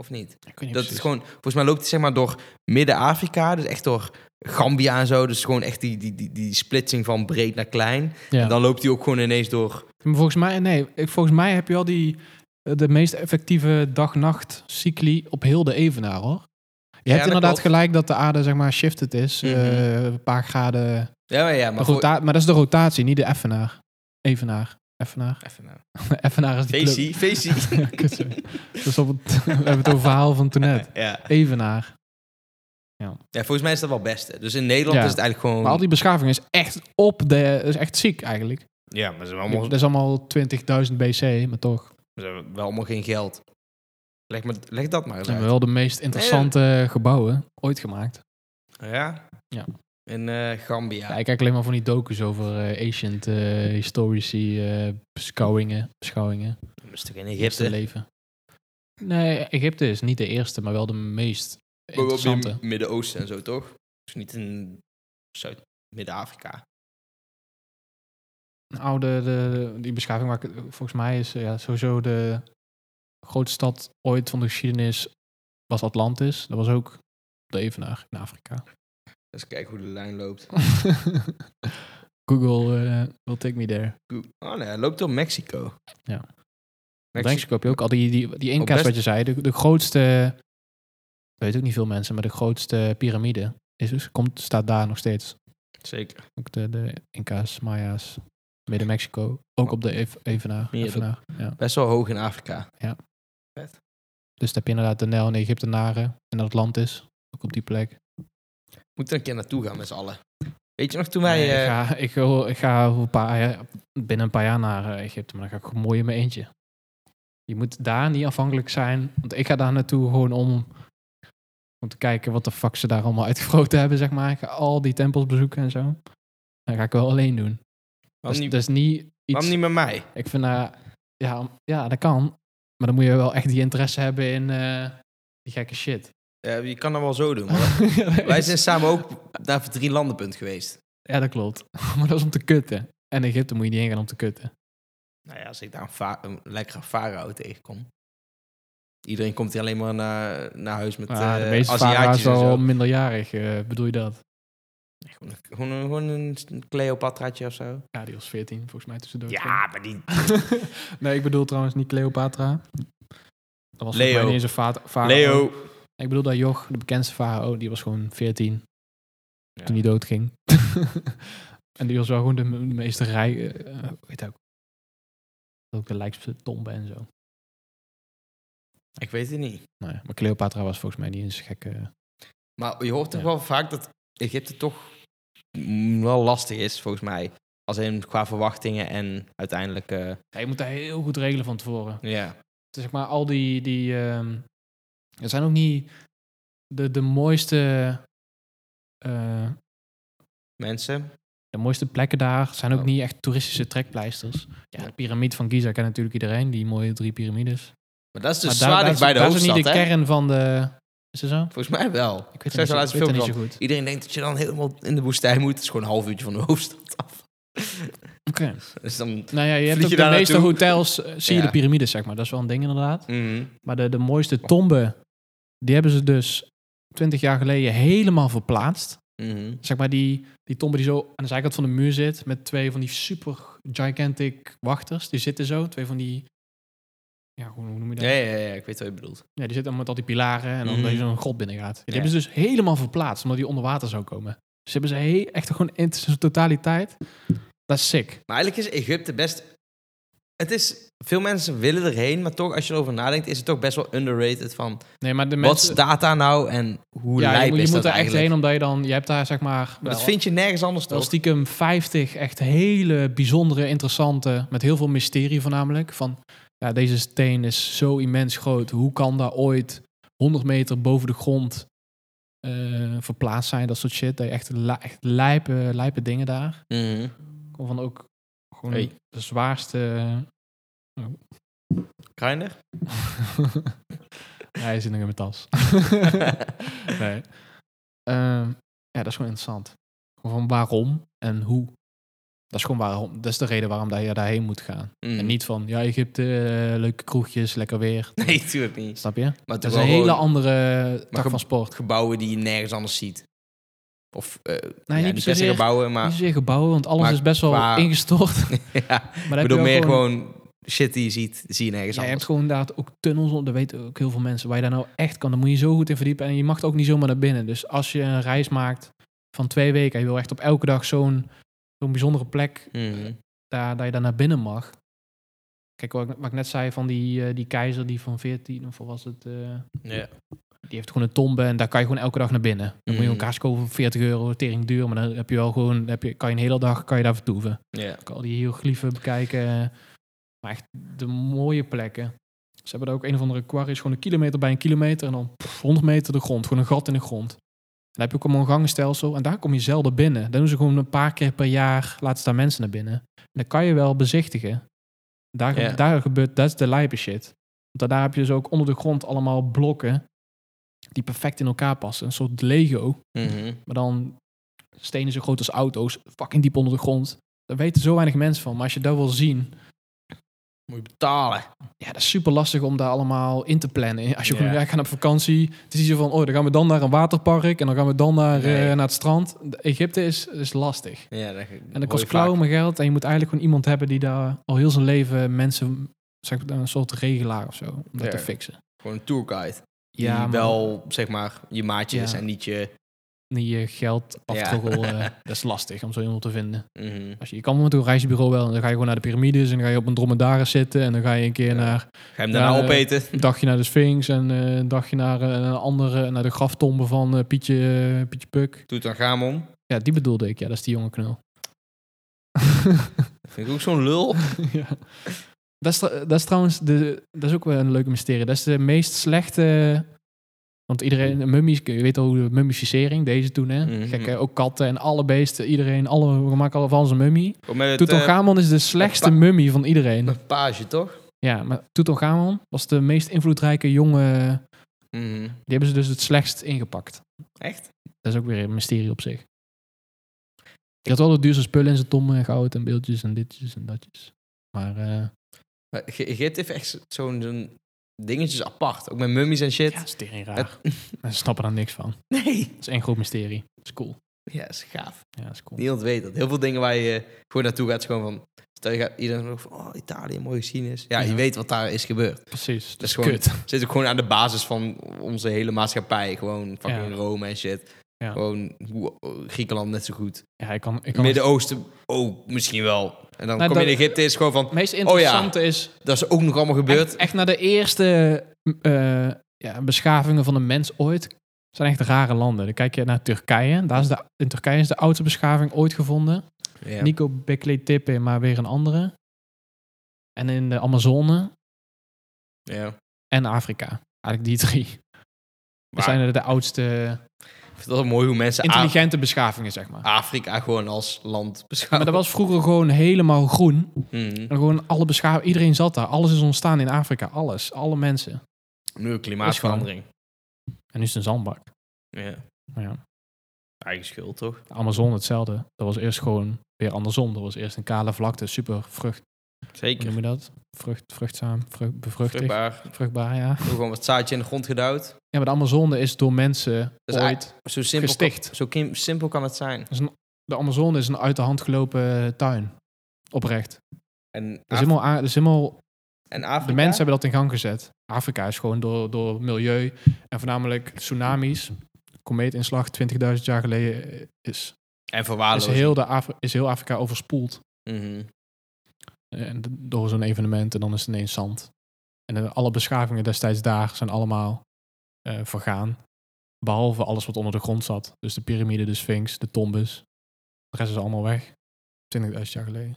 Of niet? Ik weet niet Dat precies. is gewoon, volgens mij loopt hij zeg maar door Midden-Afrika, dus echt door Gambia en zo. Dus gewoon echt die, die, die, die splitsing van breed naar klein. Ja. En dan loopt hij ook gewoon ineens door. Maar volgens mij, nee, ik- volgens mij heb je al die, eh, de meest effectieve dag-nacht cycli op heel de evenaar, hoor. Je dat hebt inderdaad klopt. gelijk dat de aarde, zeg maar, shifted is. Mhm. eh, een paar graden. Ja, maar ja, maar Maar, rota- maar dat is de rotatie, niet de effenaar. Evenaar. Effenaar. Even nou. effenaar is die club. Feestie, feestie. Kut, sorry. Dus op het, we hebben het over verhaal van toen net. ja. Evenaar. ja, volgens mij is dat wel het beste. Dus in Nederland Ja. is het eigenlijk gewoon... Maar al die beschaving is echt op de... is echt ziek, eigenlijk. Ja, maar ze hebben Dat allemaal, is allemaal 20.000 BC, maar toch. ze hebben wel allemaal geen geld. Leg, maar, leg dat maar Dat eens zijn uit. wel de meest interessante gebouwen ooit gemaakt. Ja? Ja. In eh, Gambia. Ja, ik kijk alleen maar van die docus over eh, ancient eh, historici, eh, beschouwingen, beschouwingen, Dat is toch in eerste Egypte? leven. Nee, Egypte is niet de eerste, maar wel de meest Maar wel interessante. meer Midden-Oosten en zo, toch? Dus niet in Zuid-Midden-Afrika. Nou, de, de, die beschaving waar ik, het- volgens mij is eh, ja, sowieso de grootste stad ooit van de geschiedenis was Atlantis. Dat was ook de evenaar in Afrika. Eens kijken hoe de lijn loopt. Google eh, will take me there. Goed. Oh nee, hij loopt door Mexico. Ja. Mexico. Mexico heb je ook al die, die, die Inca's, best- wat je zei. De, de grootste, ik weet ook niet veel mensen, maar de grootste piramide is dus, komt, staat daar nog steeds. Zeker. Ook de, de Inca's, Maya's, Midden-Mexico. Ook op de Eve- Evenaar. Meer Evenaar, ja. Best wel hoog in Afrika. Dus dan heb je inderdaad de Nijl en de Egyptenaren en Atlantis. Ook op die plek. Moet er een keer naartoe gaan met z'n allen. Weet je nog toen wij... Nee, ik, eh, ga, ik, wil- ik ga over een paar jaar- binnen een paar jaar naar eh, Egypte, maar dan ga ik gewoon mooi in mijn eentje. Je moet daar niet afhankelijk zijn, want ik ga daar naartoe gewoon om, om te kijken wat de fuck ze daar allemaal uitgevroten hebben, zeg maar. Ik ga al die tempels bezoeken en zo. Dat ga ik wel alleen doen. Dus, waarom, niet, dat is niet iets... waarom niet met mij? Ik vind daar Ja, om- ja, dat kan. Maar dan moet je wel echt die interesse hebben in eh, die gekke shit. Ja, je kan dat wel zo doen. maar Ja, dat wij is- zijn samen ook naar het drie landenpunt geweest. Ja, dat klopt. maar dat is om te kutten. En Egypte moet je niet heen gaan om te kutten. Nou ja, als ik daar een, va- een lekkere farao tegenkom. Iedereen komt hier alleen maar naar, naar huis met Ja, de eh, meeste varen is Aziatjes en wel zo. minderjarig, eh, bedoel je dat? Gewoon een- Gewoon een, gewoon een Cleopatraatje of zo. Ja, die was 14 volgens mij tussendoor. Ja, maar die... nee, ik bedoel trouwens niet Cleopatra. Dat was volgens Leo. mij niet eens een va- farao. Leo. Ik bedoel dat Joch, de bekendste farao, die was gewoon 14 Ja. toen hij doodging. en die was wel gewoon de, me- de meeste rijk... eh, eh, weet ook. Ook de lijkste tombe en zo. Ik weet het niet. Nou ja, maar Cleopatra was volgens mij niet eens gekke... Maar je hoort toch Ja. wel vaak dat Egypte toch mm, wel lastig is, volgens mij. Als in qua verwachtingen en uiteindelijk... eh, Ja, je moet daar heel goed regelen van tevoren. ja. Het is zeg maar al die... die ehm, het zijn ook niet de, de mooiste... eh, Mensen. de mooiste plekken daar zijn ook Oh. niet echt toeristische trekpleisters. Ja, Ja. de piramide van Giza kent natuurlijk iedereen. Die mooie drie piramides. Maar dat is Maar dus daar- zwaar daar dicht is- bij de daar is ook hoofdstad, niet de hè? kern van de... Is dat zo? Ik Volgens mij wel. weet Ik het niet zag de zo, ik laatste weet het film niet zo van. goed. Iedereen denkt dat je dan helemaal in de woestijn moet. Het is gewoon een half uurtje van de hoofdstad af. Oké. Dus dan... Nou ja, je hebt Vlieg ook je de daar meeste naartoe? hotels eh, zie je Ja. de piramides, zeg maar. Dat is wel een ding inderdaad. Mhm. Maar de, de mooiste tomben, die hebben ze dus 20 jaar geleden helemaal verplaatst. Mhm. Zeg maar die, die tombe die zo aan de zijkant van de muur zit, met twee van die super gigantic wachters. Die zitten zo, twee van die... Ja, hoe, hoe noem je dat? Ja, ja, ja, ik weet wat je bedoelt. Ja, die zit dan met al die pilaren en dan Mhm. dat je zo'n grot binnen gaat. Die Ja. hebben ze dus helemaal verplaatst, omdat die onder water zou komen. Dus hebben ze he- echt gewoon in zijn totaliteit. Dat is sick. Maar eigenlijk is Egypte best... Het is... Veel mensen willen erheen, maar toch, als je erover nadenkt, is het toch best wel underrated van... Nee, maar de mensen... Wat staat daar nou en hoe ja, je, lijp moet- je is moet dat er echt heen, eigenlijk? omdat je dan... Je hebt daar zeg maar... Maar wel- dat vind je nergens anders wel toch? stiekem 50 echt hele bijzondere, interessante, met heel veel mysterie voornamelijk. Van, ja, deze steen is zo immens groot. Hoe kan daar ooit 100 meter boven de grond eh, verplaatst zijn? Dat soort shit. Dat je echt, li- echt lijpe, lijpe dingen daar. Mhm. Kom van ook gewoon Hey. de zwaarste. Kreiner? Ja, Hij zit nog in mijn tas. nee. Ehm, ja, dat is gewoon interessant. Gewoon van waarom en hoe. Dat is gewoon waarom. Dat is de reden waarom dat je daarheen moet gaan. Mhm. En niet van, ja, Egypte, eh, leuke kroegjes, lekker weer. Nee, natuurlijk niet. Snap je? Maar het Dat is is een wel hele hele andere tak ge- van sport. gebouwen die je nergens anders ziet. Of eh Nee, ja, niet niet per se zozeer- gebouwen, maar Niet zozeer gebouwen, want alles maar is best wel qua- ingestort. Maar ja, dan heb je ik bedoel wel meer gewoon shit die je ziet, zie je nergens Ja, je hebt anders. gewoon inderdaad ook tunnels, op, dat weten ook heel veel mensen. Waar je daar nou echt kan, dan moet je zo goed in verdiepen. En je mag er ook niet zomaar naar binnen. Dus als je een reis maakt van twee weken en je wil echt op elke dag zo'n zo'n bijzondere plek, Mhm. daar, dat je daar naar binnen mag. Kijk, wat ik, wat ik net zei van die, eh, die keizer die van 14 of wat was het, eh, Ja. die heeft gewoon een tombe en daar kan je gewoon elke dag naar binnen. Dan moet je een Mhm. kaars kopen voor 40 euro, tering duur, maar dan heb je wel gewoon, dan heb je, kan je een hele dag kan je daar vertoeven. Ja. Ik al die hieroglyphen bekijken. eh, Maar echt de mooie plekken. Ze hebben daar ook een of andere quarries, gewoon een kilometer bij een kilometer. En dan pff, 100 meter de grond, gewoon een gat in de grond. En dan heb je ook allemaal een gangenstelsel. En daar kom je zelden binnen. Dan doen ze gewoon een paar keer per jaar, laten ze daar mensen naar binnen. En dat kan je wel bezichtigen. Daar, Ja. daar gebeurt, dat is de lijpe shit. Want daar heb je dus ook onder de grond allemaal blokken die perfect in elkaar passen. Een soort Lego. Mhm. Maar dan stenen zo groot als auto's, fucking diep onder de grond. Daar weten zo weinig mensen van. Maar als je dat wil zien, Moet je betalen. ja, dat is super lastig om daar allemaal in te plannen. Als je Ja. gewoon ja, gaan op vakantie, het is niet zo van, oh, dan gaan we dan naar een waterpark en dan gaan we dan naar, eh, Nee. naar het strand. De- Egypte is, is lastig. Ja, dat, En dat kost klauwen met geld en je moet eigenlijk gewoon iemand hebben die daar al heel zijn leven mensen, zeg maar, een soort regelaar of zo, om dat Ja. te fixen. Gewoon een tourguide. Die Ja, maar wel, zeg maar, je maatje Ja. is en niet je... niet je geld aftroggel, eh, dat is lastig om zo iemand te vinden. Mhm. Als je, je kan met een reisbureau wel. En dan ga je gewoon naar de piramides. En dan ga je op een dromedaris zitten. En dan ga je een keer Ja. naar Ga je hem daarna Ja, eh, opeten? een dagje naar de Sphinx. En eh, een dagje naar eh, een andere, naar de graftombe van eh, Pietje, eh, Pietje Puk. Doet dan gamon. Ja, die bedoelde ik. Ja, dat is die jonge knul. Vind ik ook zo'n lul. ja. dat, is, tr- dat is trouwens de, dat is ook wel een leuke mysterie. Dat is de meest slechte... Want iedereen, mummies, je weet al hoe de mummificering, deze toen hè. Mhm. Gekke, ook katten en alle beesten, iedereen, alle, we maken allemaal van zijn mummie. Kom met het, eh, Tutankhamon is de slechtste pa- mummie van iedereen. met page, toch? Ja, maar Tutankhamon was de meest invloedrijke jonge. Mhm. Die hebben ze dus het slechtst ingepakt. Echt? Dat is ook weer een mysterie op zich. Ik had wel de duurste spullen in zijn tommen en goud en beeldjes en ditjes en datjes. Maar eh Git heeft echt zo'n zo'n dingetjes apart. Ook met mummies en shit. ja, is tering raar. Ze snappen daar niks van. Dat Nee. is één groot mysterie. Dat is cool. Ja, is gaaf. Ja, dat is cool. Niemand weet dat. Heel veel dingen waar je eh, gewoon naartoe gaat, is gewoon van... Stel je gaat iedereen zegt van, oh, Italië, mooie geschiedenis. Ja, je Ja. weet wat daar is gebeurd. Precies. Dat, is is gewoon- kut. Zit ook gewoon aan de basis van onze hele maatschappij. Gewoon fucking Ja. Rome en shit. Ja. Gewoon hoe- Griekenland net zo goed. Ja, ik kan, ik kan Midden-Oosten ook misschien wel. En dan Nou, kom je dat- in Egypte, is gewoon van... Het meest interessante is Dat is ook nog allemaal gebeurd. echt, echt naar de eerste eh, ja, beschavingen van de mens ooit. zijn echt rare landen. Dan kijk je naar Turkije. Daar is de, in Turkije is de oudste beschaving ooit gevonden. Ja. Nico Beckley Tippe, maar weer een andere. En in de Amazone Ja. en Afrika. Eigenlijk die drie. Dat zijn de oudste Ik vind het wel mooi hoe mensen Af- intelligente beschavingen, zeg maar. Afrika gewoon als land Maar beschouwen. dat was vroeger gewoon helemaal groen. Mhm. En gewoon alle beschavingen. Iedereen zat daar. Alles is ontstaan in Afrika. Alles. Alle mensen. Nu klimaatverandering. En nu is het een zandbak. Ja. Maar ja. Eigen schuld, toch? De Amazon hetzelfde. Dat was eerst gewoon weer andersom. Dat was eerst een kale vlakte, super vrucht. Hoe Zeker. noem je dat? Vrucht, vruchtzaam, vrucht, bevruchtig. Vruchtbaar. Vruchtbaar. Doe ja. Gewoon wat zaadje in de grond geduwd. Ja, maar de Amazone is door mensen Dat is ooit Zo simpel, kan, gesticht. zo kim- simpel kan het zijn. De Amazone is een uit de hand gelopen tuin. Oprecht. En, Dat Af- is helemaal, a- dat is helemaal, en Afrika? Dus de mensen hebben dat in gang gezet. Afrika is gewoon door, door milieu en voornamelijk tsunamis. Komeetinslag 20.000 jaar geleden eh, is, En is, verwaarloosd. heel de Afri- is heel Afrika overspoeld. Mhm. En d- door zo'n evenement en dan is het ineens zand. En eh, alle beschavingen destijds daar zijn allemaal eh, vergaan. Behalve alles wat onder de grond zat. Dus de piramide, de sphinx, de tombes. De rest is allemaal weg. 20.000 jaar geleden.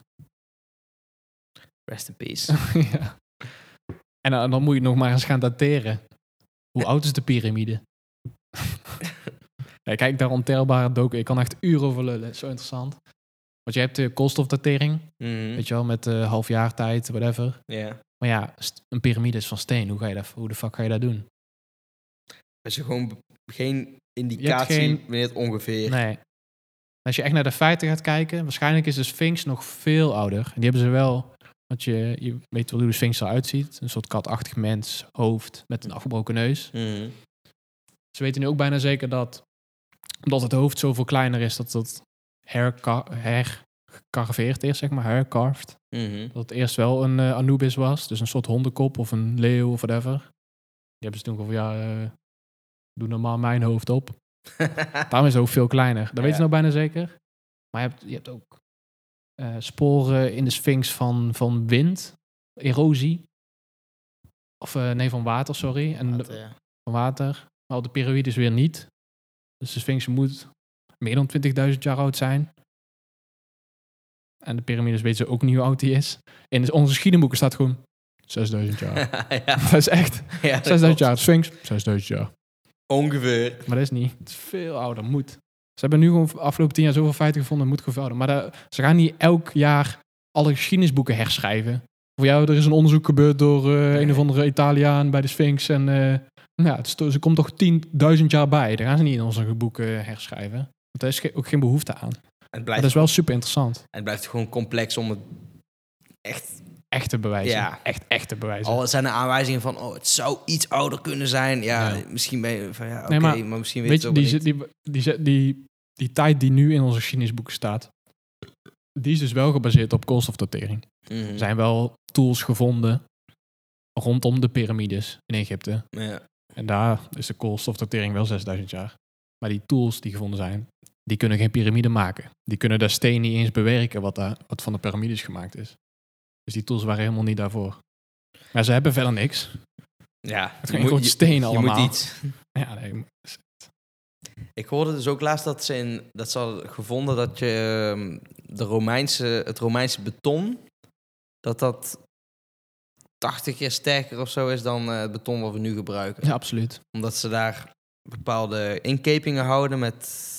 Rest in peace. ja. En eh, dan, dan moet je nog maar eens gaan dateren. Hoe oud is de piramide? ja, kijk, daar ontelbare doken. Ik kan echt uren over lullen. Het is zo interessant. Want je hebt de koolstofdatering. Mhm. Weet je wel, met eh half jaar tijd, whatever. Ja. Maar ja, st- een piramide is van steen. Hoe, ga je dat, hoe de fuck ga je dat doen? Als je gewoon be- geen indicatie geen- wanneer het ongeveer... Nee. Als je echt naar de feiten gaat kijken, waarschijnlijk is de Sphinx nog veel ouder. En die hebben ze wel, want je, je weet wel hoe de Sphinx eruit ziet. Een soort katachtig mens, hoofd met een afgebroken neus. Mhm. Ze weten nu ook bijna zeker dat, omdat het hoofd zoveel kleiner is, dat dat herka- hergecarveerd is, zeg maar, hercarved. Mhm. Dat het eerst wel een eh, Anubis was, dus een soort hondenkop of een leeuw of whatever. Die hebben ze toen gewoon van, ja, eh, doe normaal mijn hoofd op. Daarom is het ook veel kleiner. Dat weten ze nou bijna zeker. Maar je hebt, je hebt ook eh, sporen in de sphinx van, van wind, erosie. Of eh, nee, van water, sorry. En Dat, ja. van water. Maar op de piramide is weer niet. Dus de Sphinx moet meer dan 20.000 jaar oud zijn. En de piramides weten ze ook niet hoe oud die is. In onze geschiedenisboeken staat gewoon 6.000 jaar. ja. dat is echt. 6.000 ja, dat klopt. jaar. De Sphinx, 6.000 jaar. Ongeveer. Maar dat is niet. Het is veel ouder. Moet. Ze hebben nu gewoon de afgelopen 10 jaar zoveel feiten gevonden. Moet gewoon ouder. Maar dat- ze gaan niet elk jaar alle geschiedenisboeken herschrijven. Voor jou, er is een onderzoek gebeurd door eh, een of andere Italiaan bij de Sphinx. En eh, nou ja, het is to- ze komt toch 10.000 jaar bij. Daar gaan ze niet in onze boeken herschrijven. Want daar is ge- ook geen behoefte aan. Maar En het blijft dat is wel super interessant. En het blijft gewoon complex om het echt... Echte bewijzen. Ja. Echt, echte bewijzen. Al zijn er aanwijzingen van, oh, het zou iets ouder kunnen zijn. Ja, Ja. misschien ben je van, ja, oké, Nee, maar, maar misschien weet, Weet je je, het ook die, wel zit- niet. die, die, zit- die, die tijd die nu in onze geschiedenisboeken staat, die is dus wel gebaseerd op koolstofdatering. Mhm. Er zijn wel tools gevonden rondom de piramides in Egypte. Ja. En daar is de koolstofdatering wel 6000 jaar. Maar die tools die gevonden zijn, die kunnen geen piramide maken. Die kunnen daar steen niet eens bewerken wat, daar, wat van de piramides gemaakt is. Dus die tools waren helemaal niet daarvoor. Maar ze hebben verder niks. ja. Het je ging moet- gewoon je- stenen je allemaal. Moet iets. Ja, nee, Ik hoorde dus ook laatst dat ze, in, dat ze hadden gevonden dat je ehm, de Romeinse, het Romeinse beton, dat dat 80 keer sterker of zo is dan eh, het beton wat we nu gebruiken. ja, absoluut. Omdat ze daar bepaalde inkepingen houden met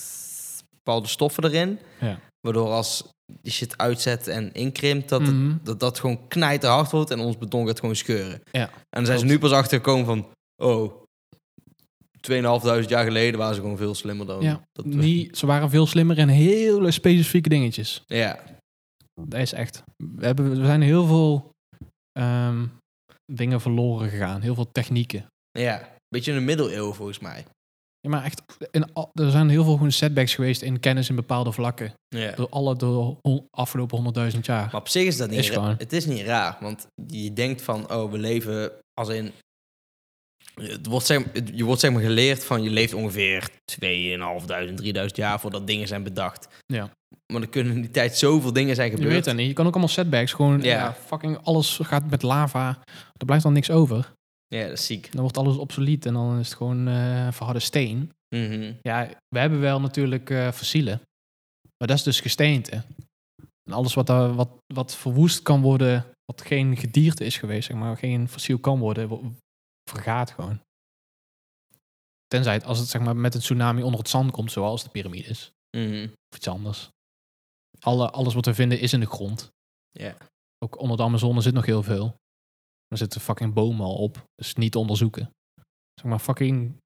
bepaalde stoffen erin. Ja. Waardoor als die shit uitzet en inkrimpt, dat, het- Mhm. dat dat gewoon knijt hard wordt en ons beton gaat gewoon scheuren. Ja, en dan zijn ze klopt. nu pas achtergekomen van, oh, 2500 jaar geleden waren ze gewoon veel slimmer dan Ja, dat we- Niet, ze waren veel slimmer in hele specifieke dingetjes. Ja, Dat is echt. We, hebben, we zijn heel veel ehm, dingen verloren gegaan. Heel veel technieken. ja. Beetje in de middeleeuwen volgens mij. Ja, maar echt, in al- er zijn heel veel gewoon setbacks geweest in kennis in bepaalde vlakken. Ja. Door alle door hon- afgelopen honderdduizend jaar. Maar op zich is dat niet Is ra- gewoon. Het is niet raar, want je denkt van, oh, we leven als in... Het wordt zeg, het- je wordt zeg maar geleerd van, je leeft ongeveer 2.500, 3.000 jaar voordat dingen zijn bedacht. Ja. Maar er kunnen in die tijd zoveel dingen zijn Je gebeurd. weet dat niet. Je kan ook allemaal setbacks. Gewoon, Ja. ja. fucking alles gaat met lava. Er blijft dan niks over. Ja, dat is ziek. Dan wordt alles obsolet en dan is het gewoon eh verharde steen. Mhm. Ja, we hebben wel natuurlijk eh, fossielen. Maar dat is dus gesteente. En alles wat, daar wat, wat verwoest kan worden, wat geen gedierte is geweest, zeg maar, geen fossiel kan worden, wo- vergaat gewoon. Tenzij het, als het zeg maar, met een tsunami onder het zand komt, zoals de piramides. Mhm. Of iets anders. Alle, alles wat we vinden is in de grond. Ja. Ook onder de Amazone zit nog heel veel. Er zitten fucking bomen al op. Dus niet te onderzoeken. Zeg maar fucking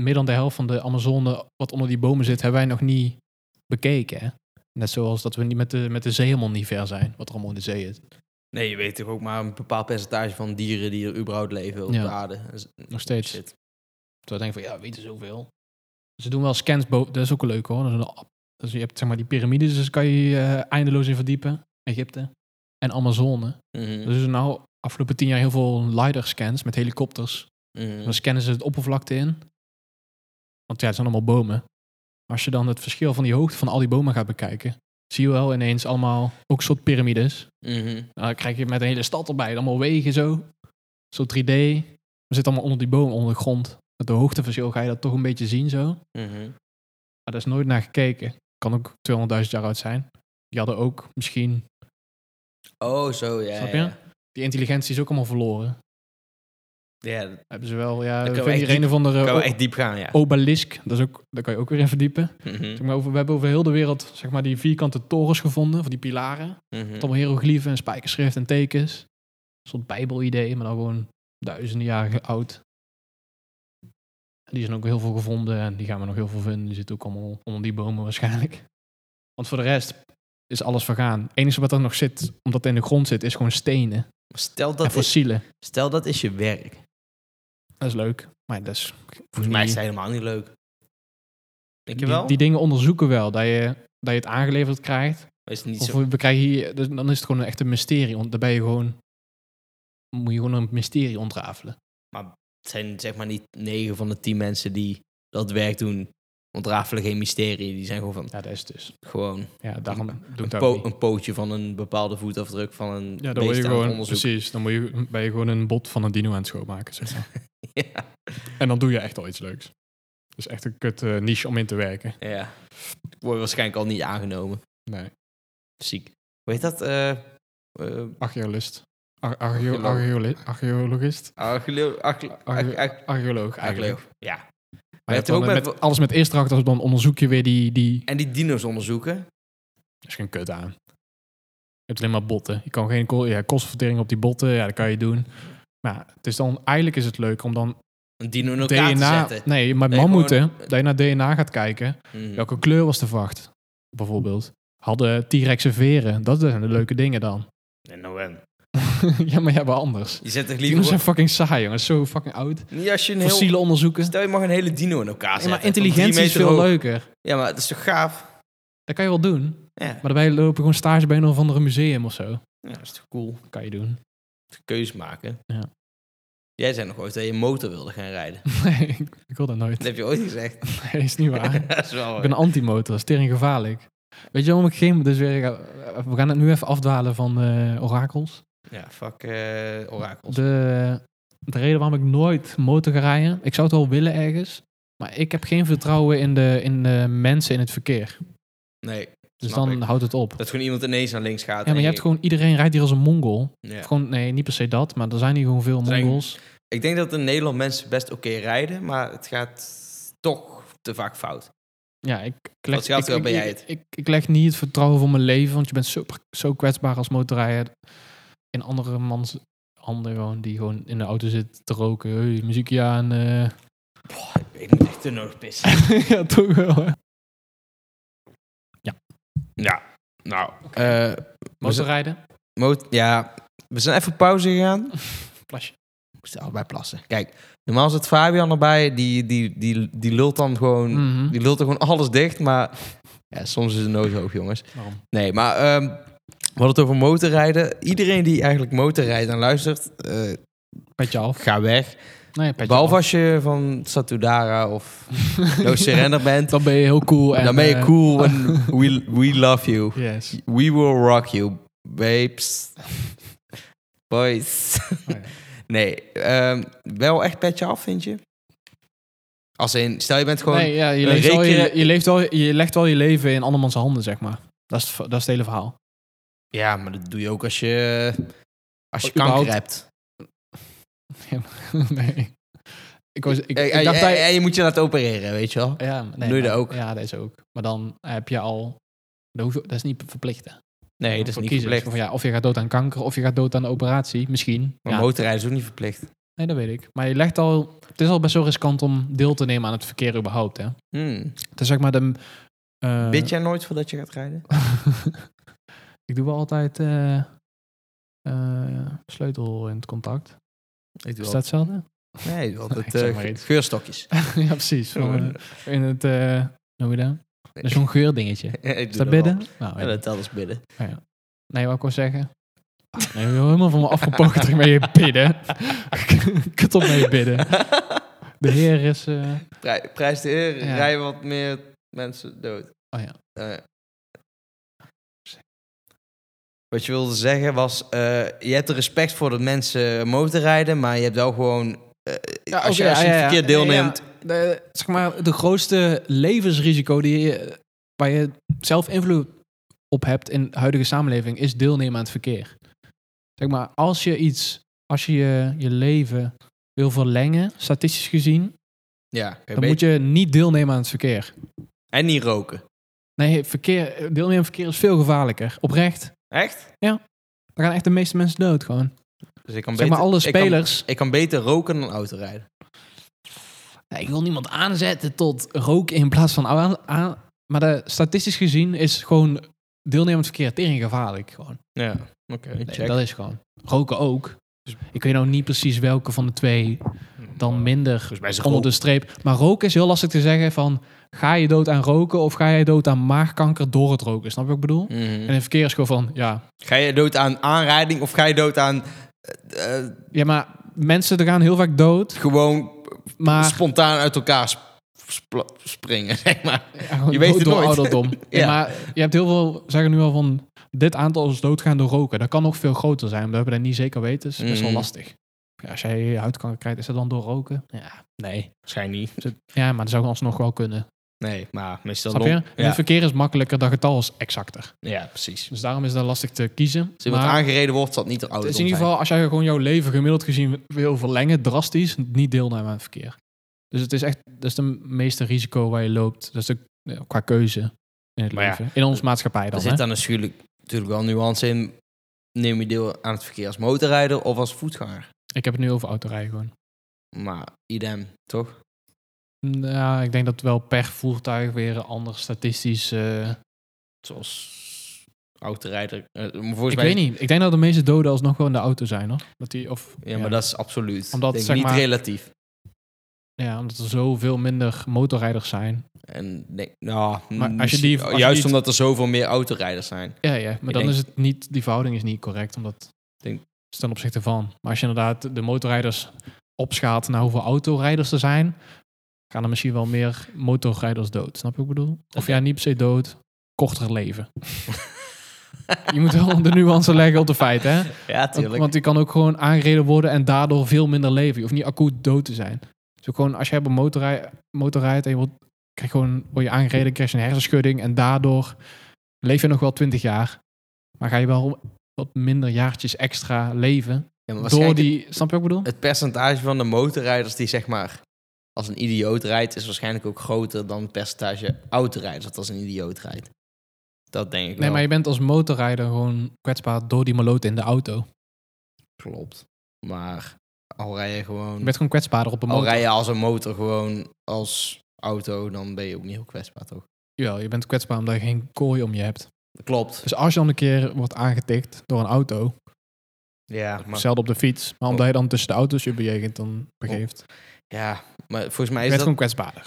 meer dan de helft van de Amazone wat onder die bomen zit, hebben wij nog niet bekeken. Hè? Net zoals dat we niet met de, met de zee helemaal niet ver zijn, wat er allemaal in de zee is. Nee, je weet toch ook maar een bepaald percentage van dieren die er überhaupt leven op Ja. de aarde. Dat is- Nog steeds. Shit. Terwijl ik denk van, ja, we weten zoveel. Ze doen wel scans boven, dat is ook leuk hoor. Dat is een app. Dus je hebt zeg maar die piramides, dus kan je eh, eindeloos in verdiepen. Egypte. En Amazone. Mhm. Dus er zijn nou afgelopen tien jaar heel veel LiDAR-scans met helikopters. Mhm. Dan scannen ze het oppervlakte in. Want ja, het zijn allemaal bomen. Als je dan het verschil van die hoogte van al die bomen gaat bekijken, zie je wel ineens allemaal ook soort piramides. Mhm. Nou, dan krijg je met een hele stad erbij, allemaal wegen zo. Zo 3D. We zitten allemaal onder die bomen, onder de grond. Met de hoogteverschil ga je dat toch een beetje zien zo. Maar Mhm. daar is nooit naar gekeken. Kan ook 200.000 jaar oud zijn. Die hadden ook misschien... Oh, zo, ja. Snap je? Ja, Die intelligentie is ook allemaal verloren. ja dat Hebben ze wel, ja... kunnen Ik we vind echt hier een of andere kan o- wel echt diep gaan, ja. obelisk. Dat is ook, daar kan je ook weer in verdiepen. Mhm. Zeg maar, over, we hebben over heel de wereld zeg maar, die vierkante torens gevonden, van die pilaren. Met Mhm. allemaal hieroglyphen en spijkerschrift en tekens. Een soort bijbelidee, maar dan gewoon duizenden jaren oud. En die zijn ook heel veel gevonden en die gaan we nog heel veel vinden. Die zitten ook allemaal onder die bomen waarschijnlijk. Want voor de rest is alles vergaan. Het enige wat er nog zit, omdat het in de grond zit, is gewoon stenen Stel en dat, is, fossielen. stel dat is je werk. Dat is leuk, maar dat is... Volgens mij is het helemaal niet leuk. Denk je wel? Die, die dingen onderzoeken wel, dat je, dat je het aangeleverd krijgt. is het niet Of zo... we krijgen hier, dus dan is het gewoon echt een mysterie. Want dan ben je gewoon, moet je gewoon een mysterie ontrafelen. Het zijn zeg maar niet 9 van de 10 mensen die dat werk doen. Ontrafelen geen mysterie. Die zijn gewoon van... Ja, dat is het dus. Gewoon Ja, daarom doe een, ik dat po- ook niet. een pootje van een bepaalde voetafdruk van een Ja, dan beest word je aan het gewoon, onderzoek. precies, dan moet je, ben je gewoon een bot van een dino aan het schoonmaken. Zeg maar. ja. en dan doe je echt al iets leuks. Dat is echt een kut eh, niche om in te werken. ja. Ik word waarschijnlijk al niet aangenomen. Nee, Ziek. Hoe heet dat? Eh, eh, archeolist. Ar- Archeoloog. archeo- archeoli- archeologist? archeolo- arche- Arche- arche- Archeoloog eigenlijk. archeoloog. Ja. Maar je hebt hebt ook ook met, met- alles met eerste achter, dan onderzoek je weer die... die En die dino's onderzoeken. is geen kut aan. Je hebt alleen maar botten. Je kan geen ko- ja, kostvertering op die botten, ja, dat kan je doen. Maar het is dan, eigenlijk is het leuk om dan Een dino in elkaar DNA... te zetten. Nee, met Nee, mammoeten, gewoon- dat je naar DNA gaat kijken. Mhm. Welke kleur was te vacht, bijvoorbeeld? Hadden T-rexen veren? Dat zijn de leuke dingen dan. En nou en. ja, maar ja, wel anders. Je zet toch Die liever... zijn fucking saai, jongens. Zo fucking oud. Niet als je een heel... Fossielen onderzoeken. Stel je mag een hele dino in elkaar Ja, zetten. maar van drie intelligentie is meter veel hoog. leuker. Ja, maar dat is toch gaaf? Dat kan je wel doen. Ja, Maar daarbij lopen gewoon stage bij een of andere museum of zo. Ja, dat is toch cool? Dat kan je doen. Keuzes maken. Ja. Jij zei nog ooit dat je motor wilde gaan rijden. Nee, ik, ik wil dat nooit. Dat heb je ooit gezegd. Nee, is niet waar. dat is wel Ik waar. ben een anti-motor, dat is tering gevaarlijk. Weet je waarom ik geen... Dus weer, ga- we gaan het nu even afdwalen van eh, orakels. Ja, fuck eh orakels. De, de reden waarom ik nooit motor ga rijden... Ik zou het wel willen ergens. Maar ik heb geen vertrouwen in de, in de mensen in het verkeer. Nee, Dus Snap dan ik. houdt het op. dat gewoon iemand ineens naar links gaat. Ja, maar en je hebt gewoon... Iedereen rijdt hier als een mongool. Ja. Of Gewoon, nee, niet per se dat. Maar er zijn hier gewoon veel Zijn- mongols. Ik denk dat in Nederland mensen best oké rijden, maar het gaat toch te vaak fout. Ja, ik, ik Wat gaat wel, ik, ben ik- jij ik- het? Ik, ik leg niet het vertrouwen van mijn leven, want je bent zo, zo kwetsbaar als motorrijder. In andere mans handen gewoon, die gewoon in de auto zit te roken. Hey, muziekje aan. eh. Oh, Ik moet echt de nood pissen. ja, toch wel. hè. Ja, nou. eh, Motorrijden. mo- ja, we zijn even op pauze gegaan. Plasje. We moesten allebei plassen. Kijk, normaal zit Fabian erbij. Die, die, die, die lult dan gewoon... Mhm. Die lult er gewoon alles dicht, maar... Ja, soms is het noodhoop, jongens. Waarom? Nee, maar ehm, we hadden het over motorrijden. Iedereen die eigenlijk motorrijdt en luistert, eh, Petje af. ga weg. Nee, petje Behalve af. als je van Satudara of No Surrender bent. Dan ben je heel cool. En, dan ben je eh, cool en we, we love you. Yes. Oh, We will rock you, babes. Boys. Oh ja. Nee, ehm, wel echt petje af, vind je? Als in, stel je bent gewoon... nee, ja, je, een leeft wel je, rekening- je, leeft wel, je legt wel je leven in andermans handen, zeg maar. Dat is, het v- dat is het hele verhaal. Ja, maar dat doe je ook als je, als je Oh, kanker überhaupt. hebt. nee. Ik, was, ik, Eh, ik eh, dacht eh, dat je- eh, je moet je laten opereren, weet je wel? Ja, nee, Doe je maar- dat ook? Ja, dat is ook. Maar dan heb je al... Dat, hoef je- dat is niet verplicht, hè? Nee, dat is Voor niet kiezen. verplicht. Van, ja, of je gaat dood aan kanker, of je gaat dood aan de operatie. Misschien. Maar Ja. motorrijden is ook niet verplicht. Nee, dat weet ik. Maar je legt al... Het is al best wel riskant om deel te nemen aan het verkeer überhaupt, hè? Hmm. Het is zeg maar de... eh, Bid jij nooit voordat je gaat rijden? ik doe wel altijd eh, eh, sleutel in het contact. Ik Is doe dat hetzelfde? Nee, ik doe Ik altijd zeg eh, maar iets. geurstokjes. ja, precies. Zo in, in het, eh noem je dat? Dat is zo'n geurdingetje. Ik doe Is dat wel. bidden? Nou, Ja, weet ik. dat telt als bidden. Nee, wat ik wil zeggen? Nee, je wil helemaal van me afgepokt met je bidden. Kut op met je bidden. De heer is... eh, Prij- prijs de heer, Ja. rij wat meer mensen dood. Oh ja. Eh. Wat je wilde zeggen was, eh, je hebt er respect voor dat mensen motorrijden, maar je hebt wel gewoon, eh, als je, oké, als je ja, ja, ja. verkeerd deelneemt, Nee, ja. De, zeg maar, de grootste levensrisico die je, waar je zelf invloed op hebt in de huidige samenleving is deelnemen aan het verkeer. Zeg maar, als je iets, als je je, je leven wil verlengen, statistisch gezien, ja, oké, dan weet- moet je niet deelnemen aan het verkeer. en niet roken. Nee, verkeer, deelnemen aan verkeer is veel gevaarlijker. Oprecht. Echt? Dan gaan echt de meeste mensen dood gewoon. Dus ik kan Zeg beter, maar, alle ik kan- spelers. Ik kan, beter roken dan autorijden. Nee, ik wil niemand aanzetten tot roken in plaats van aan. aan- maar de, statistisch gezien is gewoon deelnemend verkeer tegen gevaarlijk. Gewoon. Ja, oké, Dus- Nee, dat is gewoon. Roken ook. Ik weet nou niet precies welke van de twee dan minder dus bij zich onder de streep. Maar roken is heel lastig te zeggen van... ga je dood aan roken of ga jij dood aan maagkanker door het roken? Snap je wat ik Mm. bedoel? En in verkeer is gewoon van... ja, Ga je dood aan aanrijding of ga je dood aan eh, eh, ja maar mensen er gaan heel vaak dood. gewoon Maar spontaan uit elkaar sp- spla- springen, zeg maar. Ja, gewoon Je weet dood het door nooit. ouderdom. ja. Ja. maar je hebt heel veel, zeggen nu al van, dit aantal is doodgaan door roken. Dat kan nog veel groter zijn, omdat we dat niet zeker weten. is best wel Mm. lastig. Ja, als jij huidkanker krijgt, is dat dan door roken? Ja, nee. Waarschijnlijk niet. Ja, maar dat zou alsnog wel kunnen. Nee, maar meestal... Snap je? En Ja. het verkeer is makkelijker, dat getal is exacter. ja, precies. Dus daarom is dat lastig te kiezen. Als iemand maar aangereden wordt, zal het niet de het auto is in ieder geval, als jij gewoon jouw leven gemiddeld gezien wil verlengen, drastisch, niet deelnemen aan het verkeer. Dus het is echt, dat is de meeste risico waar je loopt. Dat is de, qua keuze in het Maar ja, leven. in onze maatschappij dan. Er hè? zit dan natuurlijk, natuurlijk wel nuance in. Neem je deel aan het verkeer als motorrijder of als voetganger? Ik heb het nu over autorijden gewoon. Maar idem, toch? Nou, ik denk dat wel per voertuig weer een ander statistisch... eh, Zoals autorijder... eh, volgens ik mij weet niet. Ik denk dat de meeste doden alsnog wel in de auto zijn, hoor. Dat die, of, Ja, maar dat is absoluut. Omdat, Omdat, Denk zeg niet maar- relatief. ja, omdat er zoveel minder motorrijders zijn. En nee, nou, Maar mm, als je die- misschien- als je juist die- omdat er zoveel meer autorijders zijn. Ja, ja. Maar dan denk- is het niet... Die verhouding is niet correct, omdat... Denk- is ten opzichte van. Maar als je inderdaad de motorrijders opschaalt naar hoeveel autorijders er zijn... gaan er misschien wel meer motorrijders dood. Snap je wat ik bedoel? Of ja, niet per se dood. Korter leven. Je moet wel de nuance leggen op de feiten, hè? Ja, Want, tuurlijk. want die kan ook gewoon aangereden worden en daardoor veel minder leven. Je hoeft niet acuut dood te zijn. Dus ook gewoon als je op een motorrij, motorrijdt en je wordt, krijg gewoon, word je aangereden, krijg je een hersenschudding en daardoor leef je nog wel 20 jaar. Maar ga je wel wat minder jaartjes extra leven Ja, maar door waarschijnlijk Eh, die... Snap je wat ik bedoel? Het percentage van de motorrijders die zeg maar als een idioot rijdt, is waarschijnlijk ook groter dan het percentage autorijders dat als een idioot rijdt. Dat denk ik Nee, wel. maar je bent als motorrijder gewoon kwetsbaar door die maloot in de auto. Klopt. Maar al rij je Je gewoon... bent gewoon kwetsbaarder op een Al motor. Oh, rij je als een motor gewoon als auto, dan ben je ook niet heel kwetsbaar, toch? Ja, je bent kwetsbaar omdat je geen kooi om je hebt. Klopt. Dus als je dan een keer wordt aangetikt door een auto, Dus- Ja, maar, Oh. zelden op de fiets, maar omdat je dan tussen de auto's je bejegent, dan begeeft. Je ja, maar volgens mij bent is dat... gewoon kwetsbaarder.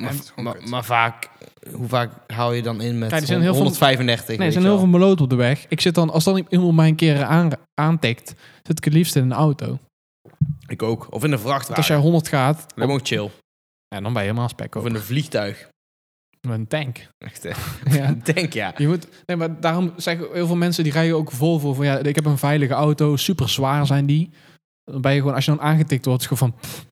Maar, Ja, het is gewoon maar, kut. maar vaak, hoe vaak haal je dan in met Kijk, er zijn heel veel- 135? Nee, weet er zijn je heel wel. veel meloot op de weg. Ik zit dan, als dan iemand mij een keer aan, aantikt, zit ik het liefst in een auto. Want Ik ook. Of in een vrachtwagen. als jij 100 gaat, Lijkt me ook chill. ja, dan ben je helemaal spek Of over in een vliegtuig. een tank. Echt, hè? ja. Denk ja. Je moet, nee, maar daarom zeggen heel veel mensen die rijden ook vol voor van ja, ik heb een veilige auto, super zwaar zijn die. Dan ben je gewoon, als je dan aangetikt wordt, is het gewoon van pff,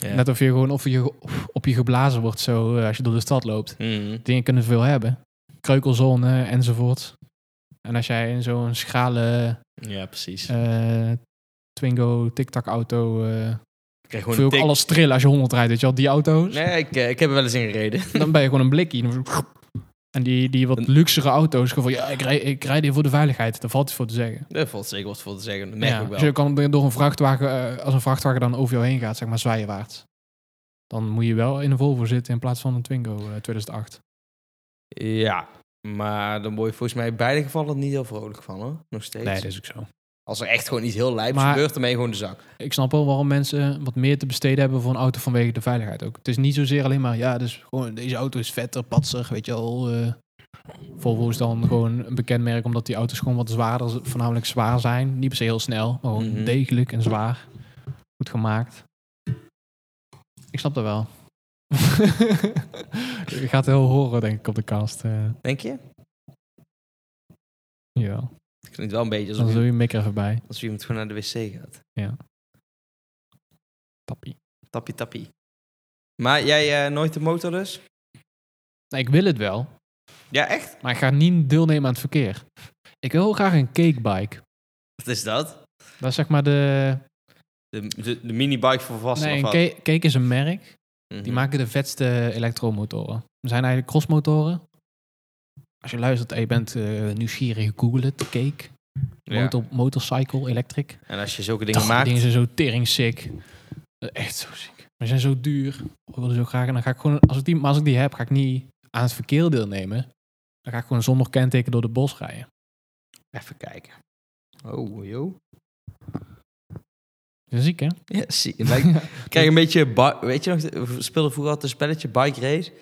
Ja. net of je gewoon of je ge- op je geblazen wordt zo eh, als je door de stad loopt. Hmm. dingen kunnen veel hebben. Kreukelzone enzovoort. En als jij in zo'n schrale Ja, precies. eh, Twingo TikTok auto eh ik krijg voel je gewoon ook een tik. alles trillen als je 100 rijdt, weet je wel, die auto's. Nee, ik, eh, ik heb er wel eens in gereden. Dan ben je gewoon een blikkie. Dan zo- En die, die wat luxere auto's, gewoon van ja, ik rijd, ik rijd hier voor de veiligheid. Daar valt iets voor te zeggen. Daar valt zeker wat voor te zeggen. Dat merk ja, ik wel. Als je kan door een vrachtwagen, eh, als een vrachtwagen dan over jou heen gaat, zeg maar zwaaienwaarts. Dan moet je wel in een Volvo zitten in plaats van een Twingo eh, 2008. Ja, maar dan word je volgens mij in beide gevallen niet heel vrolijk van, hoor. Nog steeds. Nee, dat is ook zo. Als er echt gewoon iets heel lijps Maar- gebeurt, dan ben je gewoon de zak. Ik snap wel waarom mensen wat meer te besteden hebben voor een auto vanwege de veiligheid ook. Het is niet zozeer alleen maar, ja, dus gewoon deze auto is vetter, patser, weet je wel. eh. Volvo is dan gewoon een bekend merk omdat die auto's gewoon wat zwaarder, z- voornamelijk zwaar zijn. Niet per se heel snel, maar gewoon Mhm. degelijk en zwaar. Goed gemaakt. Ik snap dat wel. Je gaat heel horen, denk ik, op de cast. eh. Denk je? ja, Het klinkt wel een beetje dan alsof, doe je, je mik er even bij. alsof iemand gewoon naar de wc gaat. Tappie. Tappie, tappie. Maar jij eh, nooit de motor dus? Nee, ik wil het wel, Ja, echt? maar ik ga niet deelnemen aan het verkeer. Ik wil heel graag een cakebike. Wat is dat? Dat is zeg maar de... De, de, de minibike voor vast Nee, of een wat? Cake Cake is een merk. Mhm. Die maken de vetste elektromotoren. Er zijn eigenlijk crossmotoren. Als je luistert en je bent eh, nieuwsgierig, google het. Cake. Ja. Motor, motorcycle, electric. En als je zulke dingen Dag, die maakt... dingen zijn zo tering sick. Eh, Echt zo sick. Maar ze zijn zo duur. Ik wil ze zo graag. En dan ga ik gewoon... Als ik die, maar als ik die heb, ga ik niet aan het verkeer deelnemen. Dan ga ik gewoon zonder kenteken door de bos rijden. Even kijken. Oh, joh. Dat is ziek, hè? Ja, zie. het lijkt- Ik krijg een beetje... bi- Weet je nog, we speelden vroeger altijd een spelletje Bike Race.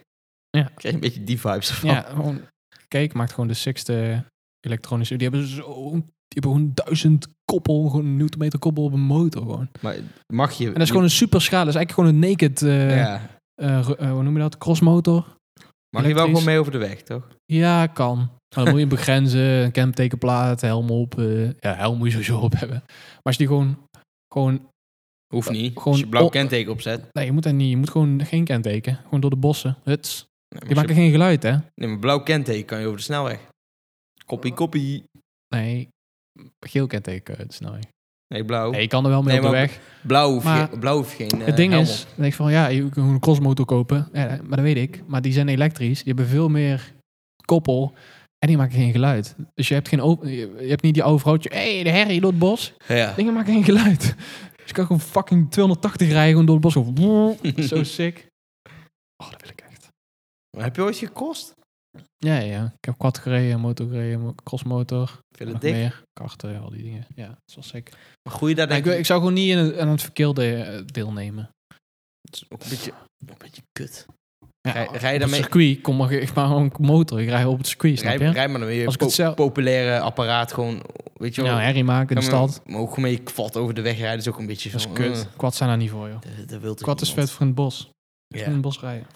Ja. Ik krijg een beetje die vibes van. Ja, gewoon, Cake maakt gewoon de sixte elektronische. Die hebben zo'n, die hebben gewoon duizend koppel, gewoon een newtonmeter koppel op een motor gewoon. Maar mag je... En dat is gewoon een super schaal. Dat is eigenlijk gewoon een naked, eh, Ja. eh, ru- eh, hoe noem je dat, crossmotor. Mag je wel elektrisch. gewoon mee over de weg, toch? Ja, kan. Maar dan moet je begrenzen, een kentekenplaat, helm op. eh, ja, helm moet je sowieso op hebben. Maar als je die gewoon, gewoon, Hoeft niet. Gewoon- als je blauw oh. kenteken opzet. Nee, nee, je moet dat niet. Je moet gewoon geen kenteken. Gewoon door de bossen. Huts. maar als Die maken je- geen geluid, hè? nee, maar blauw kenteken kan je over de snelweg. Koppie, koppie. Nee, geel kenteken, het is nou. Nee, blauw. Nee, je kan er wel mee Oh. Nee, op de maar- weg. Blauw, hoef Maar- je, blauw hoef je geen eh, Het ding helm is, op. dan denk ik van ja, je kunt een crossmotor kopen, ja, maar dat weet ik. Maar die zijn elektrisch, die hebben veel meer koppel en die maken geen geluid. Dus je hebt, geen op- je je hebt niet die overhoutje, hé, hey, de herrie door het bos. Ja. Dingen maken geen geluid. Dus je kan gewoon fucking 280 rijden gewoon door het bos. Zo, woe, Zo sick. Oh, dat wil ik echt. Maar Heb je ooit gekost? Ja, ja. Ik heb quad gereden, motor gereden, mo- crossmotor. Vind je Nog dat dik? meer. Karten, al die dingen. Ja, dat is wel sick. Maar groei daar Maar ik, denk wil- ik zou gewoon niet in het, aan het verkeer de- deelnemen. Het is ook een beetje, een beetje kut. Ja, Rij- rij je op het daarmee- circuit, kom maar, ik maak gewoon motor. Ik rij op het circuit, snap Rij, je? rij maar dan weer Als ik po- het zelf- populaire apparaat gewoon, weet je wel. nou, herrie maken in de Ja, maar- stad. Maar ook gewoon met je kwad over de weg rijden is ook een beetje Dat is van, kut. eh, Quad zijn daar niet voor, joh. dat, dat wil toch Quad is vet niemand? voor in het bos. In Ja. het bos rijden.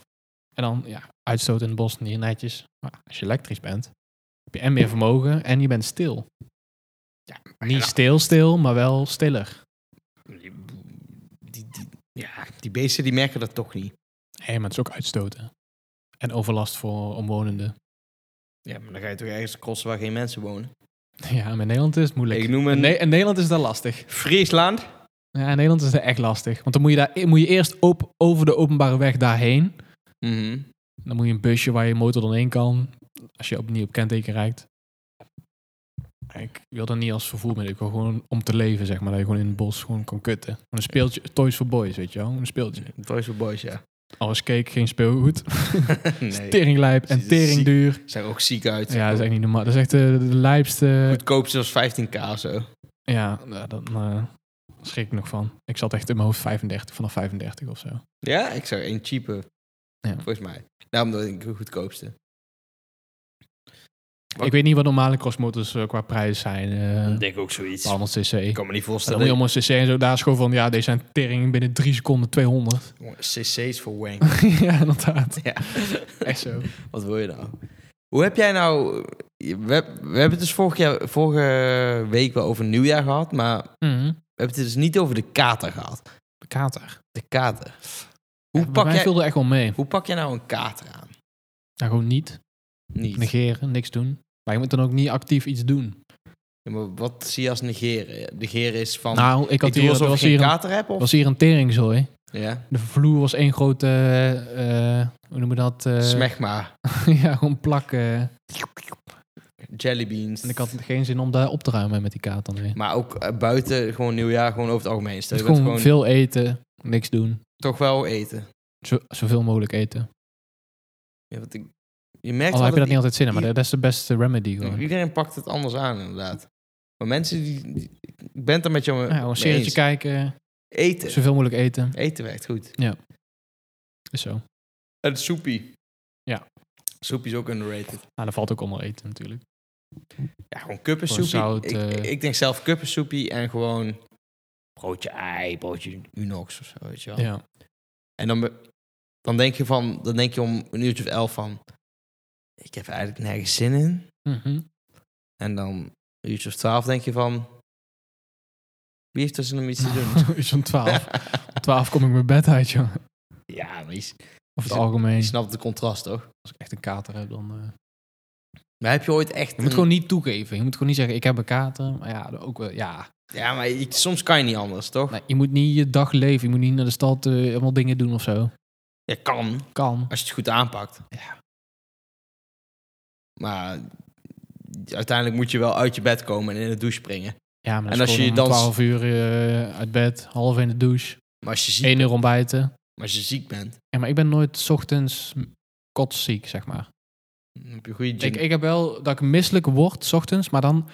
En dan, ja, uitstoot in het bos, niet netjes. Maar als je elektrisch bent, heb je en meer vermogen en je bent stil. Niet ja. stil, stil, maar wel stiller. Die, die, ja, die beesten die merken dat toch niet. Hé, maar het is ook uitstoten. En overlast voor omwonenden. Ja, maar dan ga je toch ergens crossen waar geen mensen wonen. Ja, maar in Nederland is het moeilijk. Ik noem een In, Ne- in Nederland is dat lastig. Friesland. Ja, in Nederland is dat echt lastig. Want dan moet je, daar, e- moet je eerst op, over de openbare weg daarheen. Mhm. Dan moet je een busje waar je motor dan in kan. Als je opnieuw op kenteken rijdt. Ik wil dat niet als vervoermiddel. Ik wil gewoon om te leven, zeg maar. Dat je gewoon in het bos gewoon kan kutten. Gewoon een speeltje. Toys for boys, weet je wel. Een speeltje. Toys for Boys, ja. Alles cake, geen speelgoed. nee. Teringlijp en Ziet er ziek- teringduur. Zijn er ook ziek uit. Ja, dat is echt niet normaal. Dat is echt eh, de, de lijpste... Goedkoopste was 15k of zo. Ja, nou, dan eh, schrik ik nog van. Ik zat echt in mijn hoofd 35, vanaf 35 of zo. Ja, ik zou één cheaper. Ja. Volgens mij. Daarom dat ik de goedkoopste. Wat- Ik weet niet wat normale crossmotors eh, qua prijs zijn. eh denk ook zoiets. allemaal E. cc. Ik kan me niet Maar dan voorstellen. moet je allemaal cc en zo. Daar is gewoon van, ja, deze zijn tering binnen drie seconden 200. Jongen, CC's voor wank. ja, inderdaad. ja. Echt zo. Wat wil je nou? Hoe heb jij nou... We, we hebben het dus vorig jaar, vorige week wel over nieuwjaar gehad, maar we Mhm. hebben het dus niet over de kater gehad. De kater. De kater. Hoe Hoe, pak, jij, viel er echt wel mee. hoe pak jij nou een kater aan? Nou, gewoon niet. Niet. Negeren, niks doen. Maar je moet dan ook niet actief iets doen. Ja, maar wat zie je als negeren? Negeren is van... Nou, ik had ik hier, doe er alsof ik was geen hier, een, kater heb? Of? was hier een teringzooi. Ja. De vloer was één grote, eh, eh, hoe noemen we dat? Eh, Smegma. ja, gewoon plakken. Jellybeans. En ik had geen zin om daar op te ruimen met die kaart dan weer. Maar ook eh, buiten gewoon nieuwjaar, gewoon over het algemeen. Stel, Dus je bent gewoon, gewoon veel eten, niks doen. toch wel eten. Zo, zoveel mogelijk eten. Ja, want ik, je merkt Al wel heb je dat dat niet altijd zin in, maar i- dat is de beste remedy i- gewoon. iedereen pakt het anders aan, inderdaad. Maar mensen die... die- ik ben het er met jou Nou, een mee serietje eens. kijken, Eten. zoveel mogelijk eten. Eten werkt goed. Is zo. En soepie. Ja. Soepie is ook underrated. Nou, dat valt ook onder eten natuurlijk. Ja, gewoon kuppensoepie. Gewoon zout, ik, eh. ik denk zelf kuppensoepie en gewoon... Broodje ei, broodje unox of zo, weet je wel. Ja. En dan, be- dan, denk je van, dan denk je om een uurtje of elf van... Ik heb eigenlijk nergens zin in. Mhm. En dan een uurtje of twaalf denk je van... Wie heeft er zin om iets te doen? Is om 12. Om 12 kom ik mijn bed uit, joh. ja, maar je, s- Over Is- het algemeen. je snapt het contrast, toch? Als ik echt een kater heb, dan... eh, Maar heb je ooit echt... Je moet een- gewoon niet toegeven. Je moet gewoon niet zeggen, ik heb een kater. Maar ja, ook wel, ja. Ja, maar je- soms kan je niet anders, toch? Nee, je moet niet je dag leven. Je moet niet naar de stad eh, allemaal dingen doen of zo. Je kan, Kan. als je het goed aanpakt. Ja. Maar uiteindelijk moet je wel uit je bed komen en in de douche springen. Ja, maar En dat als is je gewoon je om dans- 12 uur eh, uit bed, half in de douche, Maar als je ziek, 1 uur ontbijten. maar als je ziek bent, Ja, maar ik ben nooit 's ochtends kotsziek, zeg maar. dan heb je goede gin. Ik, ik heb wel dat ik misselijk word 's ochtends, maar dan,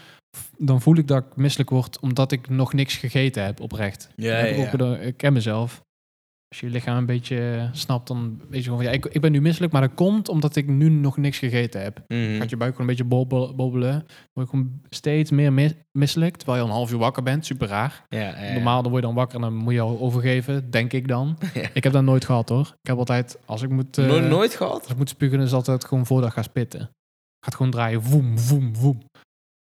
dan voel ik dat ik misselijk word omdat ik nog niks gegeten heb, oprecht. ja, Dan heb ja, ik, ook ja. de- ik ken mezelf. Als je je lichaam een beetje eh, snapt, dan weet je gewoon van ja, ik, ik ben nu misselijk, maar dat komt omdat ik nu nog niks gegeten heb. Mhm. Gaat je buik gewoon een beetje bobbel- bobbelen. Dan word je gewoon steeds meer mis- misselijk, terwijl je al een half uur wakker bent. Super raar. Ja, ja, ja. Normaal dan word je dan wakker en dan moet je al overgeven, denk ik dan. Ja. Ik heb dat nooit gehad hoor. Ik heb altijd, als ik moet, eh, Nooit, nooit gehad? Als ik moet spugen, is altijd gewoon voordat ik ga spitten. Gaat gewoon draaien, woem, woem, woem.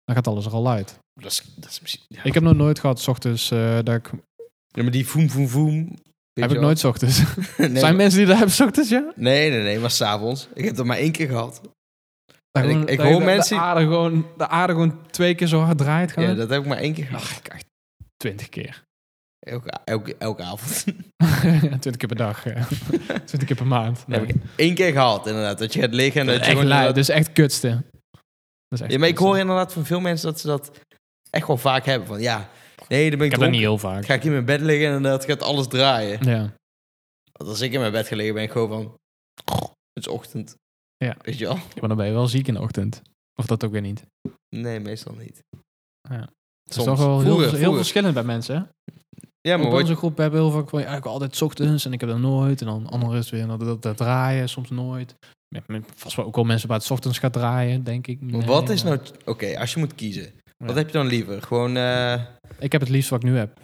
Dan gaat alles er al uit. Dat is, dat is misschien... Ja. Ik heb nog nooit gehad, s ochtends, eh, dat ik... Ja, maar die voem, voem, voem... weet heb ik je wel. nooit s ochtends. nee, Zijn maar- mensen die dat hebben s ochtends, ja? nee, nee, nee, maar s'avonds. Ik heb dat maar één keer gehad. Dat ik- gewoon- ik dat hoor de- mensen- De aarde, gewoon, de aarde gewoon twee keer zo hard draait. Gewoon. Ja, dat heb ik maar één keer gehad. Ach, ik echt twintig keer. Elke, elke, elke avond. twintig keer per dag. eh. twintig keer per maand. Dat Nee. heb ik één keer gehad, inderdaad. Dat je gaat liggen en Dat dat, is je echt gewoon... lui, inderdaad- dat is echt kutste. Dat is echt Ja, maar ik kutste. hoor inderdaad van veel mensen dat ze dat echt wel vaak hebben. Van ja, nee, dan ben Ik ik, heb dat dronken. niet heel vaak. Dan ga ik in mijn bed liggen en inderdaad gaat alles draaien. Ja. Want als ik in mijn bed ga liggen, ben ik gewoon van... Het is ochtend. Ja. Weet je wel? Maar dan ben je wel ziek in de ochtend. Of dat ook weer niet. Nee, meestal niet. Ja. Het is Soms. toch wel heel, Vroeger, heel vroeger. verschillend bij mensen. hè? Ja, maar ook wat, onze groep hebben heel vaak van, ja, ik wil altijd 's ochtends en ik heb dat nooit. En dan anderen is weer dat, dat, dat draaien, soms nooit. Ja, met- Vast wel ook wel mensen waar het 's ochtends gaat draaien, denk ik. Nee, wat is maar- nou... Oké, als je moet kiezen. Ja. Wat heb je dan liever? Gewoon... eh, Ik heb het liefst wat ik nu heb.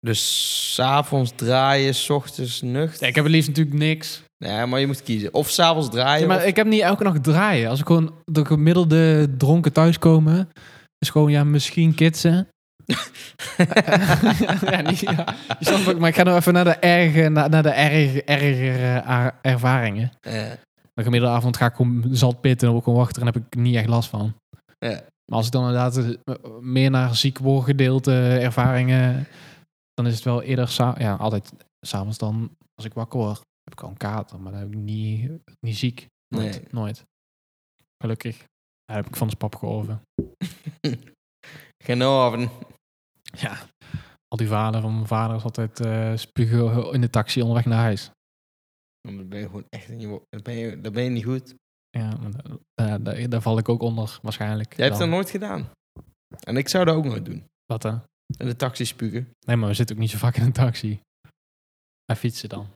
dus 's avonds draaien, 's ochtends nuchter. Ja, ik heb het liefst natuurlijk niks. Nee, maar je moet kiezen. Of s'avonds draaien. Ja, maar Ah, of- ik heb niet elke nacht draaien. Als ik gewoon de gemiddelde dronken thuiskomen, is gewoon, ja, misschien kitsen. ja, niet, ja. Je snapt wat ik- maar ik ga nou even naar de erge, naar, naar de erge, ergere a- ervaringen. Eh, Een gemiddelde avond ga ik gewoon zat pitten en ook gewoon wachten en heb ik niet echt last van. Ja. Maar als ik dan inderdaad eh, meer naar ziek worden gedeelte ervaringen, dan is het wel eerder, sa- ja, altijd s'avonds dan, als ik wakker word, heb ik al een kater, maar dan heb ik niet, niet ziek. Nooit, Nee. nooit. Gelukkig. Ja, heb ik van zijn pap georven. Genoven. Ja. Al die vader van mijn vader is altijd eh spugen in de taxi onderweg naar huis. Dan ben je gewoon echt in je wo- dan ben je, dan ben je niet goed. Ja, maar da- da- daar, daar val ik ook onder, waarschijnlijk. Jij hebt dat Dan. nooit gedaan. En ik zou dat ook nooit doen. Wat hè? In de taxi spugen. Nee, maar we zitten ook niet zo vaak in een taxi. Wij fietsen dan.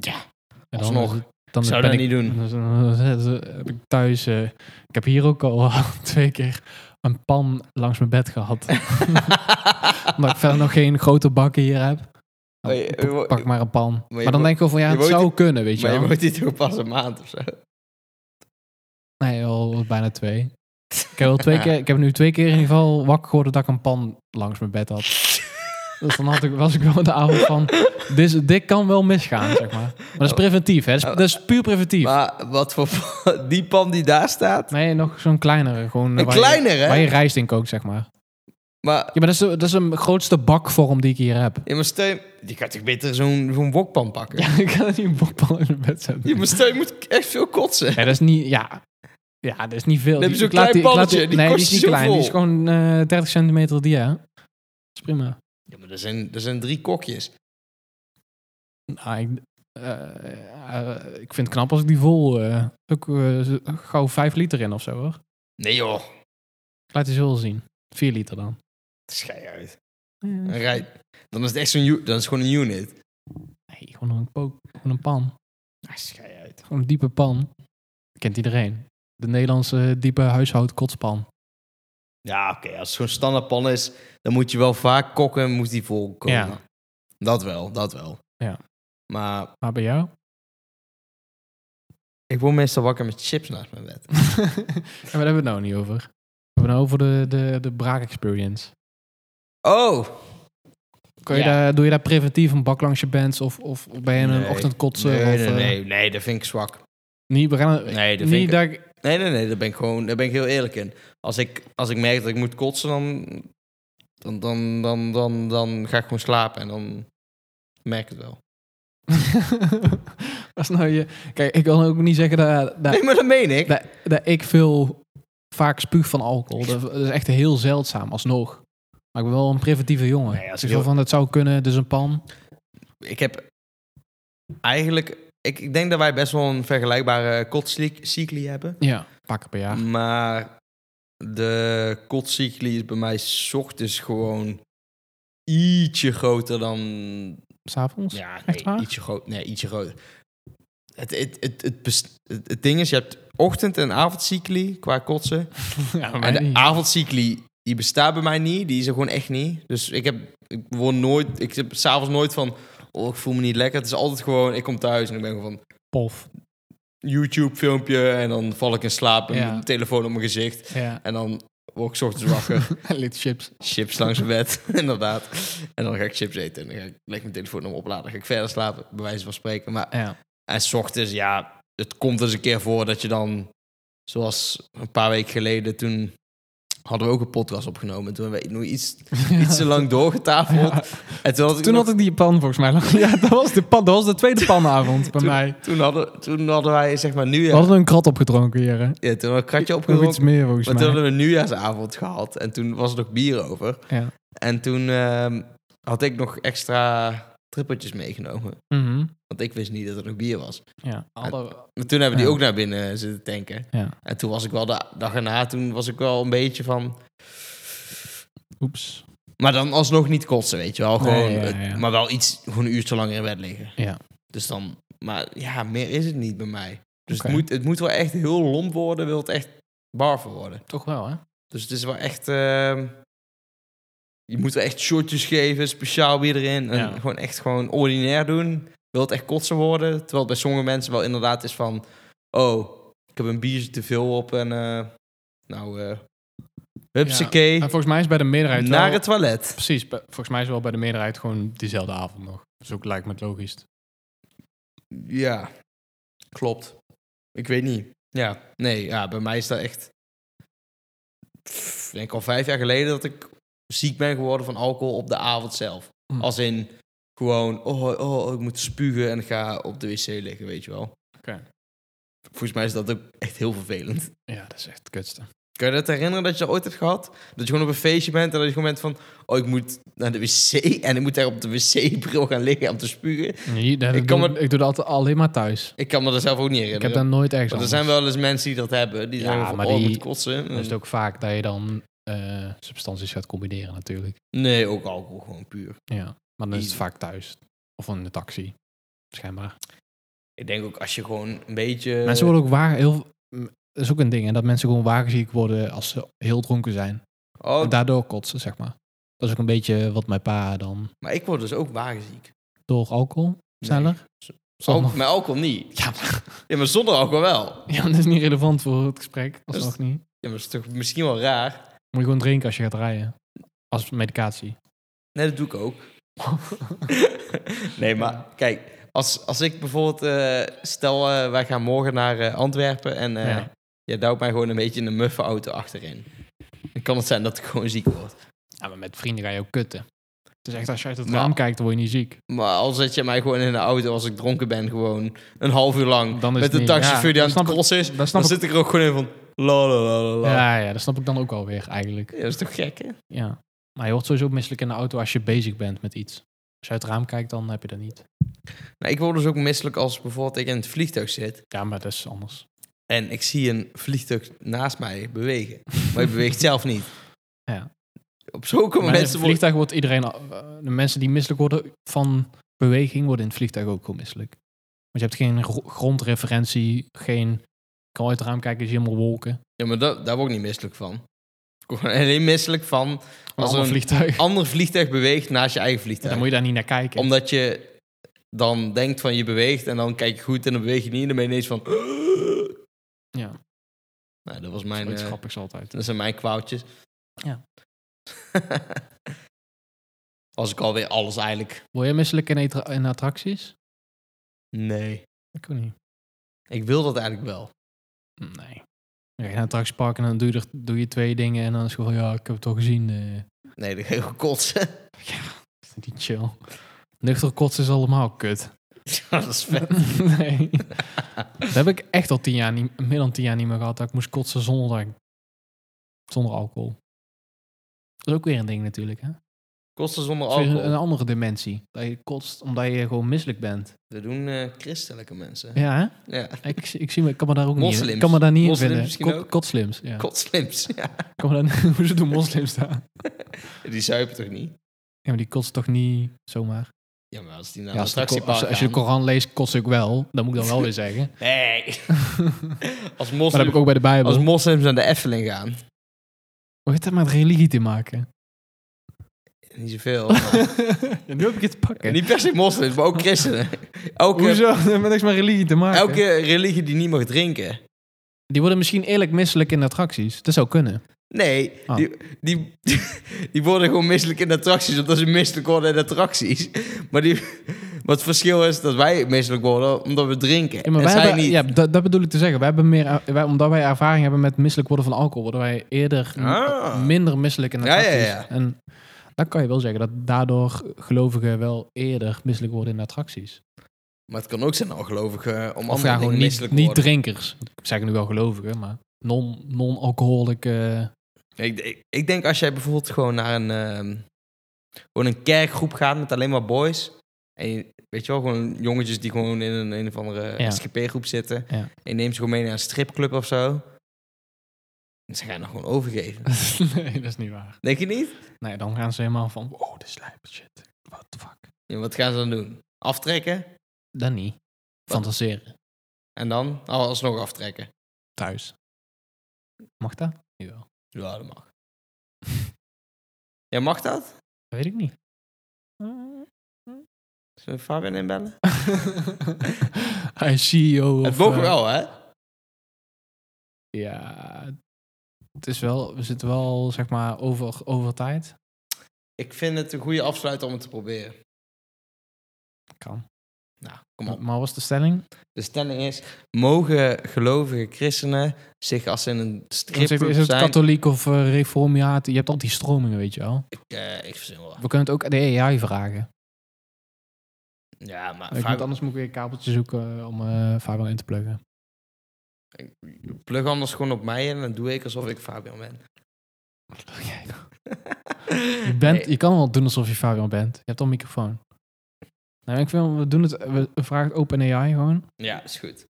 Ja, En dan alsnog. is het- Dan Zou ben dat ik- niet doen. dan- dan- dan- dan heb ik thuis... eh, ik heb hier ook al twee keer een pan langs mijn bed gehad. Omdat ik verder nog geen grote bakken hier heb. Maar je- Dan pak- Pak maar een pan. Maar, je dan wo- denk ik wel van, ja, je het woont zou in- kunnen, weet je maar je wel. moet dit toch pas een maand of zo. Nee, al bijna twee. Ik heb, wel twee keer, ik heb nu twee keer in ieder geval wakker geworden dat ik een pan langs mijn bed had. Dus dan had ik, was ik wel de avond van, dit, is- dit kan wel misgaan, zeg maar. Maar dat is preventief, hè. Dat is, dat is puur preventief. Oh. Maar wat voor die pan die daar staat. Nee, nog zo'n kleinere. Gewoon, eh, Een waar je- kleiner, hè? Waar je rijst in kookt, zeg maar. Maar, Ja, maar dat is, de, dat is een grootste bakvorm die ik hier heb. ja, maar stel je, je kan toch beter zo'n zo'n wokpan pakken? Ja, ik kan het niet een bakpan in mijn bed zetten. Je, maar stel je moet echt veel kotsen. Ja, dat is niet... Ja, ja dat is niet veel. heb je Die- zo'n ik laat klein ik laat pannetje, die nee, die kost is niet je klein. Die is zoveel. gewoon eh 30 centimeter dia. Dat is prima. Ja, maar er zijn, er zijn drie kokjes. Nou, ik, eh, eh, ik vind het knap als ik die vol... eh, ook eh, z- gauw 5 liter in of zo, hoor. Nee joh, Ik laat die zo wel zien. 4 liter dan. schei uit. Een Nee, rij. Dan is het echt zo'n u- dan is het gewoon een unit. gewoon een pook. Gewoon een pan. Ah, schei uit. Gewoon een diepe pan. Kent iedereen. De Nederlandse eh, diepe huishoudkotspan. Ja, oké, als het zo'n standaardpan is, dan moet je wel vaak kokken en moet die vol komen. Ja. Dat wel, dat wel. Ja. Maar Maar bij jou? ik word meestal wakker met chips naast mijn bed. En waar hebben we het nou niet over? We hebben het nou over de, de, de braak-experience. Oh! Kan je Ja. daar, doe je daar preventief een bak langs je bands? Of, of ben je een Nee. ochtendkotser? Nee, of, nee, eh, nee, nee, dat vind ik zwak. Niet, we gaan, Nee, dat vind niet ik- dat ik... Nee, nee, nee, daar ben ik gewoon, daar ben ik heel eerlijk in. Als ik, als ik merk dat ik moet kotsen, dan, dan, dan, dan, dan, dan ga ik gewoon slapen en dan merk ik het wel. Als nou je... Kijk, ik wil ook niet zeggen dat, dat, Nee, maar dat meen ik. dat, dat ik veel vaak spuug van alcohol. Dat, dat is echt heel zeldzaam, alsnog. Maar ik ben wel een preventieve jongen. Nee, als Dus ik zo heel- van, dat zou kunnen, dus een pan. Ik heb eigenlijk, ik, ik denk dat wij best wel een vergelijkbare kotscycli hebben. Ja, Mm. een paar keer per jaar. Maar de kotscycli is bij mij 's ochtends gewoon ietsje groter dan S'avonds? Ja, Echt nee, waar? ietsje groot. Nee, ietsje groter. Het, het, het, het, best- het, het ding is, je hebt ochtend- en avondcycli qua kotsen. Ja, maar en de niet. avondcycli, die bestaat bij mij niet. Die is er gewoon echt niet. Dus ik heb, ik word nooit, ik heb s'avonds nooit van, oh, ik voel me niet lekker. Het is altijd gewoon, ik kom thuis en ik ben gewoon van, Pof. YouTube-filmpje. En dan val ik in slaap en Ja. mijn telefoon op mijn gezicht. Ja, En dan word ik 's ochtends wakker, lid chips. chips langs mijn bed, inderdaad. En dan ga ik chips eten en dan ga ik, leg ik mijn telefoon op opladen. Dan ga ik verder slapen, bij wijze van spreken. Maar eh, Ja. en 's ochtends, ja, het komt eens een keer voor dat je dan, zoals een paar weken geleden, toen hadden we ook een podcast opgenomen. Toen hebben we nog iets, iets te lang doorgetafeld. En toen, had ik Toen nog- had ik die pan volgens mij. lang- Ja, dat was de, pan, dat was de tweede panavond bij toen, mij. Toen hadden, toen hadden wij, zeg maar, We nieuwjaar, hadden een krat opgedronken hier. Hè? ja, toen had een kratje Nog iets opgerookt. meer volgens Maar toen mij. hadden we een nieuwjaarsavond gehad en toen was er nog bier over. Ja. En toen ehm, had ik nog extra trippeltjes meegenomen. Mhm. Want ik wist niet dat er nog bier was. ja. Hadden we- Maar toen hebben we die Ja. ook naar binnen zitten tanken. Ja. En toen was ik wel de dag erna, toen was ik wel een beetje van. Oeps. Maar dan alsnog niet kotsen, weet je wel. Gewoon, Nee, ja, het- ja. Maar wel iets, gewoon een uur te lang in bed liggen. Ja. Dus dan, maar ja, meer is het niet bij mij. Dus Oké. het, moet, het moet wel echt heel lomp worden, wil het echt barven worden. Toch wel, hè? Dus het is wel echt. ehm, je moet wel echt shotjes geven, speciaal bier erin. En Ja. gewoon echt gewoon ordinair doen. Wil het echt kotsen worden. Terwijl het bij sommige mensen wel inderdaad is van... Oh, ik heb een biertje te veel op en... eh, nou, eh hupsakee, En volgens mij is bij de meerderheid wel- naar het toilet. Precies. bij- Volgens mij is wel bij de meerderheid gewoon diezelfde avond nog. Dus ook lijkt me het logisch. Ja, klopt. Ik weet niet. Ja, nee, ja, bij mij is dat echt... pff, denk al vijf jaar geleden dat ik ziek ben geworden van alcohol op de avond zelf. Hm. Als in gewoon, oh, oh, ik moet spugen en ik ga op de wc liggen, weet je wel. Oké. Volgens mij is dat ook echt heel vervelend. Ja, dat is echt het kutste. Kan je dat herinneren dat je dat ooit hebt gehad? Dat je gewoon op een feestje bent en dat je gewoon bent van... Oh, ik moet naar de wc en ik moet daar op de wc-bril gaan liggen om te spugen. Nee, dat- Ik ik, kan doe, me- ik doe dat altijd alleen maar thuis. Ik kan me dat zelf ook niet Ik herinneren. heb daar nooit ergens Want er anders. zijn wel Mm. eens mensen die dat hebben. Die Ja, zeggen van, maar oh, ik die- moet kotsen. Dan is het ook vaak dat je dan eh, substanties gaat combineren natuurlijk. Nee, ook alcohol gewoon puur. Ja. Maar dan is het Die- vaak thuis. Of in de taxi. Schijnbaar. Ik denk ook als je gewoon een beetje... mensen worden ook waar heel... m, Dat is ook een ding. En dat mensen gewoon wagenziek worden als ze heel dronken zijn. Oh, En daardoor kotsen, zeg maar. Dat is ook een beetje wat mijn pa dan... maar ik word dus ook wagenziek. Door alcohol? Sneller? Zal Al nog- met alcohol niet. Ja, maar, Ja, maar zonder alcohol wel. ja, maar dat is niet relevant voor het gesprek. Dat Dus- is nog niet. Moet Ja, maar dat is toch misschien wel raar. je gewoon drinken als je gaat rijden. Als medicatie. Nee, dat doe ik ook. nee, maar kijk, als, als ik bijvoorbeeld, eh, stel eh, wij gaan morgen naar eh, Antwerpen en eh Ja. je duwt mij gewoon een beetje in een muffe auto achterin. Dan kan het zijn dat ik gewoon ziek word. Ja, maar met vrienden ga je ook kutten. Het is Dus echt als je uit het Nou. raam kijkt, dan word je niet ziek. Maar al zet je mij gewoon in de auto als ik dronken ben, gewoon een half uur lang Dan is met het een niet- taxichauffeur ja, die aan dat snap het ik- crossen is, dat snap dan ik- zit ik er ook gewoon in van la la la la la. Ja, ja, dat snap ik dan ook alweer eigenlijk. Ja, dat is toch gek, hè? Ja. Maar je wordt sowieso misselijk in de auto als je bezig bent met iets. Als je uit het raam kijkt, dan heb je dat niet. Nou, ik word dus ook misselijk als bijvoorbeeld ik in het vliegtuig zit Ja, maar dat is anders. en ik zie een vliegtuig naast mij bewegen. Maar ik beweegt zelf niet. Ja. Op zo'n Maar in moment het worden... vliegtuig wordt iedereen... al- eh, De mensen die misselijk worden van beweging, worden in het vliegtuig ook gewoon misselijk. Want je hebt geen gro- grondreferentie, geen... Je kan uit het raam kijken, zie je helemaal wolken. Ja, maar dat, daar word ik niet misselijk van. Ik word alleen misselijk van als Als er een een vliegtuig. ander vliegtuig beweegt naast je eigen vliegtuig. Dan moet je daar niet naar kijken. Omdat je dan denkt van je beweegt en dan kijk je goed en dan beweeg je niet en dan ben je ineens van... Ja, Nou, dat was dat mijn... is iets eh, grappigs altijd. dat zijn mijn kwaadjes. Ja. Als ik alweer alles eigenlijk... Word je misselijk in, etra- in attracties? Nee. Ik ook niet. Ik wil dat eigenlijk wel. Nee. Dan ga je naar een attractiepark en dan doe je, er- doe je twee dingen en dan is het gewoon, ja, ik heb het al gezien. eh, Nee, dat ga ik gewoon kotsen. is dat niet chill. Nuchter kotsen is allemaal kut. dat is vet. nee. dat heb ik echt al tien jaar niet, meer dan tien jaar niet meer gehad. Dat ik moest kotsen zonder, dat ik- zonder alcohol. Dat is ook weer een ding natuurlijk, hè? Kotsen zonder Dat is weer een, alcohol. andere dimensie. Dat je kotst omdat je gewoon misselijk bent. Dat doen eh, christelijke mensen. Ja, hè? Ja. Ik, ik, zie me, ik kan me daar ook niet Moslims. in. kan me daar niet in Moslims vinden. misschien Kot- ook? Kotslims, ja. Kotslims. Ja. kan me daar, hoe ze doen moslims daar. Die zuipen toch niet? Ja, maar die kotst toch niet zomaar? Ja, maar als die naar Ja, een als, de ko- attractiepark als, als je de gaan- Koran leest, kost ik wel. Dat moet ik dan wel weer zeggen. Nee. als, Maar dat heb moslims, ik ook bij de Bijbel. als moslims naar de Efteling gaan. Hoe heeft dat met religie te maken? Niet zoveel. maar- Ja, nu heb ik het te pakken. Niet per se moslims, maar ook christenen. Elke, Hoezo? Dat heeft niks met religie te maken. elke religie die niet mag drinken. Die worden misschien eerlijk misselijk in attracties. Dat zou kunnen. Nee, Ah. die, die, die worden gewoon misselijk in attracties, omdat ze misselijk worden in attracties. Maar die, wat het verschil is dat wij misselijk worden omdat we drinken. Ja, maar en wij zij hebben, niet. ja dat, dat bedoel ik te zeggen. Wij hebben meer, er- wij, omdat wij ervaring hebben met misselijk worden van alcohol, worden wij eerder m- Ah. minder misselijk in Ja, ja, attracties. ja. En dat kan je wel zeggen, dat daardoor gelovigen wel eerder misselijk worden in attracties. Maar het kan ook zijn al gelovigen eh, om Of andere ja, dingen gewoon niet, misselijk niet worden. drinkers. Ik zeg nu wel gelovigen, maar non- non-alcoholic. eh, Ik, ik, ik denk als jij bijvoorbeeld gewoon naar een, ehm, gewoon een kerkgroep gaat met alleen maar boys. En je- weet je wel, gewoon jongetjes die gewoon in een, een of andere Ja. SGP-groep zitten. Ja. En je neemt ze gewoon mee naar een stripclub of zo. En ze gaan je nog gewoon overgeven. nee, dat is niet waar. Denk je niet? Nee, dan gaan ze helemaal van, wow, dit is lijp, shit. What the fuck? Ja, wat gaan ze dan doen? Aftrekken? Dan niet. Fantaseren. En dan? Oh, alsnog aftrekken. Thuis. Mag dat? Jawel. Ja, dat mag. ja, mag dat? Dat weet ik niet. Zullen we Fabian inbellen? Hij is CEO Het of, mogen eh, wel, hè? Ja, het is wel, we zitten wel, zeg maar, over, over tijd. Ik vind het een goede afsluiter om het te proberen. Kan. Nou, kom op. Maar was de stelling? De stelling is, mogen gelovige christenen zich als ze in een Is het, stripgroep is het zijn... katholiek of eh reformaat? Je hebt al die stromingen, weet je wel. Ik, eh, ik verzin wel. We kunnen het ook aan de AI vragen. Ja, maar Ik vraag, moet, anders moet ik weer een kabeltje zoeken om eh Fabian in te pluggen. plug anders gewoon op mij en dan doe ik alsof ik Fabian ben. Je, bent, Nee, je kan wel doen alsof je Fabian bent. Je hebt al een microfoon. Nou, ik vind, we doen het, we vragen het open AI gewoon. ja, is goed.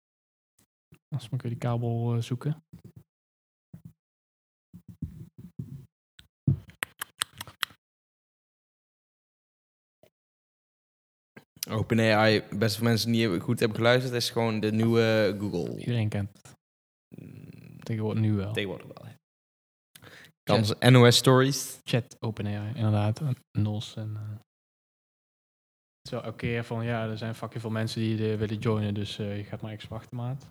Als moet ik weer die kabel eh, zoeken. OpenAI, best veel mensen die niet goed hebben geluisterd, is gewoon de nieuwe Google. Iedereen kent het tegenwoordig nu wel. Tegenwoordig wel. hè. Dan is NOS Stories. Chat OpenAI, inderdaad. En Nos en... eh, het is wel elke keer van, ja, er zijn fucking veel mensen die eh, willen joinen, dus eh, je gaat maar niks wachten, maat.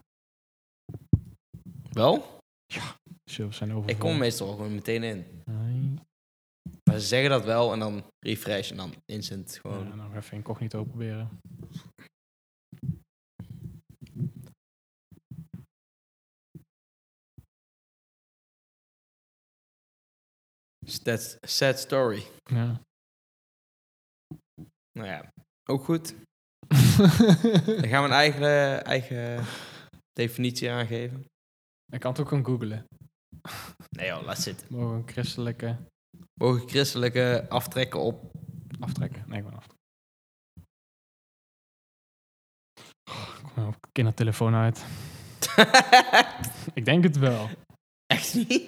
Wel? Servers Dus, eh, zijn over. Ik kom meestal gewoon meteen in. Nee. Maar ze zeggen dat wel en dan refresh en dan instant gewoon. Ja, nog even incognito proberen. Sad, sad story. Ja. Nou ja, ook goed. Dan gaan we een eigen, eigen definitie aangeven. Ik kan het ook gewoon googlen. Nee joh, laat zitten. Mogen we een christelijke Mogen christelijke aftrekken op... aftrekken? Nee, gewoon aftrekken. Oh, ik kom op kindertelefoon uit. Ik denk het wel. Echt niet?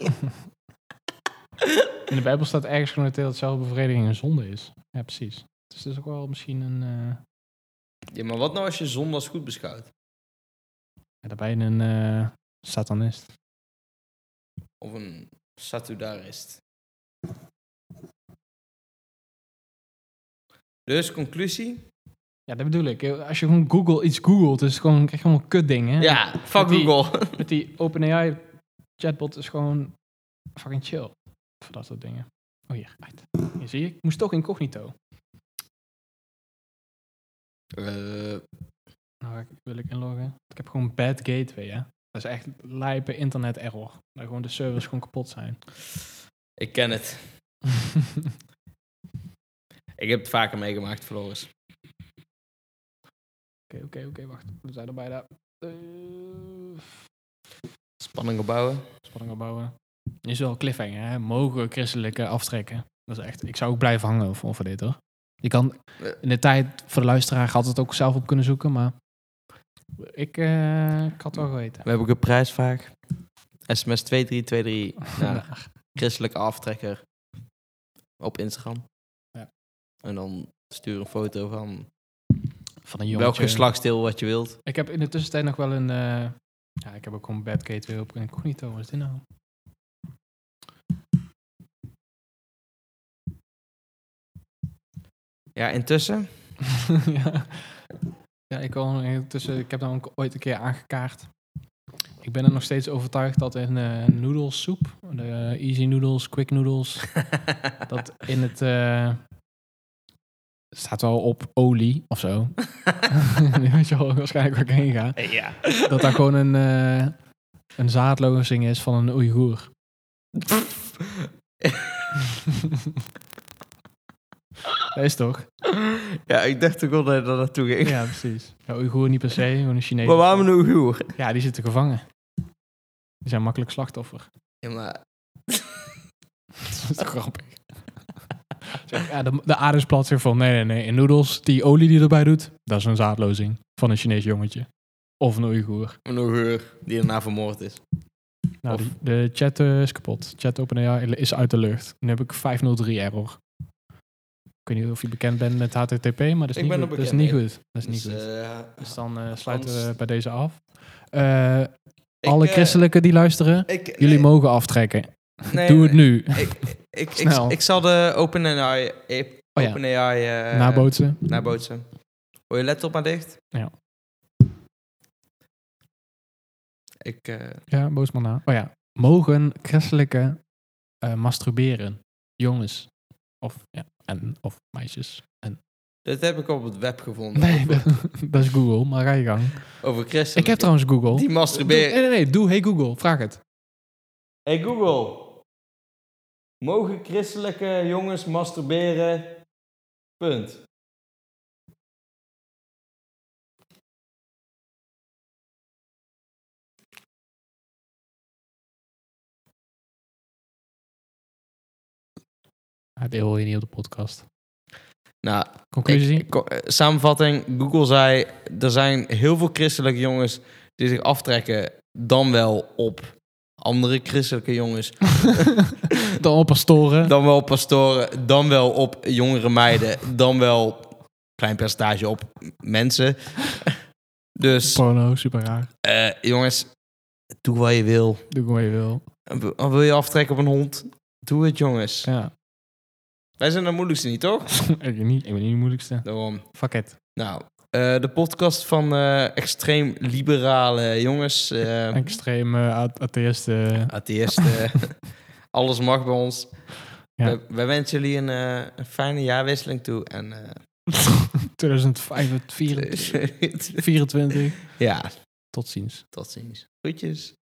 In de Bijbel staat ergens genoteerd dat zelfbevrediging een zonde is. Ja, precies. Dus dat is ook wel misschien een... eh, Ja, maar wat nou als je zonde als goed beschouwt? ja, daarbij een eh, satanist. Of een satudarist? Dus, conclusie? Ja, dat bedoel ik. Eh, Als je gewoon Google iets googelt, is het gewoon, krijg je gewoon kutdingen. Ja, fuck die- Google. Met die OpenAI chatbot is gewoon fucking chill. Voor dat soort dingen. Oh hier, uit. Hier zie je, ik moest toch incognito. Eh, Nou, ga ik, wil ik inloggen. Ik heb gewoon bad gateway, hè. Dat is echt lijpe internet error. Dat gewoon de servers gewoon kapot zijn. ik ken het. Ik heb het vaker meegemaakt, Floris. Oké, oké, oké, wacht. We zijn er bijna. Eh, Spanning opbouwen. spanning opbouwen. Dit is wel een cliffhanger, hè? Mogen christelijke aftrekken. Dat is echt... Ik zou ook blijven hangen over, over dit, hoor. Je kan... In de tijd voor de luisteraar had het ook zelf op kunnen zoeken, maar... Ik, eh, ik had het wel geweten. We hebben ook een prijsvraag. SMS 2323 naar christelijke aftrekker op Instagram. Ja. En dan stuur een foto van Van een welk jongetje. geslachtsdeel wat je wilt. Ik heb in de tussentijd nog wel een... eh, ja, ik heb ook gewoon Bad Gateway op incognito. Wat is dit nou? Ja, intussen. ja. ja, ik, wil intussen, ik heb nou ook ooit een keer aangekaart. Ik ben er nog steeds overtuigd dat in eh noedelsoep, de eh, easy noodles, quick noodles, dat in het... eh, staat wel op olie of zo. Nu weet je wel waarschijnlijk waar ik heen ga. ja. Dat daar gewoon een, eh een zaadlozing is van een Oeigoer. dat is toch? ja, ik dacht ook wel dat je daar naartoe ging. Ja, precies. Ja, Oeigoer niet per se, gewoon een Chinees. Maar waarom een Oeigoer? Ja, die zitten gevangen. Die zijn makkelijk slachtoffer. Ja, maar... Dat is toch grappig. Zeg, ja, de, de aarde is plat, zeg van nee, nee, nee. In noedels, die olie die erbij doet, dat is een zaadlozing van een Chinees jongetje. Of een Oeigoer. Een Oeigoer die daarna vermoord is. Nou, Of- de, de chat eh, is kapot. Chat OpenAI is uit de lucht. Nu heb ik 503 error. Ik weet niet of je bekend bent met HTTP, maar dat is, Ik niet, ben goed. Dat er is bekend niet mee. goed. Dat is niet Dus, goed. eh, Dus dan eh, sluiten Hans- we bij deze af. Eh, ik, alle eh, christelijken die luisteren, ik- jullie nee, mogen aftrekken. nee, Doe het nu. Ik, ik, ik, Snel. ik zal de OpenAI... eh, Oh ja. OpenAI... eh, Nabootsen. nabootsen. Hoor je laptop maar dicht? Ja. Ik... eh, Ja, boosman na. Oh ja. Mogen christelijke eh, masturberen? Jongens. Of, ja, en, of meisjes. En Dat heb ik op het web gevonden. Nee, dat, dat is Google, maar ga je gang. Over christen. Ik heb trouwens Google. Die Doe- masturberen. nee, nee, nee, doe Hey Google, vraag het. Hey Google. Mogen christelijke jongens masturberen? Punt. Ja, Ah, dit hoor je niet op de podcast. Nou, Conclusie? Ik- ko- eh, samenvatting, Google zei, er zijn heel veel christelijke jongens die zich aftrekken dan wel op andere christelijke jongens, Dan op pastoren. dan wel op pastoren, dan wel op jongere meiden, dan wel klein percentage op mensen. Dus Porno, super raar. eh, jongens, doe wat je wil. Doe gewoon wat je wil. W- Wil je aftrekken op een hond? Doe het jongens. Ja. Wij zijn de moeilijkste niet, toch? ik, ben niet, ik ben niet de moeilijkste. Daarom. Fuck it. Nou, eh, de podcast van eh, extreem liberale jongens, eh, Extreme eh, a- atheïsten. atheïsten, alles mag bij ons. Ja. Wij, wij wensen jullie een, eh, een fijne jaarwisseling toe. En, eh, 2025, 24, ja, Tot ziens. tot ziens. Groetjes.